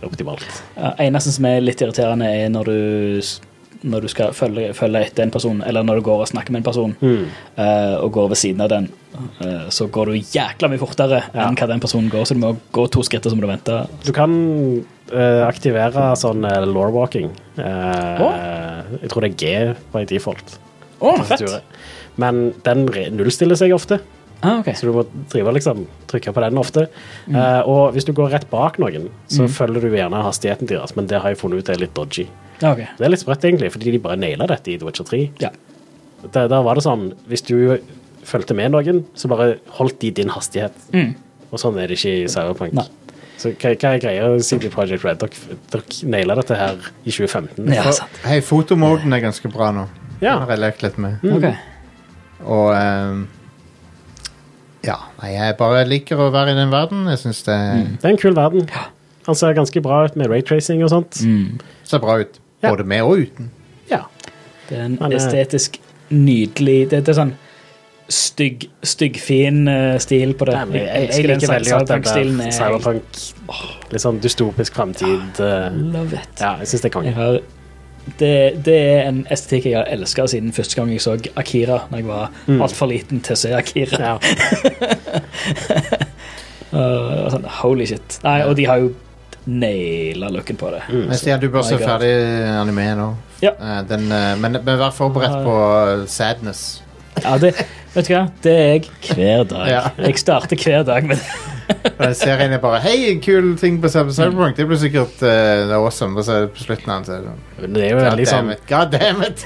D: optimalt.
E: Ja, Eh, Eneste som er litt irriterende, er når du, s- når du skal følge, følge etter en person, eller når du går og snakker med en person, eh, og går ved siden av den, eh, så går du jækla mye fortere enn hva den personen går, så du må gå to skritt, og så må du vente.
D: Du kan eh, aktivere sånn uh, law walking. Eh, Jeg tror det er G på en default.
E: Å,
D: Tastaturet. Men den re- nullstiller seg ofte,
E: Ah, ok.
D: så du må drive og liksom, trykke på den ofte. Eh, og hvis du går rett bak noen, så følger du gjerne hastigheten deres, men det har jeg funnet ut er litt dodgy.
E: Ja, ok.
D: Det er litt sprøtt, egentlig, fordi de bare naila dette i The Witcher 3.
E: Ja.
D: Der, der var det sånn Hvis du fulgte med noen, så bare holdt de din hastighet. Og sånn er det ikke i Cyberpunk.
E: Nei.
D: Så hva, hva er greia CD Project Red? Dere, dere naila dette her i 2015.
E: Ja,
C: For-
E: sant.
C: Hei, fotomoden er ganske bra nå. Den
D: Ja.
C: har jeg lekt litt
D: Mm.
C: med.
E: Ok.
C: Og ehm, Ja. Nei, jeg bare liker å være i den verden. Jeg syns det
D: Det er en kul verden. Han ser ganske bra ut med raytracing og sånt.
C: ser bra ut.
D: Ja.
C: Både med og uten.
D: Ja.
E: Det er en
D: Men, eh,
E: estetisk nydelig Det, det er sånn stygg, styggfin eh, stil på det.
D: Nei, men jeg, jeg, jeg liker veldig godt den der Cyberpunk. Litt sånn dystopisk framtid. eh,
E: Love it.
D: Ja, jeg syns det er konge.
E: Jeg har, det, det er en estetikk jeg har elska siden første gang jeg så Akira. Når jeg var altfor liten til å se Akira.
D: Mm. Ja.
E: Uh, og sånn, holy shit. Nei, og de har jo naila looken på det.
D: Mm.
C: Men Stian, du bør se
E: My God.
C: ferdig anime nå.
E: Ja.
C: Eh, Den, eh, men, men vær forberedt på eh, sadness.
E: Ja, det, vet du hva? Det er jeg hver dag.
C: Ja.
E: Jeg starter hver dag med det.
C: Og den serien er bare Hei, en kul ting basert på Cyberpunk. Det blir sikkert eh, det er awesome. Og så på slutten av den så er det sånn,
D: Men Det er jo
C: God
D: veldig sånn
C: damn it. God damn it.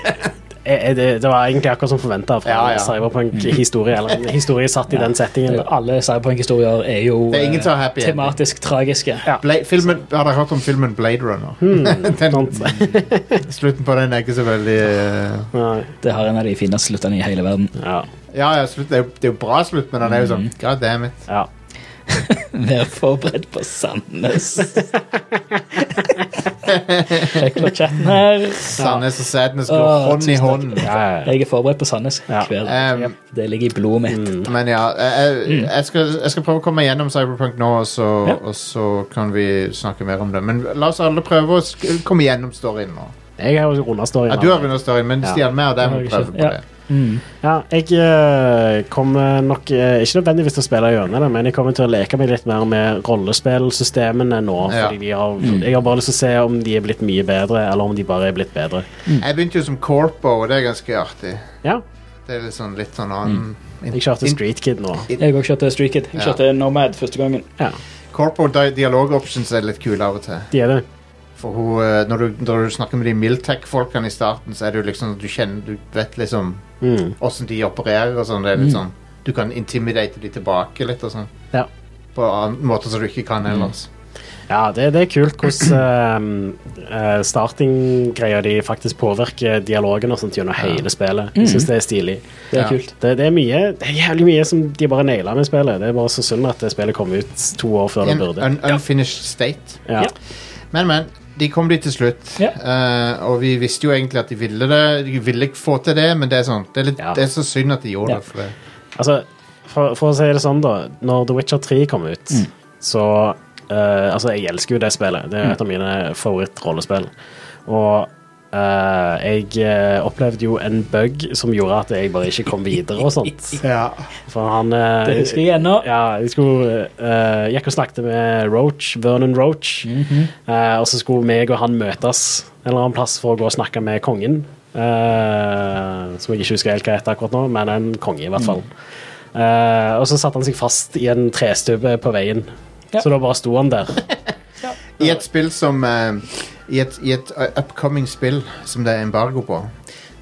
D: Eh, eh, det, det var egentlig akkurat som forventa fra
C: Ja, ja.
D: Cyberpunk-historie. Eller en historie satt i den settingen. da.
E: Alle cyberpunk-historier er jo
C: Det er ingen som har
E: eh,
C: happy ending.
E: tematisk tragiske.
C: Bla- filmen, har dere hørt om filmen Blade Runner? (laughs) den,
D: (laughs)
C: slutten på den er ikke så veldig eh,
D: Nei,
E: Det har en av de fineste sluttene i hele verden. (laughs)
D: Ja.
C: Ja, ja, slutt, det, er jo, det er jo bra slutt, men den er jo sånn God damn it.
D: ja.
E: Vær forberedt
D: (laughs)
E: på Sandnes. Sjekk på chatten her.
C: Sandnes og Sadness går
E: Åh,
C: hånd i hånd.
D: Ja, ja, ja.
E: Jeg er forberedt på Sandnes
D: Ja. Mm.
E: hver dag.
C: Um,
E: Det ligger i blodet mitt.
C: men ja, jeg, jeg- jeg, skal, jeg skal prøve å komme meg gjennom Cyberpunk nå, og så,
E: Ja.
C: og så kan vi snakke mer om det. Men la oss alle prøve å sk komme gjennom storyen nå.
D: Jeg har jo runda storyen.
C: Ja, du har vunnet storyen, men
D: Ja.
C: Stian, mer av dem
E: Det har jeg
C: prøver
E: ikke.
C: på det.
D: Ja, jeg eh, kommer nok eh, ikke nødvendigvis til å spille gjennom det, men jeg kommer til å leke meg litt mer med rollespillsystemene nå.
C: Ja.
D: Fordi de har, jeg har bare lyst til å se om de er blitt mye bedre, eller om de bare er blitt bedre.
C: Jeg begynte jo som corpo, og det er ganske artig.
D: Ja,
C: Det er litt sånn, litt sånn annen in-
D: Mm. jeg kjørte
C: in-
D: Street Kid nå.
E: Jeg òg kjørte Street Kid. Jeg
C: Ja.
E: kjørte Nomad første gangen.
D: Ja,
C: Corpo di- dialog options er litt kule av og til.
D: de er det.
C: For hun, eh, når, du, når du snakker med de Miltech-folkene i starten, så er det jo liksom Du kjenner, du vet liksom
D: Mm.
C: åssen de opererer og sånn. Det er litt sånn Du kan intimidate de tilbake litt og sånn.
D: Ja.
C: På an- måter som du ikke kan
D: Mm.
C: ellers.
D: Ja, det, det er kult hvordan
E: (clears throat)
D: uh, starting-greia de faktisk påvirker dialogen og sånt gjennom hele spillet. Jeg synes det er stilig.
E: Mhm. Det er
C: Ja.
E: kult.
D: Det, det er mye, det er jævlig mye som de bare naila med spillet. Det er bare så synd at det spillet kom ut to år før det
C: En
D: burde.
C: un unfinished state.
D: Ja.
E: Ja.
C: Men, men. De kom dit til slutt,
E: Ja.
C: Eh, og vi visste jo egentlig at de ville det. De ville ikke få til det, men det er sånn Det er, litt,
D: Ja.
C: det er så synd at de gjorde
E: Ja.
C: det. For det.
D: Altså, for, for å si det sånn, da. Når The Witcher 3 kom ut,
E: Mm.
D: så eh, Altså, jeg elsker jo det spillet.
E: Mm.
D: Det er jo et av mine favorittrollespill. Og eh, jeg eh, opplevde jo en bug som gjorde at jeg bare ikke kom videre og
E: (laughs)
D: sånt. For han eh,
E: Det husker jeg ennå.
D: Ja, jeg skulle, eh, gikk og snakket med Roach, Vernon Roach.
E: Mhm.
D: Eh, og så skulle meg og han møtes en eller annen plass for å gå og snakke med kongen. eh, som jeg ikke husker helt hva heter akkurat nå, men en konge i hvert fall. Eh, og så satte han seg fast i en trestubbe på veien.
E: Ja.
D: Så da bare sto han der.
C: I et spill som eh, i, et, I et eh, upcoming spill som det er embargo på,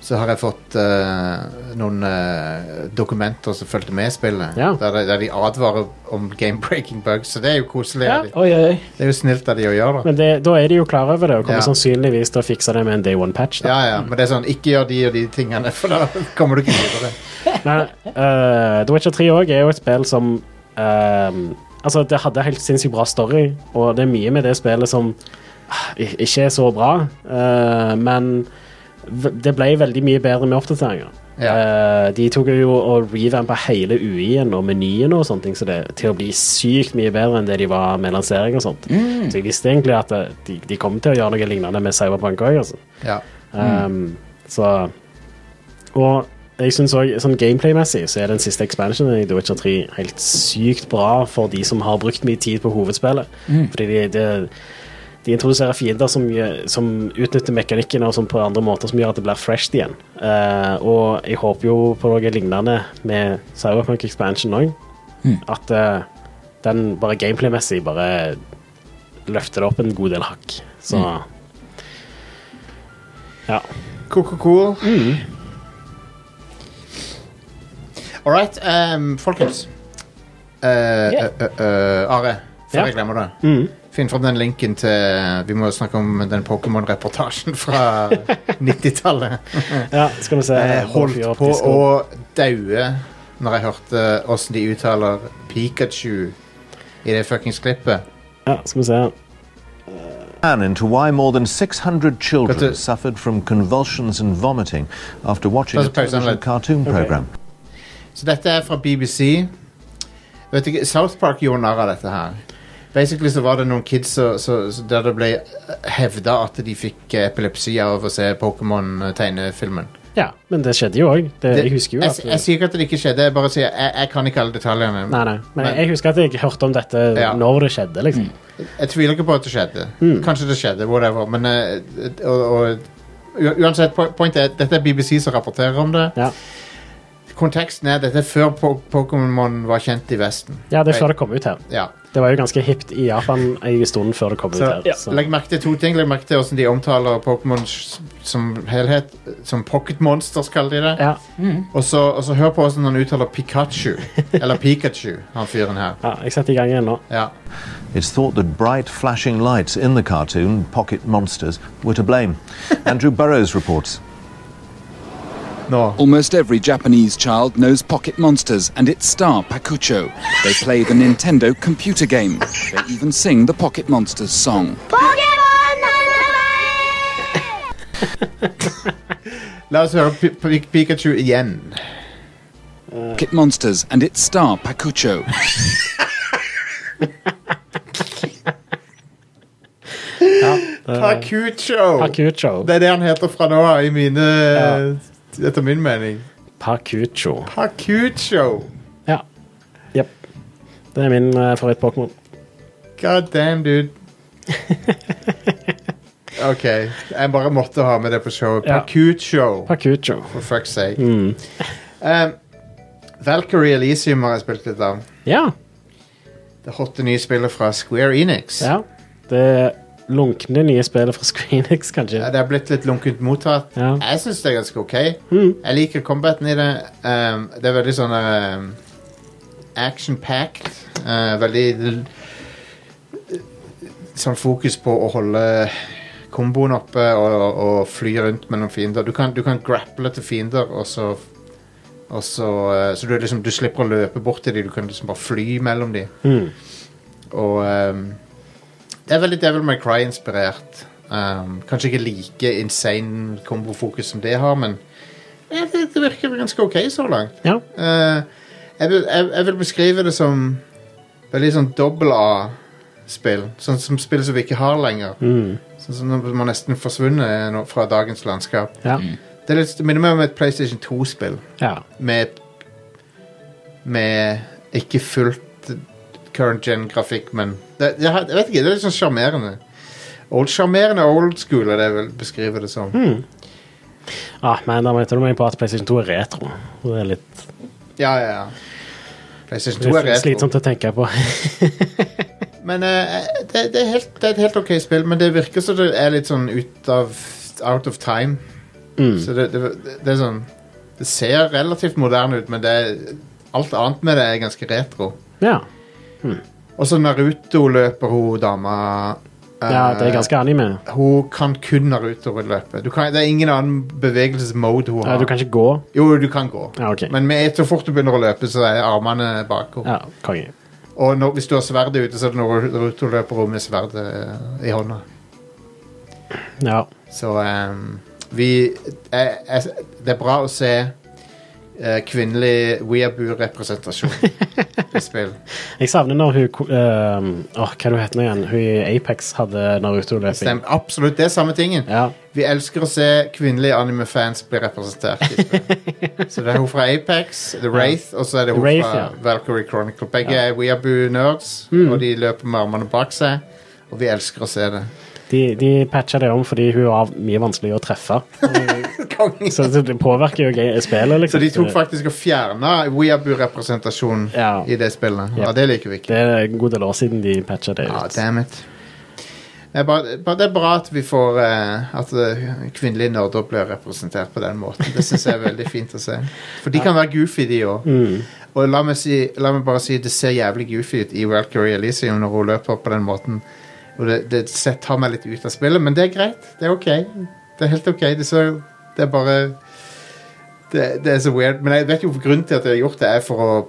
C: så har jeg fått eh, noen eh, dokumenter som fulgte med spillet,
D: Ja.
C: der, de- der de advarer om game-breaking bugs, så det er jo koselig. av
D: Ja.
C: de.
E: Oi, oi, oi.
C: Det er jo snilt av de å gjøre det.
D: Men det, da er de jo klar over det, og kommer
C: Ja.
D: sannsynligvis til å fikse det med en day one-patch. da.
C: Ja, ja, men det er sånn, ikke gjør de og de tingene, for da kommer du ikke videre.
D: Nei, eh, The Witcher 3 også er jo et spill som ehm, Altså, det hadde helt sinnssykt bra story, og det er mye med det spillet som ah, i- ikke er så bra, eh, men v- det ble veldig mye bedre med oppdateringer.
C: Ja.
D: Eh, de tok jo og revampa hele UI-en og menyen og sånne ting så det, til å bli sykt mye bedre enn det de var med lansering og sånt. Så jeg visste egentlig at eh, de, de kom til å gjøre noe lignende med Cyberpunk òg. Altså.
C: Ja.
D: Um, Så Og jeg syns òg sånn gameplay-messig så er den siste expansionen i The Witcher 3 helt sykt bra for de som har brukt mye tid på hovedspillet. Fordi de, de, de introduserer fiender som, gjør- som utnytter mekanikken og sånn på andre måter som gjør at det blir fresh igjen. Eh, og jeg håper jo på noe lignende med Cyberpunk Expansion òg. At eh, den bare gameplay-messig bare løfter det opp en god del hakk. Så ja.
C: Cool.
D: Mm.
C: All right, ehm, folkens. Eh, eh, eh, Are, før
D: Ja.
C: jeg glemmer det.
D: Mm.
C: Finn fram den linken til Vi må jo snakke om den Pokémon-reportasjen
D: (laughs)
C: fra 90-tallet.
D: Ja, skal vi se.
C: Jeg Eh, holdt på å daue når jeg hørte åssen de uttaler Pikachu i det fuckings klippet.
D: Ja, skal vi se.
F: plan into why more than 600 children
C: But, uh,
F: suffered from convulsions and vomiting after watching a
C: That's pretty
F: television
C: solid.
F: cartoon program.
C: Så dette er fra BBC. Vet ikke, South Park gjorde narr av dette her. Basically så var det noen kids så, så, så der det ble hevda at de fikk eh, epilepsi av å se Pokémon-tegnefilmen.
D: Ja, men det skjedde jo òg.
C: Det-
D: Jeg husker jo
C: jeg,
D: at
C: jeg sier ikke at det ikke skjedde, jeg bare sier jeg, jeg kan ikke alle detaljene.
D: Nei, nei. Men
C: Men-
D: jeg husker at jeg hørte om dette
C: Ja.
D: når det skjedde, liksom.
C: Jeg tviler ikke på at det skjedde.
D: Mm.
C: Kanskje det skjedde, whatever. Men eh, og, og, u- uansett, po- pointet er at dette er BBC som rapporterer om det.
D: Ja.
C: konteksten er dette er før Po- Pokémon var kjent i Vesten.
D: Ja, det er før det kom ut her.
C: Ja.
D: Det var jo ganske hipt i Japan en stund før det kom ut
C: Så,
D: her. Så.
C: Legg merke til to ting. Legg merke til hvordan de omtaler Pokémon s- som helhet. Som Pocket Monsters, kaller de det.
D: Ja,
C: Og så, og så hør på hvordan han uttaler Pikachu. Eller Pikachu, han fyren her.
D: ja, jeg setter i gang igjen nå.
C: Ja.
F: It's thought that bright flashing lights in the cartoon, Pocket Monsters, were to blame. Andrew Burrows reports.
C: Nå.
G: Almost every Japanese child knows Pocket Monsters and its star, Pakucho. They play the Nintendo computer game. They even sing the Pocket Monsters song.
C: La oss høre Pi- Pi- Pikachu igjen.
G: Pocket Monsters and its star, Pakucho.
D: Eh.
C: Pakucho!
D: Pakucho.
C: Det er det han heter fra nå av, i mine Etter min mening.
D: Pakucho.
C: Pakucho!
D: Ja. Jepp. Det er min eh, favoritt-Pokémon.
C: God damn, dude.
D: (laughs)
C: OK. Jeg bare måtte ha med det på showet.
D: Ja. Mm.
C: Pakucho.
D: Pakucho.
C: For fuck's sake. Um, Valkyrie Elisium har jeg spilt litt av.
D: Ja.
C: Det hotte nye spillet fra Square Enix.
D: ja. Det lunkne nye spillet fra Screenix,
C: Ja,
D: kanskje.
C: Det har blitt litt lunkent mottatt.
D: Ja.
C: Jeg syns det er ganske OK. Jeg liker combaten i det. Um, det er veldig sånn um, action-packed. Uh, veldig l- Sånn fokus på å holde komboen oppe og, og, og fly rundt mellom fiender. Du kan, du kan grapple til fiender, og så, og så, uh, så du, er liksom, du slipper å løpe bort til dem. Du kan liksom bare fly mellom dem. Og um, det er veldig Devil May Cry-inspirert. Um, kanskje ikke like insane kombofokus som det har, men eh, det, det virker ganske OK så langt.
D: Ja.
C: Eh, jeg, vil, jeg, jeg vil beskrive det som veldig sånn dobbel A-spill. Sånn som spill som vi ikke har lenger. Sånn som når man nesten forsvunnet nå fra dagens landskap.
D: Ja.
C: Det, er litt, det minner meg om et PlayStation 2-spill
D: ja.
C: med Med ikke fullt current gen-grafikk, men det, det, har- Jeg vet ikke, det er litt sånn sjarmerende. Old- Sjarmerende old school er det jeg vil beskrive det som.
D: Ah, men da møter du meg på at PlayStation 2 er retro. Og Det er litt,
C: Ja, ja, ja. PlayStation 2 er
D: litt
C: retro.
D: slitsomt å tenke på. (laughs)
C: Men eh, det, det, er helt, det er et helt ok spill, men det virker som det er litt sånn ut av Out of time. Så det, det, det er sånn Det ser relativt moderne ut, men det er, alt annet med det er ganske retro.
D: Ja.
C: Og så Naruto løper hun dama. eh,
D: ja, det er ganske anime.
C: Hun kan kun Naruto-løpe. Du kan- Det er ingen annen bevegelsesmode hun
D: Ja,
C: har.
D: du kan ikke gå.
C: Jo, du kan gå.
D: Ja, ok.
C: Men med så fort du begynner å løpe, så er armene bak henne.
D: Ja, konge.
C: Og når, hvis du har sverdet ute, så er det når Naruto løper hun med sverdet eh, i hånda.
D: Ja.
C: Så ehm, vi eh, eh, Det er bra å se eh, kvinnelig weaboo-representasjon i
D: (laughs)
C: spill.
D: Jeg savner når hun ko- ehm, Åh, hva er det hun heter nå igjen? Hun i Apex hadde Naruto-løping.
C: Stem, absolutt, det er samme tingen.
D: Ja.
C: Vi elsker å se kvinnelige anime-fans bli
D: (laughs)
C: representert. i spill. så det er hun fra Apex, The Wraith, og så er det hun
D: Wraith,
C: fra
D: ja. Mm.
C: Valkyrie Chronicle. Begge er weaboo-nerds, og de løper med armene bak seg. Og vi elsker å se
D: (laughs)
C: det.
D: De, de patcha det om fordi hun var mye vanskeligere å treffe. Så det det påvirker jo ge- spillet,
C: Så
D: liksom.
C: de tok faktisk og fjerna weaboo-representasjonen
D: Ja.
C: i det spillet. Ja,
D: Yep.
C: det liker vi ikke.
D: Det er en god del år siden de patcha det
C: Ja,
D: ut.
C: damn it. Det er, bare, bare, det er bra at vi får eh, At eh, kvinnelige nerder blir representert på den måten. Det syns jeg er veldig fint å se. For de kan være goofy, de òg. Og la meg, si, la meg bare si det ser jævlig goofy ut i Valkyrie Elisium når hun løper på den måten. Og det, det set- tar meg litt ut av spillet, men det er greit. Det er ok. Det er helt ok. Det, ser, det er bare det, det er så weird. Men jeg vet jo grunnen til at jeg har gjort det, er for å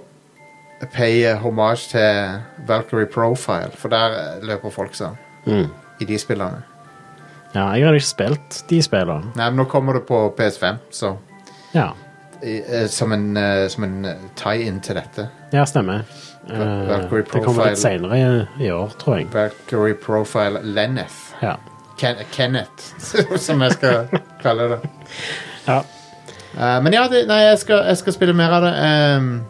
C: paye homage til Valkyrie Profile, for der eh, løper folk sånn.
D: Mm.
C: I de spillene.
D: ja, jeg har ikke spilt de spillene.
C: Nei, men nå kommer det på PS5, så
D: Ja.
C: i- eh, Som en, eh, som en eh, tie-in til dette.
D: ja, stemmer. Eh,
C: Valkyrie
D: det kommer
C: Profile.
D: litt seinere i, i år, tror jeg.
C: Valkyrie Profile Lenneth.
D: Ja.
C: Ken Kenneth, (laughs) som jeg skal kalle det.
D: Ja.
C: Eh, men ja, det, nei, jeg skal, jeg skal spille mer av det. ehm,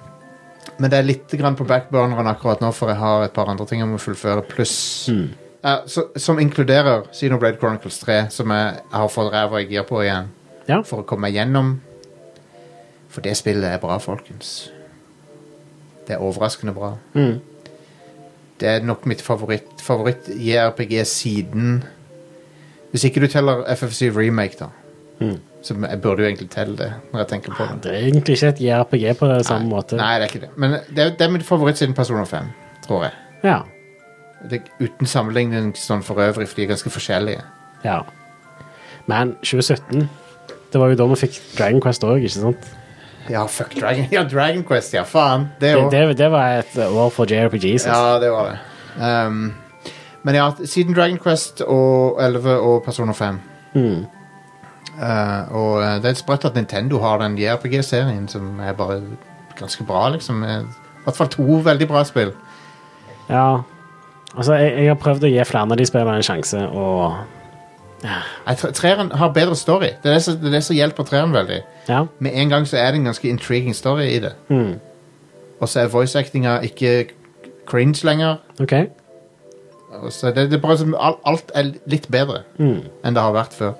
C: men det er litt grann på backburneren akkurat nå, for jeg har et par andre ting jeg må fullføre, pluss Eh, så, Som inkluderer Xenoblade Chronicles 3, som jeg har fått ræva i gir på igjen
D: Ja.
C: for å komme meg gjennom. For det spillet er bra, folkens. Det er overraskende bra. Det er nok mitt favoritt favoritt JRPG siden Hvis ikke du teller FF7 Remake, da. Som jeg burde jo egentlig telle det, når jeg tenker på det.
D: Det er egentlig ikke et JRPG på det samme måte.
C: Nei, det er ikke det. Men det er, det er min favoritt siden Persona 5, tror jeg.
D: Ja.
C: Det, er uten sammenligning sånn for øvrig, for de er ganske forskjellige.
D: ja. Men 2017 Det var jo da vi fikk Dragon Quest òg, ikke sant?
C: Ja, fuck Dragon (laughs) Ja, Dragon Quest, ja, faen. Det
D: Det,
C: òg.
D: det, det var et år for JRPGs. altså.
C: Ja, det var det. Ehm, men ja, siden Dragon Quest og 11 og Persona 5 Hmm. Eh, Og eh, det er sprøtt at Nintendo har den JRPG-serien som er bare ganske bra, liksom. Eh, I hvert fall to veldig bra spill.
D: Ja. Altså, jeg, jeg har prøvd å gi flere av de spillene en sjanse, og
C: Nei, tre- Treeren har bedre story. Det er det som- det er det som hjelper treeren veldig.
D: ja. Hmm.
C: Med en gang så er det en ganske intriguing story i det. Og så er voice-actinga ikke cringe lenger.
D: OK.
C: Og så det, det er bare som al- Alt er litt bedre enn det har vært før.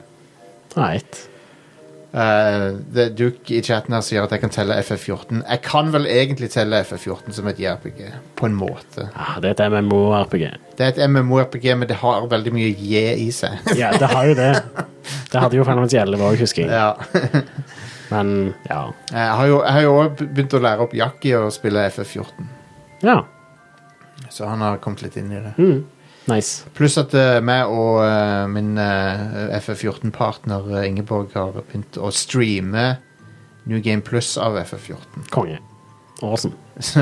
D: Right.
C: Eh, det Duke i chatten her sier at jeg kan telle FF14. Jeg kan vel egentlig telle FF14 som et JRPG, på en måte.
D: Ja, Ah, det er et MMO-RPG.
C: Det er et MMO-RPG, men det har veldig mye J i seg. (laughs)
D: Ja, det har jo det. Det hadde jo Final Fantasy 11 òg, husker jeg.
C: ja.
D: Men ja.
C: Jeg har jo jeg har jo også begynt å lære opp Jack i å spille FF14,
D: Ja,
C: så han har kommet litt inn i det.
D: nice.
C: Pluss at eh, meg og eh, min eh, FF14-partner eh, Ingeborg har begynt å streame New Game Plus av FF14.
D: Konge. Awesome.
C: (laughs) Så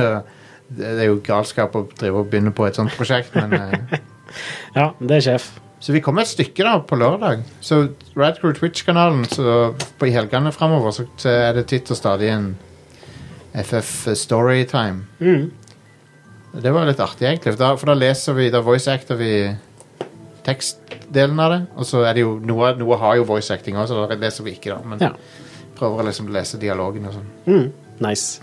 C: det det er jo galskap å drive og begynne på et sånt prosjekt, men eh,
D: Ja, det er sjef.
C: Så vi kommer et stykke da på lørdag. Så Radcrew Twitch-kanalen så på i helgene framover så så er det titt og stadig en FF Storytime. Det var litt artig, egentlig. For da, for da leser vi, da voice-acter vi tekstdelen av det. Og så er det jo Noe, noe har jo voice-acting òg, så da leser vi ikke, da. Men
D: Ja.
C: prøver å liksom lese dialogen og sånn.
D: Nice.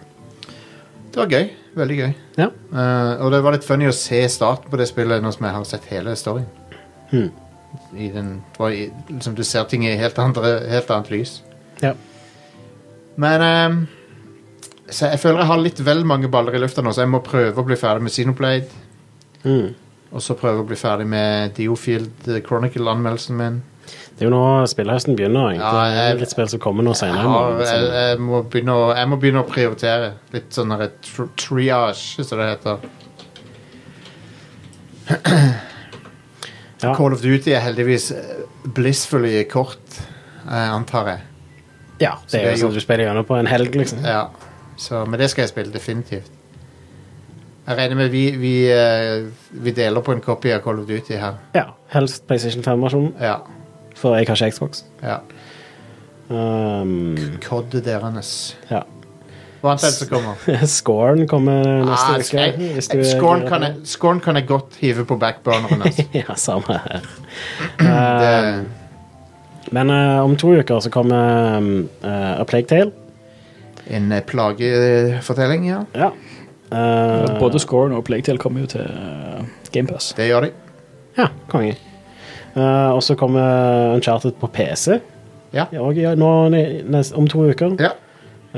C: Det var gøy. Veldig gøy.
D: Ja.
C: Eh, og det var litt funny å se starten på det spillet nå som jeg har sett hele storyen.
D: Hmm.
C: I den, og i, liksom, du ser ting i helt, andre, helt annet lys.
D: ja.
C: Men ehm, så jeg føler jeg har litt vel mange baller i lufta nå, så jeg må prøve å bli ferdig med Xenoblade.
D: Hmm.
C: Og så prøve å bli ferdig med Diofield eh, Chronicle-anmeldelsen min.
D: Det er jo nå spillhøsten begynner. egentlig.
C: Ja,
D: det
C: jeg-
D: er litt spill som kommer nå
C: Jeg,
D: senere. liksom.
C: har,
D: men, altså-
C: jeg,
D: så-
C: jeg, må begynne å, jeg må begynne å prioritere. Litt sånn her tr triage, som det heter.
D: Ja.
C: Call of Duty er heldigvis eh, blissfully kort, eh, antar jeg.
D: ja, det er
C: det er
D: jo sånn
C: jo-
D: at du spiller gjennom på en helg, liksom.
C: Ja. Så, men det skal jeg spille, definitivt. Jeg regner med vi, vi, eh, vi deler på en copy av Call of Duty her.
D: Ja, Helst PlayStation 5-versjonen,
C: Ja.
D: for jeg har ikke Xbox.
C: ja.
D: Um,
C: Koddet deres.
D: ja. (laughs)
C: Hva annet er det som kommer?
D: Scoren kommer neste
C: Ah,
D: uke.
C: jeg,
D: hvis du
C: jeg,
D: er
C: scorn,
D: gira
C: kan
D: på
C: jeg, scorn kan jeg godt hive på backburneren. Altså.
D: det. (laughs) Ja, samme her.
C: Det-
D: Men eh, om to uker så kommer um, eh, A Plague Tale.
C: En eh, plagefortelling, ja.
D: Ja. Eh,
E: Både scoren og Plague Tale kommer jo til eh, Game Pass
C: Det gjør de.
D: Ja, konge. Eh, og så kommer Uncharted på PC.
C: Ja.
D: Og, ja, nå, ne- nes- om to uker.
C: ja.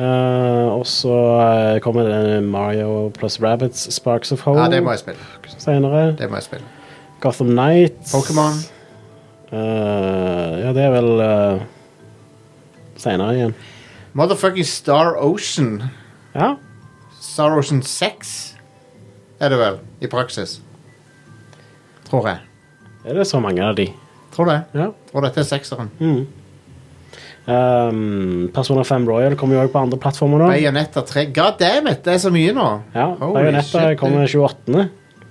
D: Eh, og så eh, kommer det Mario pluss Rabbits Sparks of Hope
C: Ja, det må jeg spille.
D: senere.
C: Det må jeg spille.
D: Gotham Knights.
C: Pokémon.
D: Eh, ja, det er vel eh, senere igjen.
C: Motherfucking Star Ocean.
D: Ja.
C: Star Ocean 6 er det vel, i praksis. Tror jeg.
D: Er det så mange av de?
C: Tror det.
D: Ja. Mm.
C: Tror dette er sekseren.
D: Um, Persona 5 Royal kommer jo òg på andre plattformer nå.
C: Bayonetta 3. God damn it, det er så mye nå!
D: Ja,
C: Holy
D: Bayonetta
C: shit,
D: kommer
C: dude.
D: 28.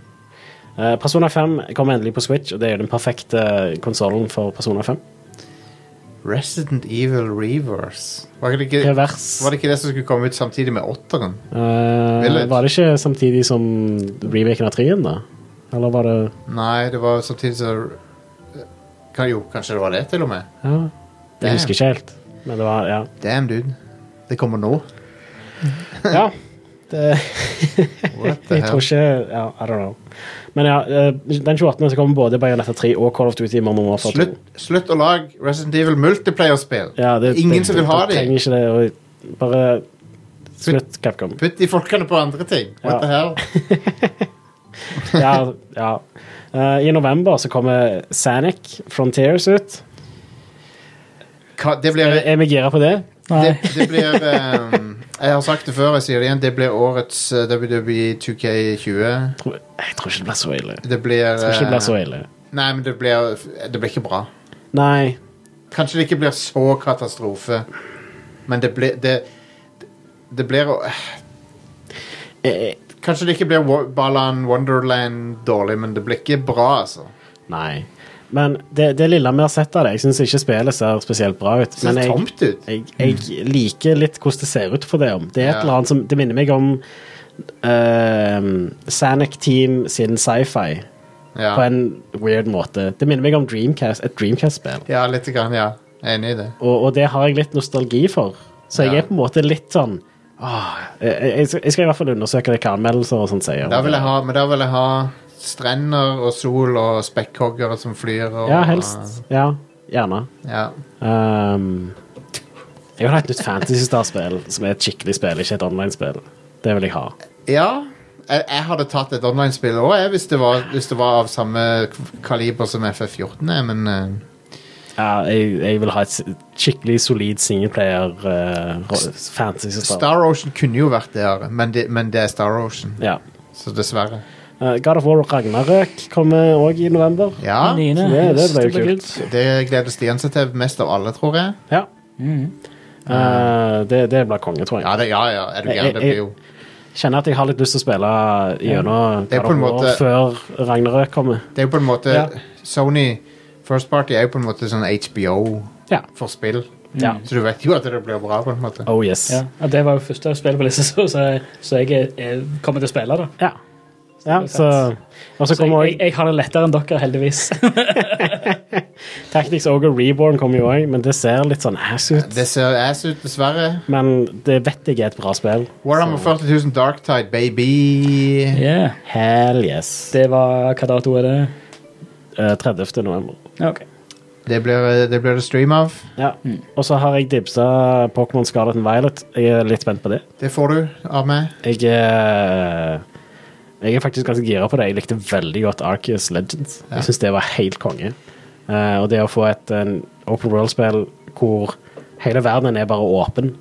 D: Eh, Persona 5 kommer endelig på Switch, og det er jo den perfekte eh, konsollen for Persona 5.
C: Resident Evil Reverse. Var det, ikke,
D: Revers.
C: var det ikke det som skulle komme ut samtidig med åtteren?
D: Eh,
C: Village.
D: var det ikke samtidig som remaken av 3-en, da? Eller var det
C: Nei, det var samtidig som Kan- Jo, kanskje det var det, til og med.
D: ja.
C: Damn.
D: Jeg husker ikke helt, men det var
C: (laughs)
D: Ja.
C: Damn, dude. Det kommer
D: (laughs)
C: nå.
D: ja det,
C: What the
D: (laughs) jeg tror
C: hell?
D: ikke ja, I don't know. Men ja, eh, den 28. så kommer både Bayonetta 3 og Call of Duty Modern Warfare 2.
C: Slutt, slutt å lage Resident Evil multiplayer-spill.
D: Ja, det,
C: Ingen
D: det,
C: som vil
D: det-
C: ha
D: det
C: dem.
D: trenger ikke det, og Bare slutt, Capcom.
C: Putt de folkene på andre ting. What
D: Ja.
C: the hell?
D: Ja, ja. Eh, I november så kommer Sanic Frontiers ut.
C: Hva- Det blir,
D: Er, er vi gira på det?
E: Nei.
C: det, det
D: (laughs)
C: blir ehm, Jeg har sagt det før, jeg sier det igjen. Det blir årets eh, WWE 2K20.
D: Tror- Jeg tror ikke det blir så ille. Jeg
C: Det blir,
D: tror ikke det blir så
C: eh,
D: ille.
C: Nei, men det blir, det blir ikke bra.
D: Nei.
C: Kanskje det ikke blir så katastrofe, men det blir det, det blir
D: Eh, eh,
C: Kanskje det ikke blir Wo- Balan Wonderland dårlig, men det blir ikke bra, altså.
D: Nei. Men det, det lille vi har sett av det, jeg syns ikke spillet ser spesielt bra ut.
C: Det ser
D: men jeg,
C: tomt ut.
D: jeg, jeg liker litt hvordan det ser ut for det. om. Det er et
C: Ja.
D: eller annet som, det minner meg om eh, Sanic Team sin sci-fi
C: Ja,
D: på en weird måte. Det minner meg om Dreamcast, et Dreamcast-spill.
C: ja litt. Grann, ja. Jeg er enig i det.
D: Og, og det har jeg litt nostalgi for. Så jeg
C: Ja.
D: er på en måte litt sånn åh, jeg, jeg skal- jeg skal i hvert fall undersøke det hva anmeldelser og sånt sier. om
C: Da vil
D: det.
C: jeg ha, men da vil jeg ha strender og sol og spekkhoggere som flyr. Og,
D: Ja, helst. Ja, gjerne.
C: Ja.
D: Ehm, jeg vil ha et nytt Fantasy Star-spill, som er et skikkelig spill, ikke et online-spill. Det vil jeg ha.
C: ja jeg, jeg hadde tatt et online-spill òg, jeg, hvis, det var- hvis det var av samme k- kaliber som FF14, jeg, men eh,
D: Ja, jeg, jeg vil ha et s- skikkelig solid singleplayer eh, ro- Fantasy Star.
C: Star Ocean kunne jo vært det, Are, men det, men det er Star Ocean.
D: Ja.
C: Så dessverre.
D: Eh, God of War og Ragnarøk kommer òg i november.
C: Ja,
E: Niene.
D: Ja, det
E: Yes,
D: ble jo
E: blir
D: kult.
C: det gleder Stian seg til mest av alle, tror jeg.
D: Ja.
E: Mm.
D: Eh, det, det blir konge, tror jeg.
C: Ja, det, ja, ja er du gæren? Det blir jo
D: Kjenner at jeg har litt lyst til å spille gjennom
C: Det er på en
D: God of War
C: måte-
D: før Ragnarøk kommer.
C: Det er jo på en måte
D: Ja.
C: Sony First Party er jo på en måte sånn HBO
D: Ja.
C: for spill.
D: Ja.
C: Så du kult. vet jo at det blir bra, på en måte.
D: Oh yes.
E: Ja, ja, det var jo første spill på lista, (laughs) så, så- så jeg er, er, kommer til å spille det.
D: Ja. Ja,
E: det er
D: så, og så
E: Så jeg,
D: kommer
E: jeg,
D: også
E: jeg har det lettere enn dere,
D: (laughs)
E: heldigvis.
D: Tactics Ogre Reborn kommer jo òg, men det ser litt sånn ass ut.
C: Det ser ass ut, dessverre.
D: Men det vet jeg er et bra spill.
C: Warhammer 40 000 Darktide, baby.
E: Yeah.
D: Hell yes.
E: Det var Hva dato er det?
D: Eh, 30. november.
E: Ja, ok.
C: Det blir det, blir det stream av.
D: Ja.
C: Mm.
D: Og så har jeg dibsa Pokémon Scarlet and Violet. Jeg er litt spent på det.
C: Det får du av meg.
D: Jeg, eh, jeg er faktisk ganske gira på det. Jeg likte veldig godt Arceus Legends. Jeg syns det var helt konge. Eh, og det å få et en open world-spill hvor hele verden er bare åpen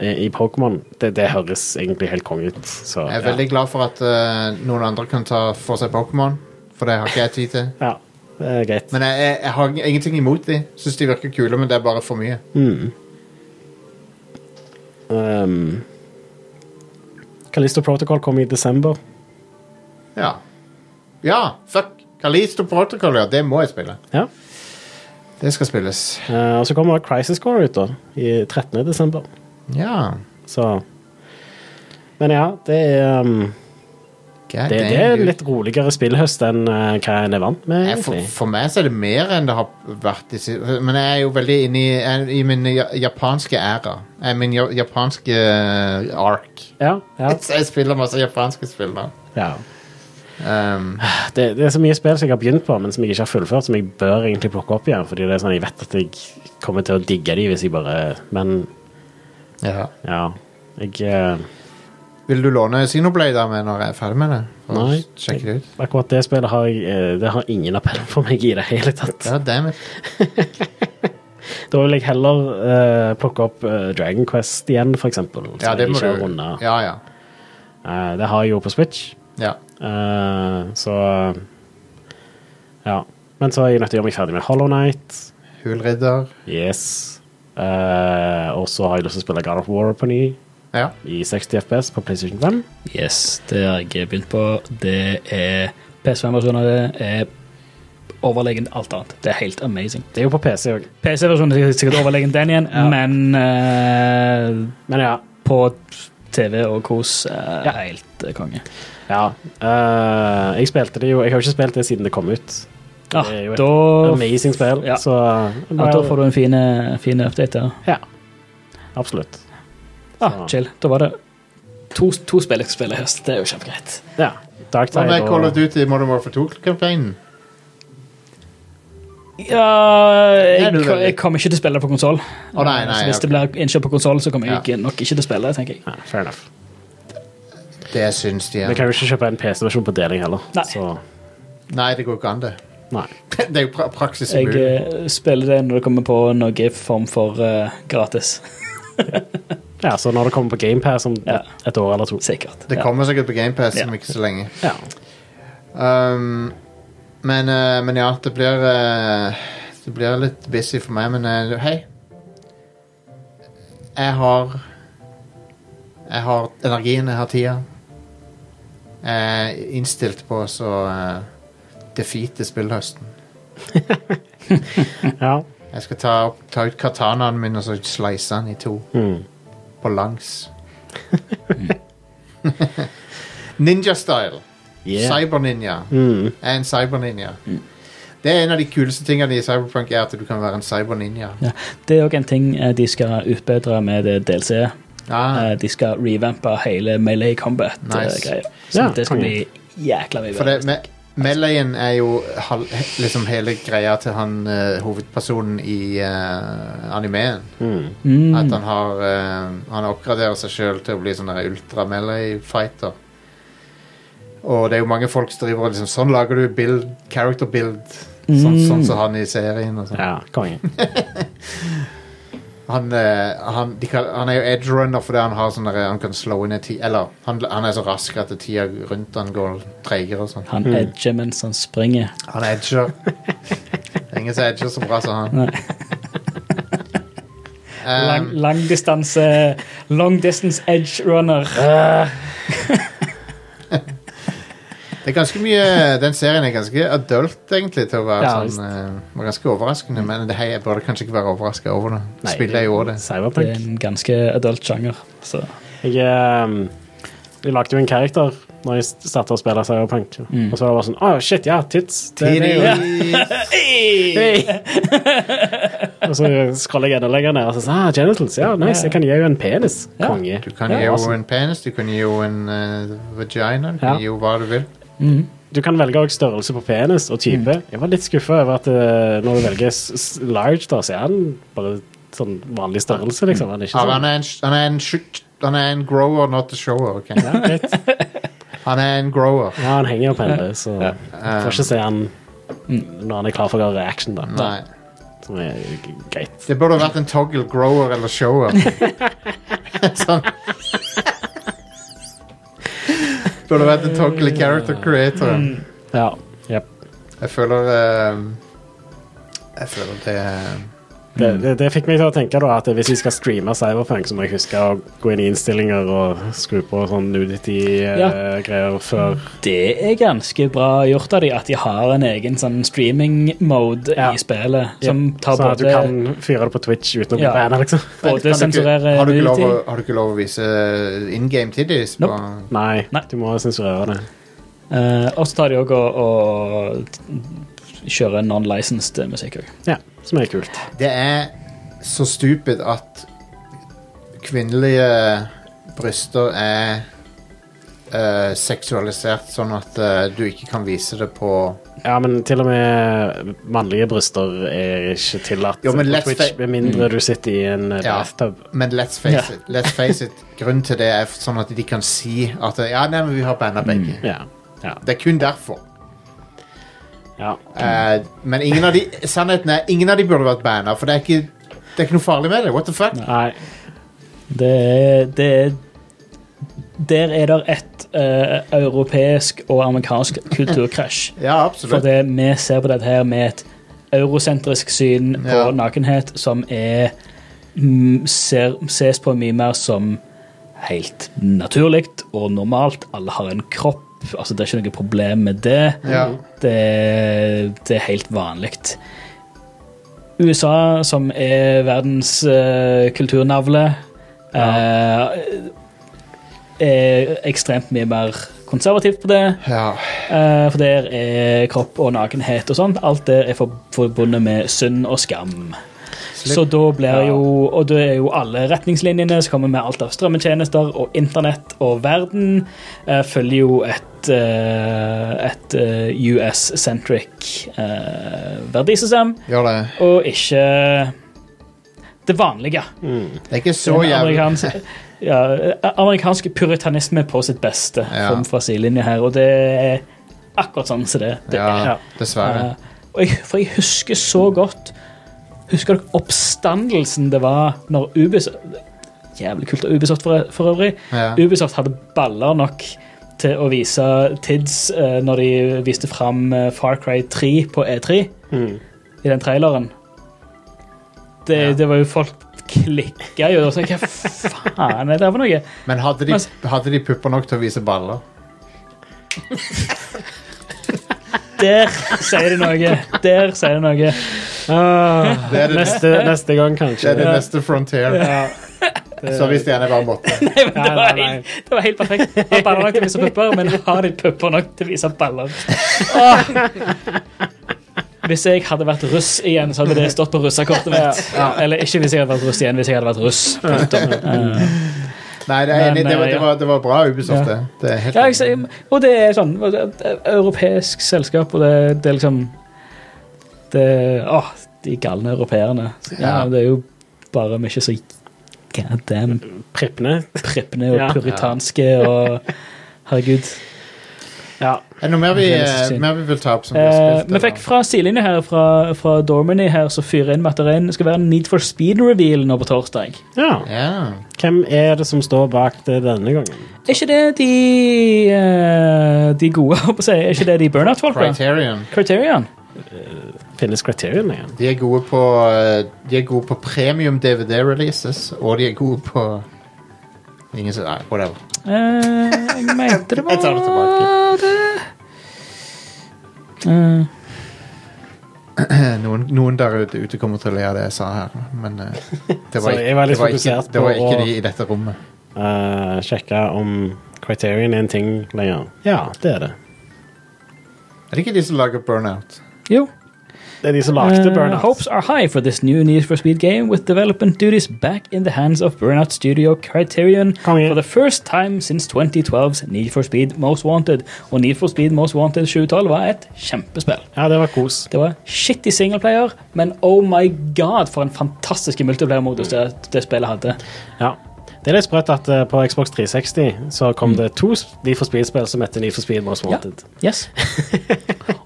D: i, i Pokémon, det, det høres egentlig helt konge ut. Så,
C: Jeg er
D: ja.
C: veldig glad for at eh, noen andre kan ta for seg Pokémon, for det har ikke jeg tid til.
D: Ja, det er greit.
C: Men jeg, jeg, jeg har ingenting imot de. Syns de virker kule, men det er bare for mye.
D: Um, Callisto Protocol kom i desember.
C: Ja. Ja, fuck. Kalisto Protocol, ja. Det må jeg spille.
D: Ja.
C: Det skal spilles.
D: Eh, og så kommer Crisis Core ut da, i 13. desember.
C: Ja.
D: Så Men ja, det er um,
C: God
D: det, det
C: damn,
D: er
C: dude.
D: litt roligere spillhøst enn eh, hva en er vant med,
C: Nei, for,
D: egentlig.
C: for meg så er det mer enn det har vært de si- Men jeg er jo veldig inne i, jeg er i min ja- japanske æra. Jeg er Min ja- japanske eh, ark.
D: Ja, ja,
C: Så (laughs) Jeg spiller masse japanske spill nå.
D: ja.
C: Um,
D: Det, det er så mye spill som jeg har begynt på, men som jeg ikke har fullført, som jeg bør egentlig plukke opp igjen, fordi det er sånn jeg vet at jeg kommer til å digge de hvis jeg bare Men
C: ja.
D: ja. Jeg eh,
C: Vil du låne Xenoblade av meg når jeg er ferdig med det? For å
D: Nei.
C: Sjekke det ut?
D: Akkurat det spillet har jeg eh, Det har ingen appell for meg i det hele tatt.
C: Ja, damn it.
D: Da vil jeg heller eh, plukke opp eh, Dragon Quest igjen, for eksempel. som
C: Ja, det
D: jeg
C: må
D: ikke
C: du
D: har rundet.
C: Ja, ja.
D: Eh, det har jeg jo på Switch,
C: ja.
D: eh, så eh, Ja. Men så er jeg nødt til å gjøre meg ferdig med Hollow Night.
C: Hulridder.
D: Yes. Eh, og så har jeg lyst til å spille God of War på ny
C: Ja.
D: i 60 FPS på PlayStation 5.
E: Yes, det har jeg begynt på. Det er PS5-versjonen av det er overlegen alt annet. Det er helt amazing.
D: Det er jo på PC òg.
E: PC-versjonen er sikkert overlegen den igjen,
D: Ja.
E: men eh,
D: Men ja.
E: på TV og kos eh,
D: Ja.
E: helt eh, konge.
D: ja. Eh, jeg spilte det jo Jeg har jo ikke spilt det siden det kom ut.
E: Ja,
D: Det er jo et
E: Ah, da,
D: Amazing spill.
E: Ja.
D: Så
E: ja, da får du en fin eh, fin update der.
D: Ja. Absolutt.
E: Ah, chill. Da var det to, to spill jeg spiller i høst. Det er jo kjempegreit.
D: Ja. Dark
C: Hva
D: Tide
C: med Call
D: og
C: of Duty Modern Warfare 2-kampanjen?
E: Ja, jeg,
C: Nei, du-
E: jeg kommer ikke til å spille det på konsoll.
C: Å, nei, nei,
E: Så hvis det blir innkjøpt på konsoll, så kommer jeg nok ikke til å spille det. tenker jeg.
D: Ja, fair enough.
C: Det syns de
D: Vi
C: er
D: kan jo ikke kjøpe en PC-versjon på deling heller.
E: Nei.
D: Så,
C: Nei, det går ikke an, det. (laughs)
D: nei.
C: Det er jo pra praksis
E: Jeg
C: umulig.
E: eh, spiller det når det kommer på noe form for eh, gratis. (laughs)
D: Ja, så når det kommer på GamePass om
E: Ja.
D: et, et år eller to
E: Sikkert.
C: Det
E: Ja.
C: kommer sikkert på GamePass
E: Ja.
C: om ikke så lenge.
D: Ja.
C: Um, men, eh, men ja, det blir eh, Det blir litt busy for meg, men eh, hei. Jeg har Jeg har energien, jeg har tida. Jeg er innstilt på å så, eh, defeate spillhøsten.
D: ja.
C: Jeg skal ta, ta ut katanaen min og så slice den i to. På langs. (laughs) Ninja-style.
D: Yeah.
C: Cyber-ninja. Jeg er en cyber-ninja. Det er en av de kuleste tingene i Cyberpunk, er at du kan være en cyber-ninja.
E: Ja. Det er òg en ting eh, de skal utbedre med eh, det DLC-et.
C: Ah,
E: Eh, De skal revampe hele Melee Combat-greia.
C: Nice.
E: Så
D: Ja,
E: det skal
D: konge.
E: bli jækla mye
C: for det,
E: bedre.
C: me Meleyen er jo hal liksom hele greia til han eh, hovedpersonen i eh, animeen.
E: Mm.
C: At han har eh, Han oppgraderer seg sjøl til å bli sånn der ultra melee fighter. Og det er jo mange folk som driver og liksom Sånn lager du build, character build. Sånn,
E: Mm.
C: sånn som han i serien. Og sånn.
D: ja konge.
C: han, eh, han, de kall- han er jo edge runner fordi han har sånn der, han kan slå inn i ti Eller han, han er så rask at tida rundt han går treigere og sånn.
E: Han edger mens han springer.
C: Han edger. Det er Ingen som edger så bra som han.
E: Nei.
C: Um,
E: Lang, lang distanse Long distance edge runner.
C: det er ganske mye Den serien er ganske adult, egentlig, til å være
E: Ja,
C: sånn eh, var Ganske overraskende, men det, hei, jeg burde kanskje ikke være overraska over det.
D: Nei,
C: Spillet er jo også det.
E: Det er
D: Cyberpunk.
E: en ganske adult sjanger. Så.
D: Jeg, ehm, jeg lagde jo en karakter når jeg starta å spille Cyberpunk. Og så var det bare sånn Å, shit, ja, tits. Det, det, er jo- (laughs) Og så scroller jeg enda lenger ned og så sånn ah, Genitals. Ja, nice. Jeg kan gi henne en penis.
E: Ja.
D: Konge.
C: Du kan
D: Ja,
C: gi henne
D: awesome.
C: en penis, du kan gi henne en eh, vagina, du kan
D: Ja.
C: gi henne hva du vil.
D: Du kan velge også størrelse på penis og type.
E: Mm.
D: Jeg var litt skuffa over at eh, når du velger s- s- large, da, så er han bare sånn vanlig størrelse, liksom. Han er ikke
C: Ja,
D: sånn
C: han er en, han er en, shoot- han er en grower, not a shower. ok?
D: ja, greit.
C: Han er en grower.
D: ja, han henger opp henne, så får ikke se han
E: Mm.
D: når han er klar for å gjøre action, da.
C: Nei.
D: Som er g- greit.
C: Det burde vært en toggle grower eller
E: (laughs)
C: shower. sånn. burde vært en toggle character creator.
E: Mm.
D: Ja. Jep.
C: Jeg føler ehm, Jeg føler det eh,
D: Det,
E: Mm.
D: det, det fikk meg til å tenke da at hvis vi skal streame Cyberpunk, så må jeg huske å gå inn i innstillinger og skru på sånn nudity-greier før
E: Det er ganske bra gjort av de at de har en egen sånn streaming-mode
D: Ja.
E: i spillet. Som tar
D: Sånn at du
E: både,
D: kan fyre det på Twitch uten å bli
E: Ja.
D: banna, liksom.
C: Kan du
E: både
C: ikke-
E: sensurerer
C: har, du ikke lov
E: nudity.
C: å- har du ikke lov å vise in game tiddies? på-
E: Nope.
D: Nei,
E: Nei.
D: du må sensurere det.
E: Eh, og så tar de òg og, og kjører non-licensed musikk òg.
D: Ja, som er kult.
C: Det er så stupid at kvinnelige bryster er eh, seksualisert sånn at eh, du ikke kan vise det på
D: Ja, men til og med mannlige bryster er ikke tillatt
C: Jo, men
D: på
C: let's
D: Twitch,
C: fa-
D: med
E: Mm.
D: mindre du sitter i en eh,
C: Ja.
D: bathtub.
C: Men let's face
E: Ja.
C: it, let's face
E: (laughs)
C: it grunnen til det er sånn at de kan si at ja, nei, men vi har banna begge.
D: Ja. Ja.
C: Det er kun derfor.
D: ja.
C: Eh, men ingen av de, sannheten er ingen av de burde vært banna, for det er ikke det er ikke noe farlig med det. What the fuck?
D: Nei.
E: Det er, det er Der er det et eh, europeisk og amerikansk kulturkrasj.
C: Ja,
E: For
C: absolutt.
E: det vi ser på dette her med et eurosentrisk syn på
C: Ja.
E: nakenhet som er mm, ser, ses på mye mer som helt naturlig og normalt. Alle har en kropp. Altså, det er ikke noe problem med det.
C: Ja.
E: Det, det er helt vanlig. USA, som er verdens eh, kulturnavle, eh, er ekstremt mye mer konservativt på det.
C: ja.
E: Eh, for der er kropp og nakenhet og sånt. Alt det er for- forbundet med synd og skam.
C: utslipp.
E: Så da blir
D: Ja.
E: jo Og da er jo alle retningslinjene som kommer med alt av strømmetjenester og internett og verden, eh, følger jo et eh, et eh, US-centric eh, verdisystem,
C: Gjør det.
E: og ikke det vanlige.
C: Det er ikke så
E: Den
C: jævlig
E: amerikanske- ja, eh, amerikansk puritanisme på sitt beste,
C: Ja.
E: kom fra sidelinja her, og det er akkurat sånn som det, det er.
C: Ja, dessverre.
E: Eh, og jeg, for jeg husker så godt Husker dere oppstandelsen det var når Ubisoft Jævlig kult av Ubisoft for, for øvrig.
C: Ja.
E: Ubisoft hadde baller nok til å vise Tids eh, når de viste fram eh, Far Cry 3 på E3 i den traileren. Det, det var jo folk klikka jo. og så, Hva faen er det her for noe?
C: Men hadde de,
E: Men-
C: hadde de pupper nok til å vise baller?
E: Der sier det noe. Der sier det noe.
D: Ah,
C: Det er det,
D: neste,
E: (laughs)
D: neste gang,
C: det,
D: kanskje.
C: er det neste frontier. (laughs) Så hvis de gjerne bare måtte.
E: Nei, men (laughs) det,
D: Nei,
E: var
D: nei, nei.
E: helt, det var helt perfekt. Har baller nok til å vise pupper, men har de pupper nok til å vise baller? Åh. Hvis jeg hadde vært russ igjen, så hadde det stått på russekortet mitt. Eller ikke hvis jeg hadde vært russ igjen, hvis jeg hadde vært russ. Punktum. Eh,
C: Nei, det er,
E: Men,
C: enig, det, var,
E: eh,
C: det, var, det var bra Ubisoft, det. Det er helt
E: Ja, jeg, ser- og det er sånn og det er et Europeisk selskap, og det, det er liksom det, Åh, de galne europeerne. Ja,
C: Ja.
E: det er jo bare mye så god damn
D: Prippene.
E: prippende og
D: Ja.
E: puritanske og Herregud.
D: Ja.
C: Er det noe mer vi, eh,
E: Det er nesten synd.
C: mer vi vil ta opp som vi har
E: Eh,
C: spilt?
E: Vi fikk fra sidelinja her, fra, fra Dormany her, som fyrer inn med at det er en- skal være en Need for Speed-reveal nå på torsdag.
D: ja.
C: eller? ja.
D: Hvem er det som står bak det denne gangen?
E: Er ikke det de eh, De gode, holdt på å si? Er ikke det de burnout-folka?
C: Criterion.
E: Criterion.
D: Finnes Criterion igjen?
C: De er gode på eh, De er gode på premium DVD-releases, og de er gode på Ingen som Nei, whatever.
E: Eh,
C: (laughs)
E: jeg mente det var
C: Jeg tar det tilbake.
E: Eh,
C: Eh, Noen, noen der ute, ute kommer til å le av det jeg sa her, men (laughs) eh, det
D: Så
C: var,
D: jeg var litt
C: det var ikke,
D: fokusert
C: det var
D: på
C: ikke
D: å-
C: de i dette rommet.
D: Eh, sjekke om Criterion er en ting lenger. Ja, det er det.
C: Er det ikke de som lager Burnout?
E: jo.
D: Det er de som
E: Eh,
D: lagde Burnout.
E: hopes are high for this new Need for Speed game, with development duties back in the hands of Burnout Studio Criterion
D: Konge.
E: for the first time since 2012's Need for Speed Most Wanted. Og Need for Speed Most Wanted 2012 var et kjempespill.
D: Ja, det var kos.
E: Det var shitty singleplayer, men oh my god, for en fantastisk multiplayer-modus det, det spillet hadde.
D: Ja. Det er litt sprøtt at eh, på Xbox 360 så
E: Mm.
D: kom det to sp- Need for Speed-spill som heter Need for Speed Most Wanted. (laughs)
E: Yes.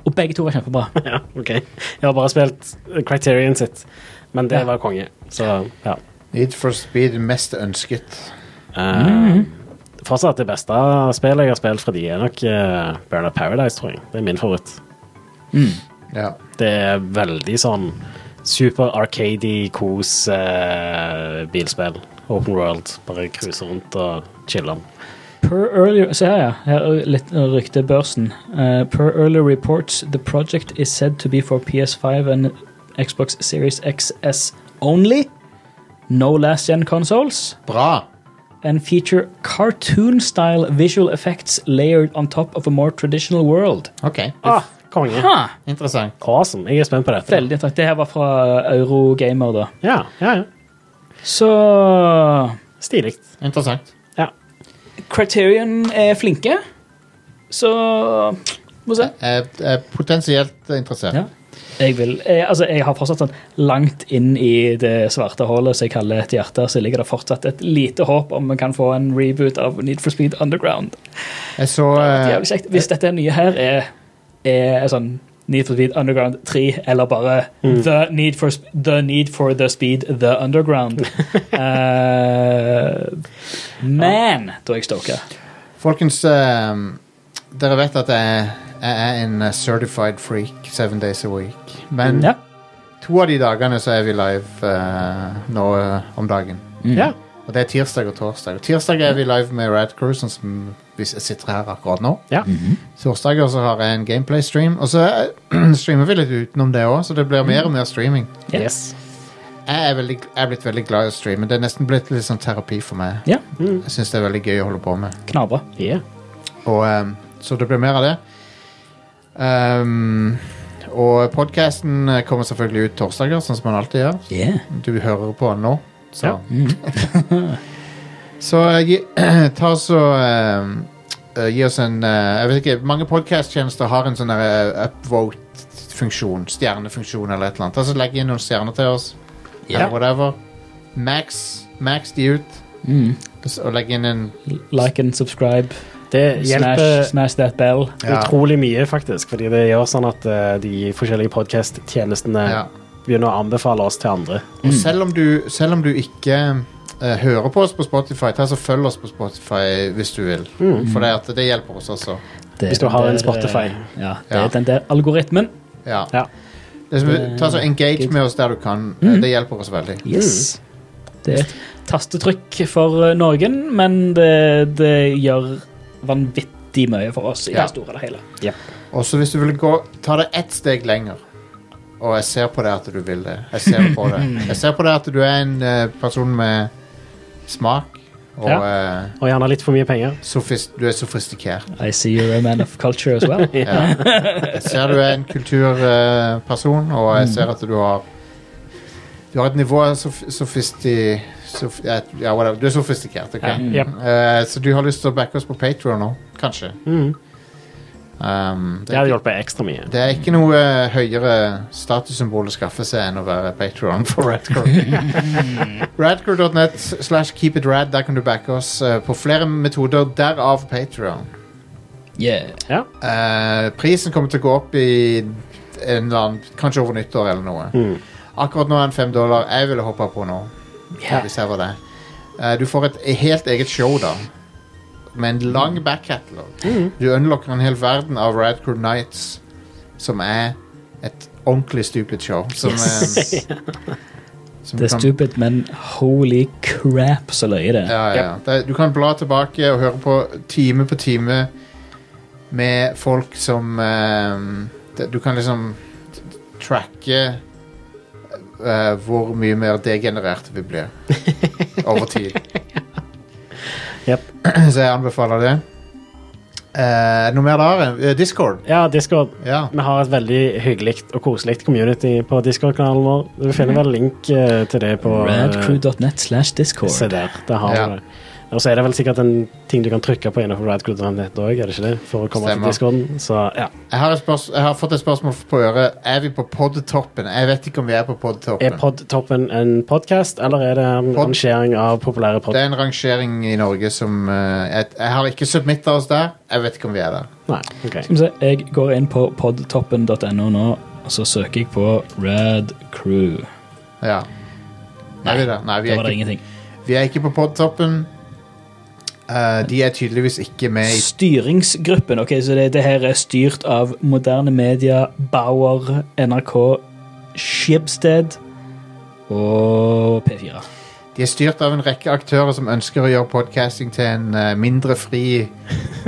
E: Og begge to var kjempebra.
D: Ja. ok. Jeg har bare spilt eh, Criterion sitt, men det
E: Ja.
D: var konge. Så ja.
C: Need for Speed mest ønsket.
D: Eh, Fortsatt det beste spillet jeg har spilt fra de, er nok uh, Burnout Paradise, tror jeg. Det er min favoritt.
C: Ja.
D: Det er veldig sånn super arcady, kos eh, bilspill. Open world. Bare cruise rundt og chille.
E: Per earlier, se her, ja. Her er litt uh, ryktebørsen. Uh, per earlier reports, the project is said to be for PS5 and Xbox Series XS only. No last-gen consoles.
C: Bra!
E: And feature cartoon-style visual effects layered on top of a more traditional world.
C: OK.
D: Ah, konge.
E: Ah,
C: Interessant.
D: Awesome. Jeg er spent på dette.
E: veldig interessant. Det her var fra Eurogamer, da.
D: Ja, ja, ja.
E: Så
D: Stilig.
C: Interessant.
D: Ja.
E: Criterion er flinke. Så må se.
C: Jeg er potensielt interessert.
E: Ja. Jeg, vil, jeg, altså, jeg har fortsatt sånn langt inn i det svarte hullet som jeg kaller et hjerte, så ligger det fortsatt et lite håp om vi kan få en reboot av Need for Speed Underground.
C: Jeg så
E: Det er
C: eh,
E: jævlig kjekt. Hvis dette nye her er, er sånn Need for Speed Underground 3, eller bare
D: Mm.
E: the, need for, Sp- the Need for the Speed The
D: (laughs)
E: Underground Eh, Man, da er jeg stoka.
C: Folkens, eh, dere vet at jeg, jeg er en eh, certified freak seven days a week. Men
E: Ja.
C: to av de dagene så er vi live eh, nå eh, om dagen.
E: Mm.
D: ja.
C: Og det er tirsdag og torsdag. Og tirsdag er vi live med Radcrew, sånn som vi s- sitter her akkurat nå.
D: Ja.
C: Torsdager så har jeg en gameplay-stream, og så (clears throat) eh, streamer vi litt utenom det òg, så det blir mer og mer streaming.
E: Yes.
C: Jeg er, veldig, jeg er blitt veldig glad i å streame. Det er nesten blitt litt sånn terapi for meg.
E: Ja,
C: Jeg syns det er veldig gøy å holde på med.
E: knabra.
D: Ja.
C: Og, ehm, så det blir mer av det. Ehm, og podkasten kommer selvfølgelig ut torsdager, sånn som man alltid gjør.
E: Yeah.
C: Du hører på den nå, så
D: Ja.
C: (laughs) Så eh, gi, (clears throat) ta så eh, eh, Gi oss en eh, Jeg vet ikke, mange podkast-tjenester har en sånn der, eh, upvote-funksjon, stjernefunksjon eller et eller annet. Altså legg inn noen stjerner til oss. Eller whatever. Max, max de ut,
E: Mm.
C: og legg inn en
E: Like and subscribe.
D: Det hjelper
E: Smash, smash that bell.
C: Ja.
D: utrolig mye, faktisk. Fordi det gjør sånn at eh, de forskjellige podkast-tjenestene
C: Ja.
D: begynner å anbefale oss til andre.
C: Og selv om du, selv om du ikke eh, hører på oss på Spotify, ta så følg oss på Spotify hvis du vil. For det, at det hjelper oss også.
E: Det er
D: Hvis du
E: den
D: har en
E: der,
D: Spotify.
E: eh, Ja, det
C: Ja.
E: er den der algoritmen.
C: Ja.
D: Ja.
C: Det er som- ta så Engage med oss der du kan. Eh, Det hjelper oss veldig.
E: Yes. Mm. Det er et tastetrykk for eh, Norgen, men det, det gjør vanvittig mye for oss i
C: Ja.
E: det store og det hele.
C: Også hvis du vil gå Ta det ett steg lenger. Og jeg ser på deg at du vil det. Jeg ser på det Jeg ser på deg at du er en eh, person med smak. Og
D: Ja.
C: eh,
D: Og gjerne litt for mye penger.
C: sofis du er sofistikert.
E: I see you're a man of culture as well.
C: Ja. Jeg ser du er en kulturperson, og jeg ser at du har Du har et nivå av sof sofisti... Sof ja, ja, whatever. Du er sofistikert, OK?
D: Ja. Jep.
C: Eh, så du har lyst til å backe oss på Patreon nå? Kanskje. Um, det,
D: Det
C: er
D: hadde
C: ikke,
D: hjulpet ekstra mye.
C: det er ikke noe eh, høyere statussymbol å skaffe seg enn å være Patreon (laughs) for
D: (laughs)
C: Radcrew. Radcrew.net slash keepitrad. Der kan du backe oss eh, på flere metoder, derav Patreon.
E: (laughs) Yeah.
D: Ja.
C: Eh, prisen kommer til å gå opp i en eller annen, kanskje over nyttår eller noe. Akkurat nå er den fem dollar. Jeg ville hoppa på nå. Hvis jeg var det. Eh, du får et helt eget show, da. Med en lang backcatalog. Du unlocker en hel verden av Radcrew Nights, som er et ordentlig stupid show. Som,
E: Yes.
C: eh, som
E: Det er
C: kan-
E: stupid, men holy crap så løye det. er.
C: ja, ja. Det, du kan bla tilbake og høre på time på time med folk som ehm, det, Du kan liksom t- tracke eh, hvor mye mer degenererte vi blir over tid.
D: Jep.
C: (clears throat) Så jeg anbefaler det. Eh, noe mer der? Eh, Discord.
D: ja, Discord.
C: Ja.
D: Vi har et veldig hyggelig og koselig community på Discord-kanalen vår. Du
C: Mhm.
D: finner vel link eh, til det på eh,
E: Radcrew.net slash discord.
D: Se der, det har
C: Ja.
D: vi det. Og så er det vel sikkert en ting du kan trykke på innenfor radcrew.net òg, er det ikke det? For å komme
C: Stemmer.
D: til discorden. Så ja.
C: Jeg har, et spørs- jeg har fått et spørsmål på øret. Er vi på podtoppen? Jeg vet ikke om vi er på podtoppen.
D: Er podtoppen en podkast, eller er det en
C: Pod-
D: rangering av populære
C: Det
D: podkaster?
C: er en rangering i Norge som eh, jeg, jeg har ikke submitta oss der. Jeg vet ikke om vi er der.
D: Nei. ok.
E: Skal vi se, jeg går inn på podtoppen.no nå, og så søker jeg på Radcrew.
C: Ja. er vi der? Nei, vi
E: Da
C: er,
E: var
C: ikke,
E: det ingenting.
C: vi er ikke på podtoppen. Eh, de er tydeligvis ikke med i
E: Styringsgruppen, ok, så det, det her er styrt av moderne media, Bauer, NRK, Skibsted og P4.
C: De er styrt av en rekke aktører som ønsker å gjøre podcasting til en eh, mindre
E: (laughs)
C: fri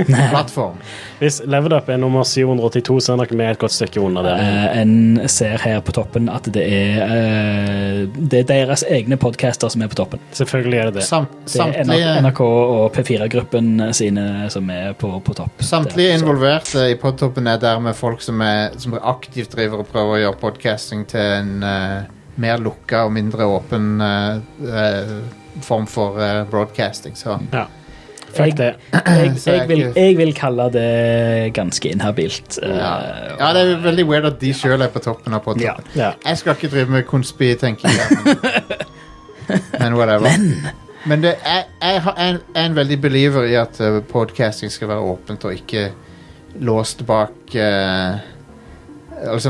C: plattform.
D: Hvis Level Up er nummer 782, så er dere med et godt stykke under der.
E: Eh, en ser her på toppen at det er, eh, det er deres egne podcaster som er på toppen.
D: Selvfølgelig er det det.
C: Samt,
E: Det er
C: samtlige
E: NRK og P4-gruppen sine som er på, på topp.
C: samtlige
E: der, så-
C: involverte i podtoppen er dermed folk som, er, som aktivt driver og prøver å gjøre podcasting til en eh, mer lukka og mindre åpen eh, eh, form for eh, broadcasting. Så
D: Ja. Fuck det.
E: Jeg,
C: Så jeg
E: jeg, vil,
C: ikke-
E: jeg vil kalle det ganske inhabilt. eh,
C: ja. ja, det er veldig weird at de sjøl er på toppen av
E: Ja.
C: podtoppen.
D: Ja.
C: Jeg skal ikke drive med konspi, tenker jeg. Men, men whatever. Men, det, jeg, jeg, har- jeg er en veldig believer i at eh, podcasting skal være åpent og ikke låst bak eh, Altså,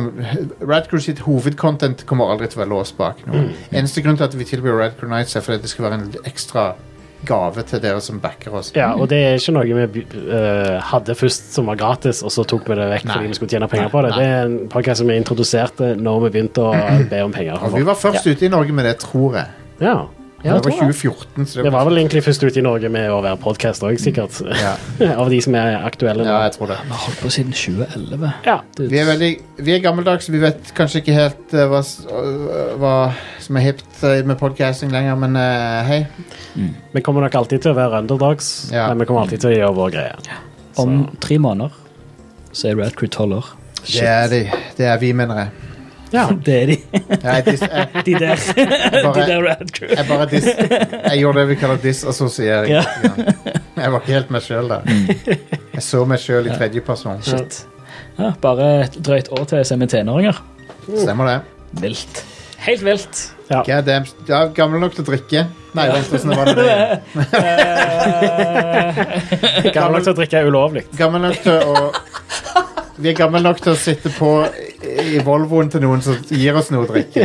C: Radcrew sitt hovedcontent kommer aldri til å være låst bak noe. Eneste grunn til at vi tilbyr Radcrew Nights, er fordi det skal være en ekstra gave til dere som backer oss.
D: ja, og det er ikke noe vi eh, hadde først som var gratis, og så tok vi det vekk
C: Nei.
D: fordi vi skulle tjene penger på det. Det er en podkast som vi introduserte når vi begynte å be om penger.
C: Og vi var først ute i Norge med det, tror jeg.
D: Ja.
E: Ja,
C: det
E: jeg
C: var
E: tror
C: 2014.
E: det.
C: Så
D: Det var vel egentlig først ute i Norge med å være podkast òg, sikkert.
C: Ja.
D: (laughs) Av de som er aktuelle nå.
C: Ja, jeg tror det.
E: Vi har holdt på siden 2011.
D: Ja.
E: Dude.
C: Vi er, veldig, vi er gammeldagse, vi vet kanskje ikke helt eh, hva, s- øh, hva som er hipt eh, med podcasting lenger, men eh, hei.
D: Vi kommer nok alltid til å være underdogs,
C: Ja.
D: men vi kommer alltid til å gjøre vår greie.
E: Om tre måneder så er Radcrew tolv år.
C: Det er, de, det er vi, mener jeg. (laughs)
D: Ja.
E: (laughs) Det er de.
C: Jeg, dis, jeg,
E: De der. (laughs) de
C: bare,
E: der Rad Crew.
C: jeg bare dis, jeg gjorde det vi kaller disassosiering.
E: Ja.
C: Jeg var ikke helt meg sjøl der. Jeg så meg sjøl i tredjeperson.
E: Shit. Ja, bare et drøyt år til så er vi tenåringer.
C: Stemmer det.
E: Vilt. Helt vilt.
C: God damn, du er gammel nok til å drikke. Nei, vent, hvordan var det det?
D: Gammel nok til å drikke er ulovlig.
C: Gammel nok til å Vi er gammel nok til å sitte på i Volvoen til noen som gir oss noe å drikke.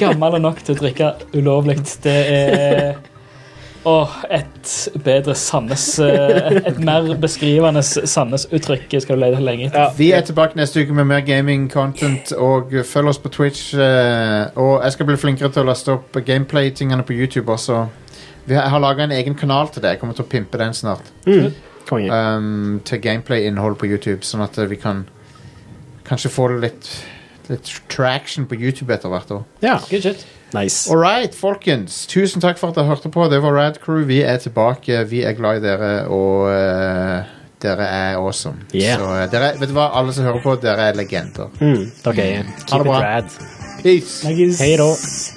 E: Gammel nok til å drikke ulovlig. Det er Åh, et bedre Sandnes eh, Et mer beskrivende Sandnes-uttrykk skal du lete lenge etter.
C: Vi er tilbake neste uke med mer gaming-content. Og følg oss på Twitch. eh, Og jeg skal bli flinkere til å laste opp gameplay-tingene på YouTube også. Vi har- Jeg har laga en egen kanal til det. Jeg kommer til å pimpe den snart.
D: Konge.
C: um, til gameplay-innhold på YouTube, sånn at eh, vi kan kanskje få litt, litt traction på YouTube etter hvert år.
D: Ja.
E: Good shit.
D: Nice.
C: All right, folkens. Tusen takk for at dere hørte på. Det var Rad Crew. Vi er tilbake. Vi er glad i dere, og eh, dere er awesome.
D: Yeah.
C: Så eh, dere, vet du hva, alle som hører på, dere er legender.
D: Mm, dere
C: Ha
D: er
C: det
D: keep it
C: bra.
D: rad.
C: Peace.
D: Hei da.